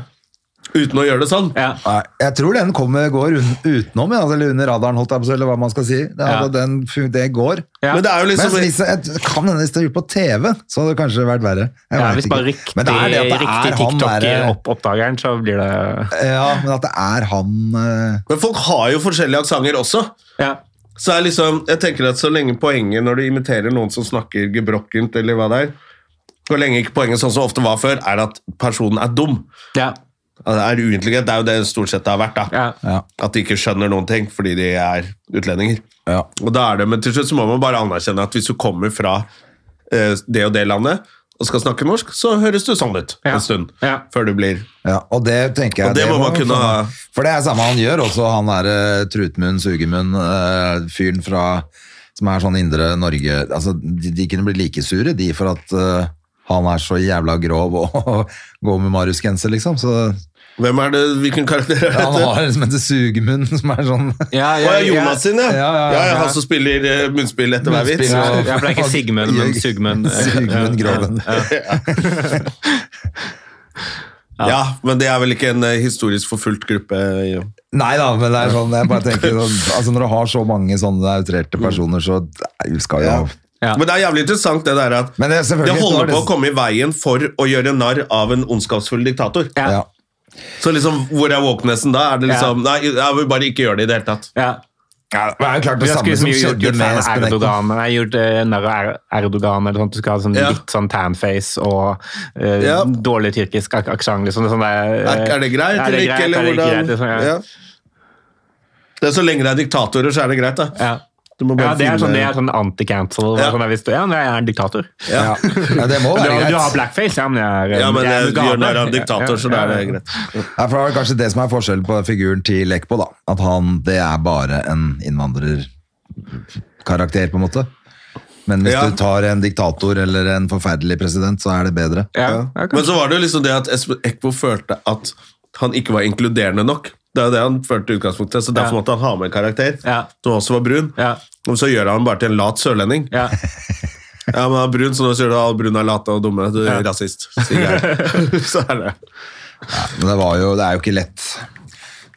Speaker 1: uten å gjøre det sånn?
Speaker 3: Ja.
Speaker 2: Nei, jeg tror den kommer, går un- utenom, ja, altså, eller under radaren, holdt jeg på, å si, eller hva man skal si. Det, altså,
Speaker 3: Ja.
Speaker 2: den, fun- det går.
Speaker 3: Ja.
Speaker 1: Men det er jo
Speaker 2: Men
Speaker 1: liksom
Speaker 2: hvis jeg, kan hende hvis det er gjort på TV, så hadde det kanskje vært verre. Jeg
Speaker 3: Ja,
Speaker 2: vet
Speaker 3: hvis
Speaker 2: ikke.
Speaker 3: bare riktig,
Speaker 2: Men det er det at det
Speaker 3: riktig eh,
Speaker 2: er han eh, derre-
Speaker 3: TikTok-oppdageren, så blir det
Speaker 2: Ja, men at det er han eh,
Speaker 1: Men folk har jo forskjellige aksenter også.
Speaker 3: Ja.
Speaker 1: Så er liksom, jeg tenker at så lenge poenget når du imiterer noen som snakker gebrokkent, eller hva det er, så lenge ikke poenget sånn som ofte var før, er at personen er dum.
Speaker 3: ja.
Speaker 1: At det er uintelligent. Det er jo det stort sett det har vært. da.
Speaker 3: Ja.
Speaker 2: ja,
Speaker 1: At de ikke skjønner noen ting fordi de er utlendinger.
Speaker 2: ja.
Speaker 1: Og da er det, Men til slutt så må man bare anerkjenne at hvis du kommer fra eh, det og det landet og skal snakke norsk, så høres du sånn ut
Speaker 3: Ja.
Speaker 1: en stund.
Speaker 3: Ja.
Speaker 1: Før du blir
Speaker 2: Ja, og det tenker jeg
Speaker 1: Og det må man kunne ha.
Speaker 2: For det er samme han gjør også, han der eh, Trutmunn, Sugemunn, eh, fyren fra Som er sånn indre Norge Altså, de, de kunne bli like sure, de, for at eh, han er så jævla grov og, går med Marius-genser, liksom. Så
Speaker 1: Hvem er det? Hvilken karakter er
Speaker 2: han
Speaker 1: dette?
Speaker 2: har en som heter Sugemunn, som er sånn
Speaker 3: Ja,
Speaker 1: Å ja, Jonas sin, ja.
Speaker 2: Ja, ja, ja.
Speaker 1: han som spiller eh, munnspill etter hver vits.
Speaker 2: Munnspill,
Speaker 3: Ja,
Speaker 2: ja.
Speaker 3: ja, for det er ikke Sigmund, men Sugmund.
Speaker 2: Sigmund Groven.
Speaker 1: Ja. men det er vel ikke en eh, historisk forfulgt gruppe? ja.
Speaker 2: Nei da, men det er sånn, jeg bare tenker sånn, altså Når du har så mange sånne outrerte personer, så nei, skal jo
Speaker 1: Mm. Ja.
Speaker 3: Ja.
Speaker 1: Men det er jævlig interessant det der at
Speaker 2: Men det er
Speaker 1: det
Speaker 2: selvfølgelig
Speaker 1: holder på å
Speaker 2: så er det-
Speaker 1: komme i veien for å gjøre narr av en ondskapsfull diktator.
Speaker 3: Ja.
Speaker 2: Ja.
Speaker 1: Så liksom, hvor er wokenessen da? Er det liksom, Nei, jeg vil bare ikke gjøre det i det hele tatt.
Speaker 3: Ja.
Speaker 2: Ja, det er jo klart
Speaker 3: Vi
Speaker 2: det
Speaker 3: har
Speaker 2: samme
Speaker 3: skulle
Speaker 2: som
Speaker 3: mye gjort,
Speaker 2: skjedde
Speaker 3: gjort
Speaker 2: med
Speaker 3: fan av
Speaker 2: Espen Eckbo.
Speaker 3: Erdogan. Nei, gjort eh, narr av Er- Erdogan eller sånt. Du skal ha sånn
Speaker 1: Ja.
Speaker 3: litt sånn tanface og eh,
Speaker 1: Ja.
Speaker 3: dårlig tyrkisk ak aksent. Liksom, sånn der, eh,
Speaker 1: Er, er det greit
Speaker 3: er det
Speaker 1: eller ikke? Eller
Speaker 3: greit, er det ikke greit,
Speaker 1: hvordan?
Speaker 3: liksom, ja.
Speaker 1: Ja. Det er Så lenge det er diktatorer, så er det greit. da.
Speaker 3: Ja.
Speaker 1: Du må
Speaker 3: Ja,
Speaker 1: bare
Speaker 3: det er
Speaker 1: finne-
Speaker 3: sånn, det er sånn anti-cancel.
Speaker 1: Ja.
Speaker 3: Sånn der hvis du- ja, men jeg er en diktator.
Speaker 2: Ja. ja, det må
Speaker 3: Du,
Speaker 2: være
Speaker 3: har- du har
Speaker 2: greit.
Speaker 3: blackface, ja, men jeg er eh,
Speaker 1: Ja, men
Speaker 3: jeg er
Speaker 1: jeg,
Speaker 3: Mugabe.
Speaker 1: gjør narr av en diktator, så da er det
Speaker 3: Ja, ja.
Speaker 1: greit.
Speaker 2: Ja, for det er kanskje det som er forskjellen på figuren til Lekbo, da. At han, det er bare en innvandrerkarakter, på en måte. Men hvis
Speaker 1: Ja.
Speaker 2: du tar en diktator eller en forferdelig president, så er det bedre.
Speaker 3: Ja, ja,
Speaker 1: Men så var det jo liksom det at Espen Eckbo følte at han ikke var inkluderende nok. Det er jo det han følte i utgangspunktet, så derfor
Speaker 3: Ja.
Speaker 1: måtte han ha med en karakter
Speaker 3: Ja.
Speaker 1: som også var brun.
Speaker 3: Ja.
Speaker 1: Og så gjør han ham bare til en lat sørlending. Ja,
Speaker 3: ja.
Speaker 1: men han er brun, så nå sier du at brun er late og dumme. Du er rasist. sier jeg. så er det.
Speaker 2: Men det, var jo, det er jo ikke lett.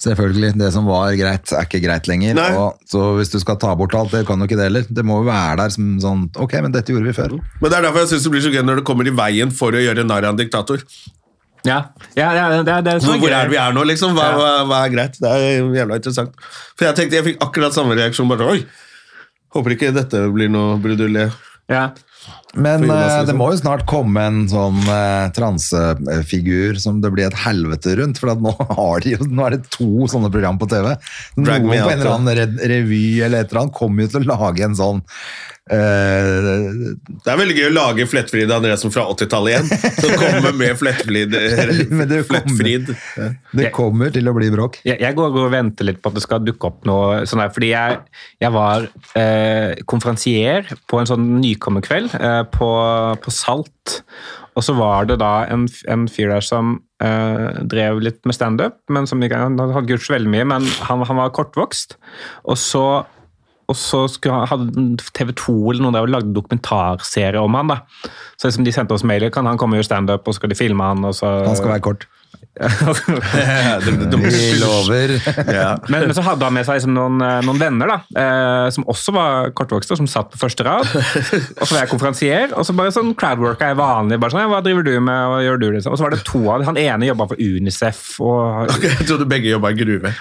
Speaker 2: Selvfølgelig. Det som var greit, er ikke greit lenger.
Speaker 1: Nei.
Speaker 2: Og, så hvis du skal ta bort alt, det kan jo ikke det heller. Det må jo være der som sånn Ok, men dette gjorde vi før.
Speaker 1: Men det er derfor jeg syns det blir så gøy når det kommer i veien for å gjøre narr av en diktator.
Speaker 3: Ja, ja, ja det, det, sånn
Speaker 1: Hvor,
Speaker 3: det,
Speaker 1: hvor er det vi er nå, liksom? Hva, hva, hva er greit? Det er jævla interessant. For jeg tenkte, jeg fikk akkurat samme reaksjon. Bare, Oi! Håper ikke dette blir noe brudulje.
Speaker 3: Ja.
Speaker 2: Men
Speaker 1: For Jonas,
Speaker 2: eh, det
Speaker 1: liksom.
Speaker 2: må jo snart komme en sånn eh, transefigur som det blir et helvete rundt, for at nå, har de, jo- nå er det to sånne program på TV.
Speaker 1: Drag
Speaker 2: Noen
Speaker 1: Me
Speaker 2: på
Speaker 1: Out,
Speaker 2: en eller annen re revy eller et eller annet kommer jo til å lage en sånn eh,
Speaker 1: Det er veldig gøy å lage Flettfrid Andresen fra 80-tallet igjen. Som kommer med Flettfrid. eh,
Speaker 2: Men det kommer.
Speaker 1: Flettfrid.
Speaker 2: Det kommer til å bli bråk.
Speaker 3: Jeg, jeg går og venter litt på at det skal dukke opp noe sånn her, fordi jeg, jeg var eh, konferansier på en sånn nykommerkveld eh, på, på Salt. Og så var det da en, f- en fyr der som eh, drev litt med standup, men som ikke, han hadde ikke gjort så veldig mye, men han, han var kortvokst. Og så og så skulle han, hadde TV 2 eller noen der lagd dokumentarserie om han da. Så liksom de sendte oss mailer, kan han komme og gjøre standup, og så skal de filme han, og så...
Speaker 2: Han skal være kort.
Speaker 3: være...
Speaker 2: Vi lover.
Speaker 3: Men, men så hadde han med seg liksom noen, eh, noen venner da, eh, som også var kortvokste, og som satt på første rad. Og så var jeg konferansier, og så bare sånn crowdworka er vanlig. bare sånn, ja, hva driver du med, og gjør du det? Og så var det to av dem. Han ene jobba for Unicef. og...
Speaker 1: Jeg trodde begge jobba i gruve.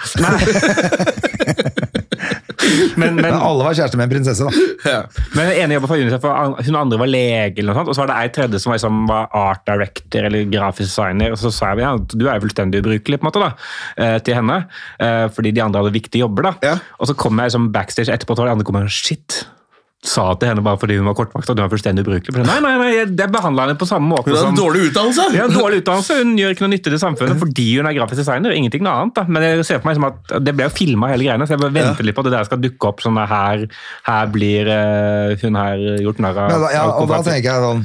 Speaker 3: Men, men,
Speaker 2: Men alle var kjæreste med en prinsesse, da.
Speaker 3: men den ene jobba for Unicef, og an- hun andre var lege, eller noe sånt. Og så var det ei tredje som var, liksom, var art director eller grafisk designer. Og så sa jeg ja, du er jo fullstendig ubrukelig på en måte da, eh, til henne, eh, fordi de andre hadde viktige jobber. da.
Speaker 1: Ja.
Speaker 3: Og så kom jeg liksom backstage etterpå, og de andre kom og shit. Sa til henne bare fordi hun var kortvakt at hun var fullstendig ubrukelig. For Nei, nei, nei, jeg, jeg behandla henne på samme måte
Speaker 1: Hun hadde
Speaker 3: som
Speaker 1: dårlig utdannelse!
Speaker 3: hun har dårlig utdannelse, hun gjør ikke noe nytte til
Speaker 2: Mhm.
Speaker 3: samfunnet fordi hun er grafisk designer. ingenting noe annet da. Men jeg ser på meg som at det ble jo filma hele greiene, så jeg bare venter litt på at det der skal dukke opp. sånn at her, her blir eh, hun her gjort narr av.
Speaker 2: Men da ja, og
Speaker 3: av
Speaker 2: da
Speaker 3: konferansen.
Speaker 2: tenker jeg sånn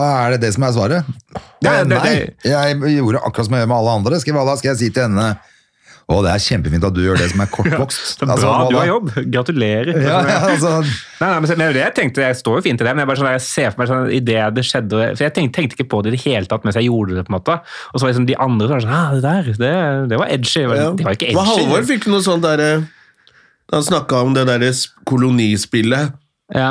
Speaker 2: da er det det som er svaret.
Speaker 3: Ja, det-
Speaker 2: nei,
Speaker 3: det-
Speaker 2: jeg gjorde akkurat som jeg gjør med alle andre. Skal, hva da skal jeg si til henne Å, det er kjempefint at du gjør det som er kortvokst.
Speaker 3: Så bra
Speaker 2: Altså, hva
Speaker 3: du
Speaker 2: da?
Speaker 3: har jobb! Gratulerer.
Speaker 2: Ja, ja, altså,
Speaker 3: Nei, nei, men se- men det jeg tenkte, jeg står jo fint i det, men jeg bare sånn, der, jeg ser for meg sånn, i det det skjedde, for jeg tenkte, tenkte ikke på det i det hele tatt mens jeg gjorde det, på en måte. Og så var liksom de andre som var sånn, ah, det der, det, det var edgy. Jeg bare, Det var ikke edgy.
Speaker 1: Hva Halvor fikk noe sånt derre Han snakka om det derre s- kolonispillet.
Speaker 3: Ja,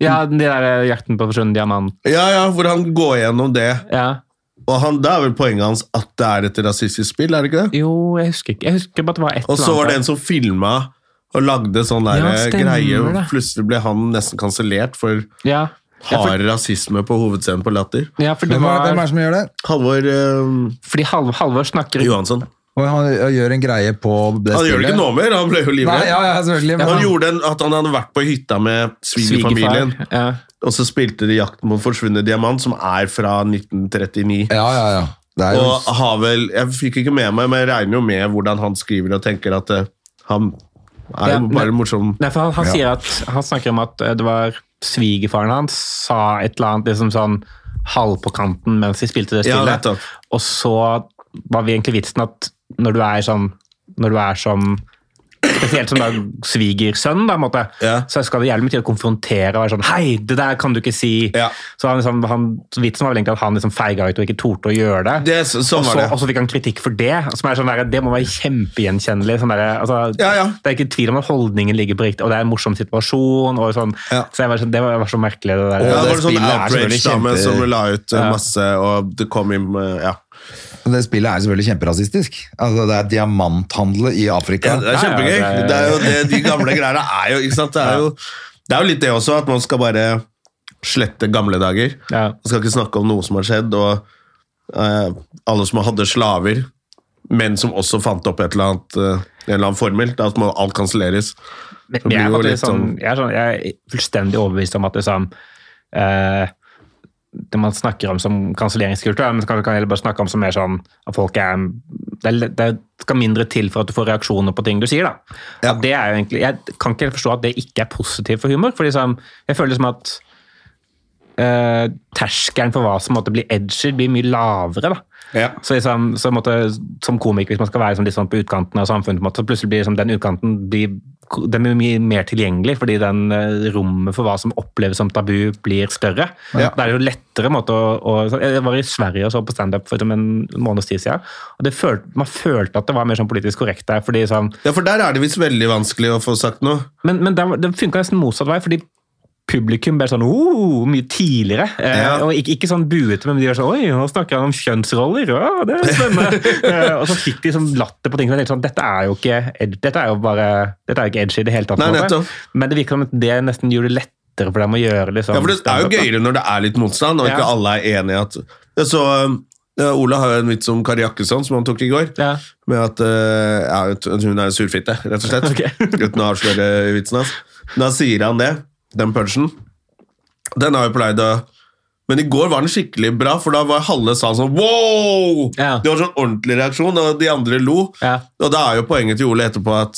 Speaker 3: ja de der eh, jakten på forsvunnen diamant.
Speaker 1: Ja, ja, hvor han går gjennom det.
Speaker 3: Ja.
Speaker 1: Og han, Da er vel poenget hans at det er et rasistisk spill, er det ikke det?
Speaker 3: Jo, jeg husker ikke. Jeg husker bare at det var et
Speaker 1: Og så var det en som filma og lagde sånn der
Speaker 3: Ja, stemmer
Speaker 1: greie. og
Speaker 3: det.
Speaker 1: Plutselig ble han nesten kansellert for
Speaker 3: Ja, ja, for,
Speaker 1: hard rasisme på hovedscenen på Latter.
Speaker 3: ja for det
Speaker 2: hvem, er,
Speaker 3: var,
Speaker 2: hvem er det som gjør det?
Speaker 1: Halvor eh,
Speaker 3: fordi Halvor, Halvor snakker
Speaker 1: Johansson.
Speaker 2: Og han han gjør en greie på det
Speaker 1: Han gjør det ikke nå mer, han ble jo
Speaker 2: Nei,
Speaker 1: livredd.
Speaker 2: ja, ja, selvfølgelig. Men
Speaker 1: Han
Speaker 2: han,
Speaker 1: gjorde en, at han hadde vært på hytta med svigerfamilien,
Speaker 3: svigerfar. Ja.
Speaker 1: og så spilte de 'Jakten mot forsvunnet diamant', som er fra 1939.
Speaker 2: ja, ja, ja. Det er jo,
Speaker 1: Og har vel Jeg fikk ikke med meg, men jeg regner jo med hvordan han skriver og tenker at eh, han er
Speaker 3: Ja,
Speaker 1: jo bare
Speaker 3: men-
Speaker 1: morsom.
Speaker 3: Nei, for han, han,
Speaker 2: Ja.
Speaker 3: sier at, han snakker om at eh, det var svigerfaren hans sa et eller annet liksom sånn halv på kanten mens de spilte det
Speaker 1: Ja,
Speaker 3: spillet.
Speaker 1: nettopp.
Speaker 3: og så var vi egentlig vitsen at når du er sånn når du er som Spesielt som da svigersønn, da, på en måte.
Speaker 1: Ja.
Speaker 3: så skal det jævlig mye til å konfrontere og være sånn Hei, det der kan du ikke si!
Speaker 1: Ja.
Speaker 3: Så han, liksom, han, vitsen var vel egentlig at han liksom feiga ut og ikke torde å gjøre det.
Speaker 1: Det, så- sånn
Speaker 3: og,
Speaker 1: var
Speaker 3: så,
Speaker 1: det.
Speaker 3: og så fikk han kritikk for det. Som er sånn der, det må være kjempegjenkjennelig. Sånn der, altså,
Speaker 1: Ja, ja.
Speaker 3: Det er ikke tvil om at holdningen ligger på riktig, og det er en morsom situasjon. Og sånn.
Speaker 1: Ja.
Speaker 3: Så jeg var sånn, det var, var så merkelig, det
Speaker 1: Ja,
Speaker 3: der.
Speaker 1: det var
Speaker 2: det
Speaker 1: en sånn
Speaker 2: spillet er selvfølgelig
Speaker 1: outrage-dame
Speaker 2: kjempe-
Speaker 1: som la ut eh, masse, og det kom inn eh, Ja.
Speaker 2: det spillet er selvfølgelig kjemperasistisk. Altså, det er diamanthandel i Afrika.
Speaker 1: Ja, det er
Speaker 3: Ja, ja,
Speaker 1: kjempegøy.
Speaker 3: det er-
Speaker 1: Det er jo det de gamle greiene er jo, ikke sant? Det er jo, det er jo litt det også, at man skal bare slette gamle dager.
Speaker 3: Ja.
Speaker 1: Man skal ikke snakke om noe som har skjedd, og eh, alle som hadde slaver, men som også fant opp et eller annet, eh, en eller annen formel, da må alt kanselleres.
Speaker 3: Men
Speaker 1: Så blir
Speaker 3: jeg,
Speaker 1: det
Speaker 3: er
Speaker 1: jo
Speaker 3: faktisk
Speaker 1: litt
Speaker 3: sånn,
Speaker 1: sånn-
Speaker 3: jeg, er sånn, jeg er fullstendig overbevist om at det, sånn, eh, det man snakker om som kanselleringskultur, men kan, kan heller bare snakke om som mer sånn at folk er det, er- det skal mindre til for at du får reaksjoner på ting du sier. da.
Speaker 2: Ja.
Speaker 3: At Det er jo egentlig, jeg kan ikke helt forstå at det ikke er positivt for humor. fordi sånn, Jeg føler som at eh, terskelen for hva som måtte bli edgy, blir mye lavere. da.
Speaker 1: Ja.
Speaker 3: Så, liksom, så måtte, som komiker, hvis man skal være liksom, litt sånn på utkanten av samfunnet, på en måte, så plutselig blir liksom, den utkanten blir ko- den blir mye mer tilgjengelig, fordi den eh, rommet for hva som oppleves som tabu, blir større.
Speaker 1: Ja.
Speaker 3: Det er jo lettere måte å, å så- Jeg var i Sverige og så på standup for som en måneds tid siden. Og det følte, man følte at det var mer sånn politisk korrekt der. fordi sånn,
Speaker 1: Ja, for der er det visst veldig vanskelig å få sagt noe.
Speaker 3: Men, men der, var- det funka nesten motsatt vei, fordi publikum ble sånn oh, mye tidligere. Eh,
Speaker 1: Ja.
Speaker 3: og ikke, ikke sånn buete, men de var sånn Oi, nå snakker han om kjønnsroller! Ja, det er spennende! eh, og så fikk de sånn latter på ting. som jeg tenkte Sånn, dette er jo ikke ed- dette er jo bare, dette er jo ikke edgy i det hele tatt. på
Speaker 1: Nei,
Speaker 3: en måte.
Speaker 1: nettopp.
Speaker 3: Men det virker som at det nesten gjorde det lettere for dem å gjøre liksom,
Speaker 1: Ja, for det er jo
Speaker 3: standup, da.
Speaker 1: gøyere når det er litt motstand, og ikke
Speaker 3: Ja.
Speaker 1: alle er enige at Jeg så eh, Ola har jo en vits om Kari Jakkesson, som han tok i går.
Speaker 3: Ja.
Speaker 1: Med at eh, ja, hun- hun er jo surfitte, rett og slett.
Speaker 3: Ok.
Speaker 1: uten å avsløre vitsen hans. Da sier han det, den punchen. Den har jo pleid å Men i går var den skikkelig bra, for da var halve salen sånn wow!
Speaker 3: Ja.
Speaker 1: Det var sånn ordentlig reaksjon, og de andre lo.
Speaker 3: Ja.
Speaker 1: Og da er jo poenget til Ole etterpå at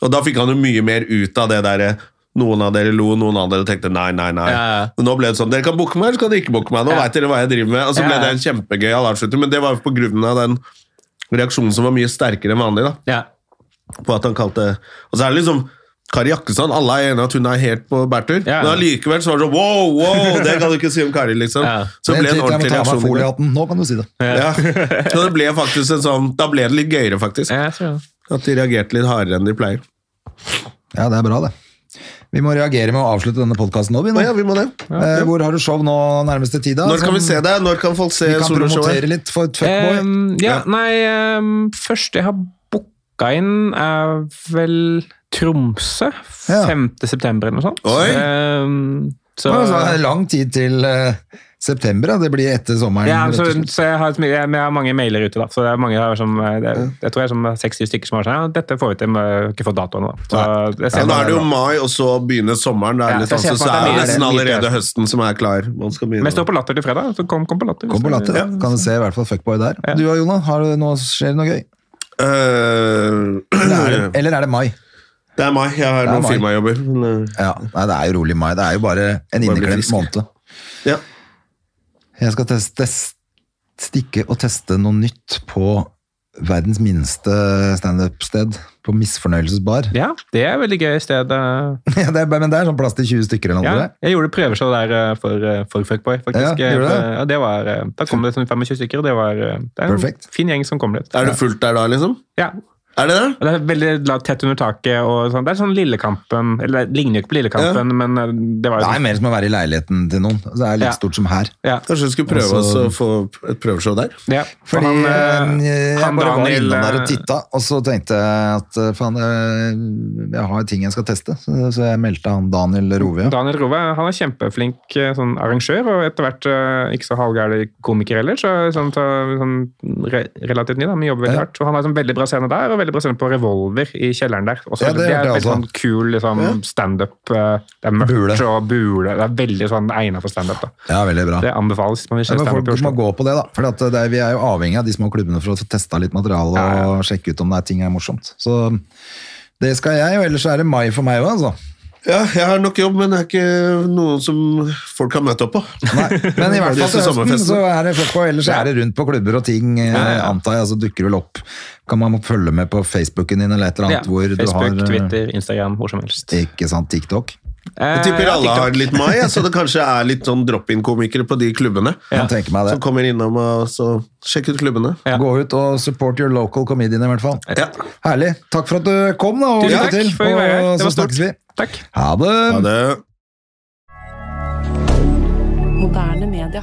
Speaker 1: Og da fikk han jo mye mer ut av det derre noen av dere lo, noen av dere tenkte nei, nei, nei.
Speaker 3: Ja, ja.
Speaker 1: Men Nå ble det sånn Dere kan booke meg, eller så kan dere ikke booke meg. Nå
Speaker 3: Ja.
Speaker 1: vet dere hva jeg driver med. Og så
Speaker 3: Ja,
Speaker 1: ble
Speaker 3: ja.
Speaker 1: det en kjempegøyal avslutning, men det var jo på grunn av den reaksjonen som var mye sterkere enn vanlig. da
Speaker 3: Ja.
Speaker 1: på at han kalte Og så er det liksom Kari Jakkesson, alle er enige at hun er helt på bærtur,
Speaker 3: Ja.
Speaker 1: men allikevel så var det sånn wow, wow, det kan du ikke si om Kari, liksom.
Speaker 3: Ja.
Speaker 1: Så det ble en
Speaker 2: Jeg må ta av
Speaker 1: ordentlig
Speaker 2: meg
Speaker 1: reaksjon. i går.
Speaker 2: foliehatten. Nå kan du si det.
Speaker 1: Ja. Så det ble faktisk en sånn Da ble det litt gøyere, faktisk.
Speaker 3: Ja, jeg tror det.
Speaker 1: At de reagerte litt hardere enn de pleier.
Speaker 2: Ja, det er bra, det. Vi må reagere med å avslutte denne podkasten nå, vi. nå.
Speaker 1: Å ja, vi må det.
Speaker 2: Eh, Hvor har du show nå nærmeste tid? da?
Speaker 1: Når kan
Speaker 2: Som-
Speaker 1: vi se det? Når kan folk se
Speaker 2: Vi kan
Speaker 1: soloshowet?
Speaker 2: promotere litt for et fuckboy.
Speaker 3: Ehm, ja,
Speaker 1: Ja.
Speaker 3: nei ehm, Først jeg har booka inn, er vel Tromsø.
Speaker 2: Ja.
Speaker 3: 5. september eller noe sånt.
Speaker 1: Oi!
Speaker 3: Ehm, så,
Speaker 2: Ja, altså, det er lang tid til eh, september, da. det blir etter sommeren.
Speaker 3: ja,
Speaker 2: rett og
Speaker 3: så,
Speaker 2: slett.
Speaker 3: så jeg, har, et mye- jeg, jeg har mange mailer ute, da. Så det er mange her som, eh, det, jeg tror det er som seks-syv stykker som har sånn ja, Dette får vi til, men jeg har ikke fått datoen da. Så jeg
Speaker 1: Ja,
Speaker 3: ser
Speaker 1: nå
Speaker 3: bare
Speaker 1: er det jo
Speaker 3: da.
Speaker 1: mai, og så begynner sommeren. Da
Speaker 3: Ja,
Speaker 1: er det litt
Speaker 3: så jeg
Speaker 1: vanskelig,
Speaker 3: ser for
Speaker 1: så
Speaker 3: meg
Speaker 1: er
Speaker 3: at
Speaker 1: det
Speaker 3: det er
Speaker 1: nesten
Speaker 3: mye- mye til
Speaker 1: allerede høsten som er klar. Man skal
Speaker 3: Men jeg står
Speaker 1: begynne.
Speaker 3: på Latter til fredag, så kom, kom på Latter.
Speaker 2: Kom på latter, da. Kan du se i hvert fall fuckboy der. Du og Jonan, har du noe, skjer det noe gøy?
Speaker 1: Eh,
Speaker 2: Eller er det,
Speaker 1: Øh,
Speaker 2: eller er det mai?
Speaker 1: Det er mai. Jeg har
Speaker 2: er
Speaker 1: noen
Speaker 2: mai.
Speaker 1: firmajobber. men, øh,
Speaker 2: Ja, nei, det er jo rolig mai. Det er jo bare en
Speaker 1: bli
Speaker 2: inneklemt
Speaker 1: frisk.
Speaker 2: måned.
Speaker 1: Ja.
Speaker 2: Jeg skal test, test, stikke og teste noe nytt på verdens minste standup-sted. På Misfornøyelsesbar.
Speaker 3: Ja, det er et veldig gøy sted. eh.
Speaker 2: Ja, det er, men det er sånn plass til 20 stykker eller noe.
Speaker 3: Ja,
Speaker 2: tror jeg.
Speaker 3: jeg gjorde prøveshow der eh, for, eh, for Fuckboy, faktisk.
Speaker 2: Ja,
Speaker 3: Eh,
Speaker 2: gjorde du det?
Speaker 3: for- ja, det var, eh, da kom det sånn 25 stykker, og det var eh, det er en
Speaker 2: Perfekt.
Speaker 3: fin gjeng som kom dit.
Speaker 1: Er det fullt der da, liksom?
Speaker 3: Ja.
Speaker 1: Er det det?
Speaker 3: Og det er veldig la- tett under taket. og sånn. Det er sånn Lillekampen Eller det ligner jo ikke på Lillekampen, men eh, det var jo
Speaker 2: Det er
Speaker 3: sånn.
Speaker 2: mer som å være i leiligheten til noen. Altså, Det er
Speaker 3: Ja.
Speaker 2: like stort som her.
Speaker 3: Ja.
Speaker 1: Kanskje vi skulle prøve
Speaker 2: Og så-
Speaker 1: oss å få et prøveshow der?
Speaker 3: Ja.
Speaker 2: Fordi
Speaker 3: Og han,
Speaker 2: eh,
Speaker 3: eh,
Speaker 2: jeg
Speaker 3: han
Speaker 2: bare var
Speaker 3: Daniel,
Speaker 2: innom der
Speaker 3: eh,
Speaker 2: og titta, og så tenkte jeg at eh, faen, eh, jeg har ting jeg skal teste. Så, så jeg meldte han Daniel Rove. Ja.
Speaker 3: Daniel Rove han er kjempeflink eh, sånn arrangør, og etter hvert eh, ikke så halvgæren komiker heller. Så, sånn, så, sånn, re relativt ny, da, men jobber veldig
Speaker 2: Ja.
Speaker 3: hardt. Og han har sånn veldig bra scene der, og veldig bra scene på Revolver i kjelleren der. Også,
Speaker 2: Ja, det hørte
Speaker 3: er
Speaker 2: jeg
Speaker 3: veldig
Speaker 2: også.
Speaker 3: sånn kul liksom, standup. eh, Det er mørkt
Speaker 2: Bule.
Speaker 3: og bule. Det er veldig sånn egnet for standup. da.
Speaker 2: ja, veldig bra.
Speaker 3: Det anbefales. hvis Man vil
Speaker 2: Ja,
Speaker 3: se
Speaker 2: men
Speaker 3: standup
Speaker 2: folk
Speaker 3: i
Speaker 2: må
Speaker 3: Oslo.
Speaker 2: gå på det, da. For at eh, det er, vi er jo avhengig av de små klubbene for å få testa litt materiale og
Speaker 3: Ja,
Speaker 2: sjekke ut om det er ting er morsomt. Så det skal jeg, og ellers er det mai for meg òg, altså.
Speaker 1: Ja, jeg har nok jobb, men det er ikke noe som folk har møtt opp på.
Speaker 2: Nei, men i hvert
Speaker 1: Disse
Speaker 2: fall til høsten
Speaker 1: sommerfestene.
Speaker 2: så er det fuck og ellers er det rundt på klubber og ting, eh, antar jeg, så dukker det vel opp. Kan man følge med på Facebooken din eller et eller
Speaker 3: Ja.
Speaker 2: annet hvor du
Speaker 3: Facebook,
Speaker 2: har eh,
Speaker 3: Twitter, Instagram, hvor som helst. Eh,
Speaker 2: Ikke sant, TikTok?
Speaker 1: Jeg tipper alle har litt mai, ja, så det kanskje er litt sånn drop-in-komikere på de klubbene.
Speaker 2: Kan tenke meg det.
Speaker 1: Som kommer innom og så sjekker ut klubbene.
Speaker 3: Ja.
Speaker 2: Gå ut og support your local comedian i hvert fall.
Speaker 1: Ja.
Speaker 2: Herlig. Takk for at du kom, da, og
Speaker 3: Tusen
Speaker 2: lykke
Speaker 3: takk
Speaker 2: til.
Speaker 3: for at jeg var her.
Speaker 2: Og
Speaker 3: Det
Speaker 2: så
Speaker 3: var stort.
Speaker 2: snakkes vi.
Speaker 3: Takk.
Speaker 2: Ha det!
Speaker 1: Ha det.
Speaker 4: Moderne media.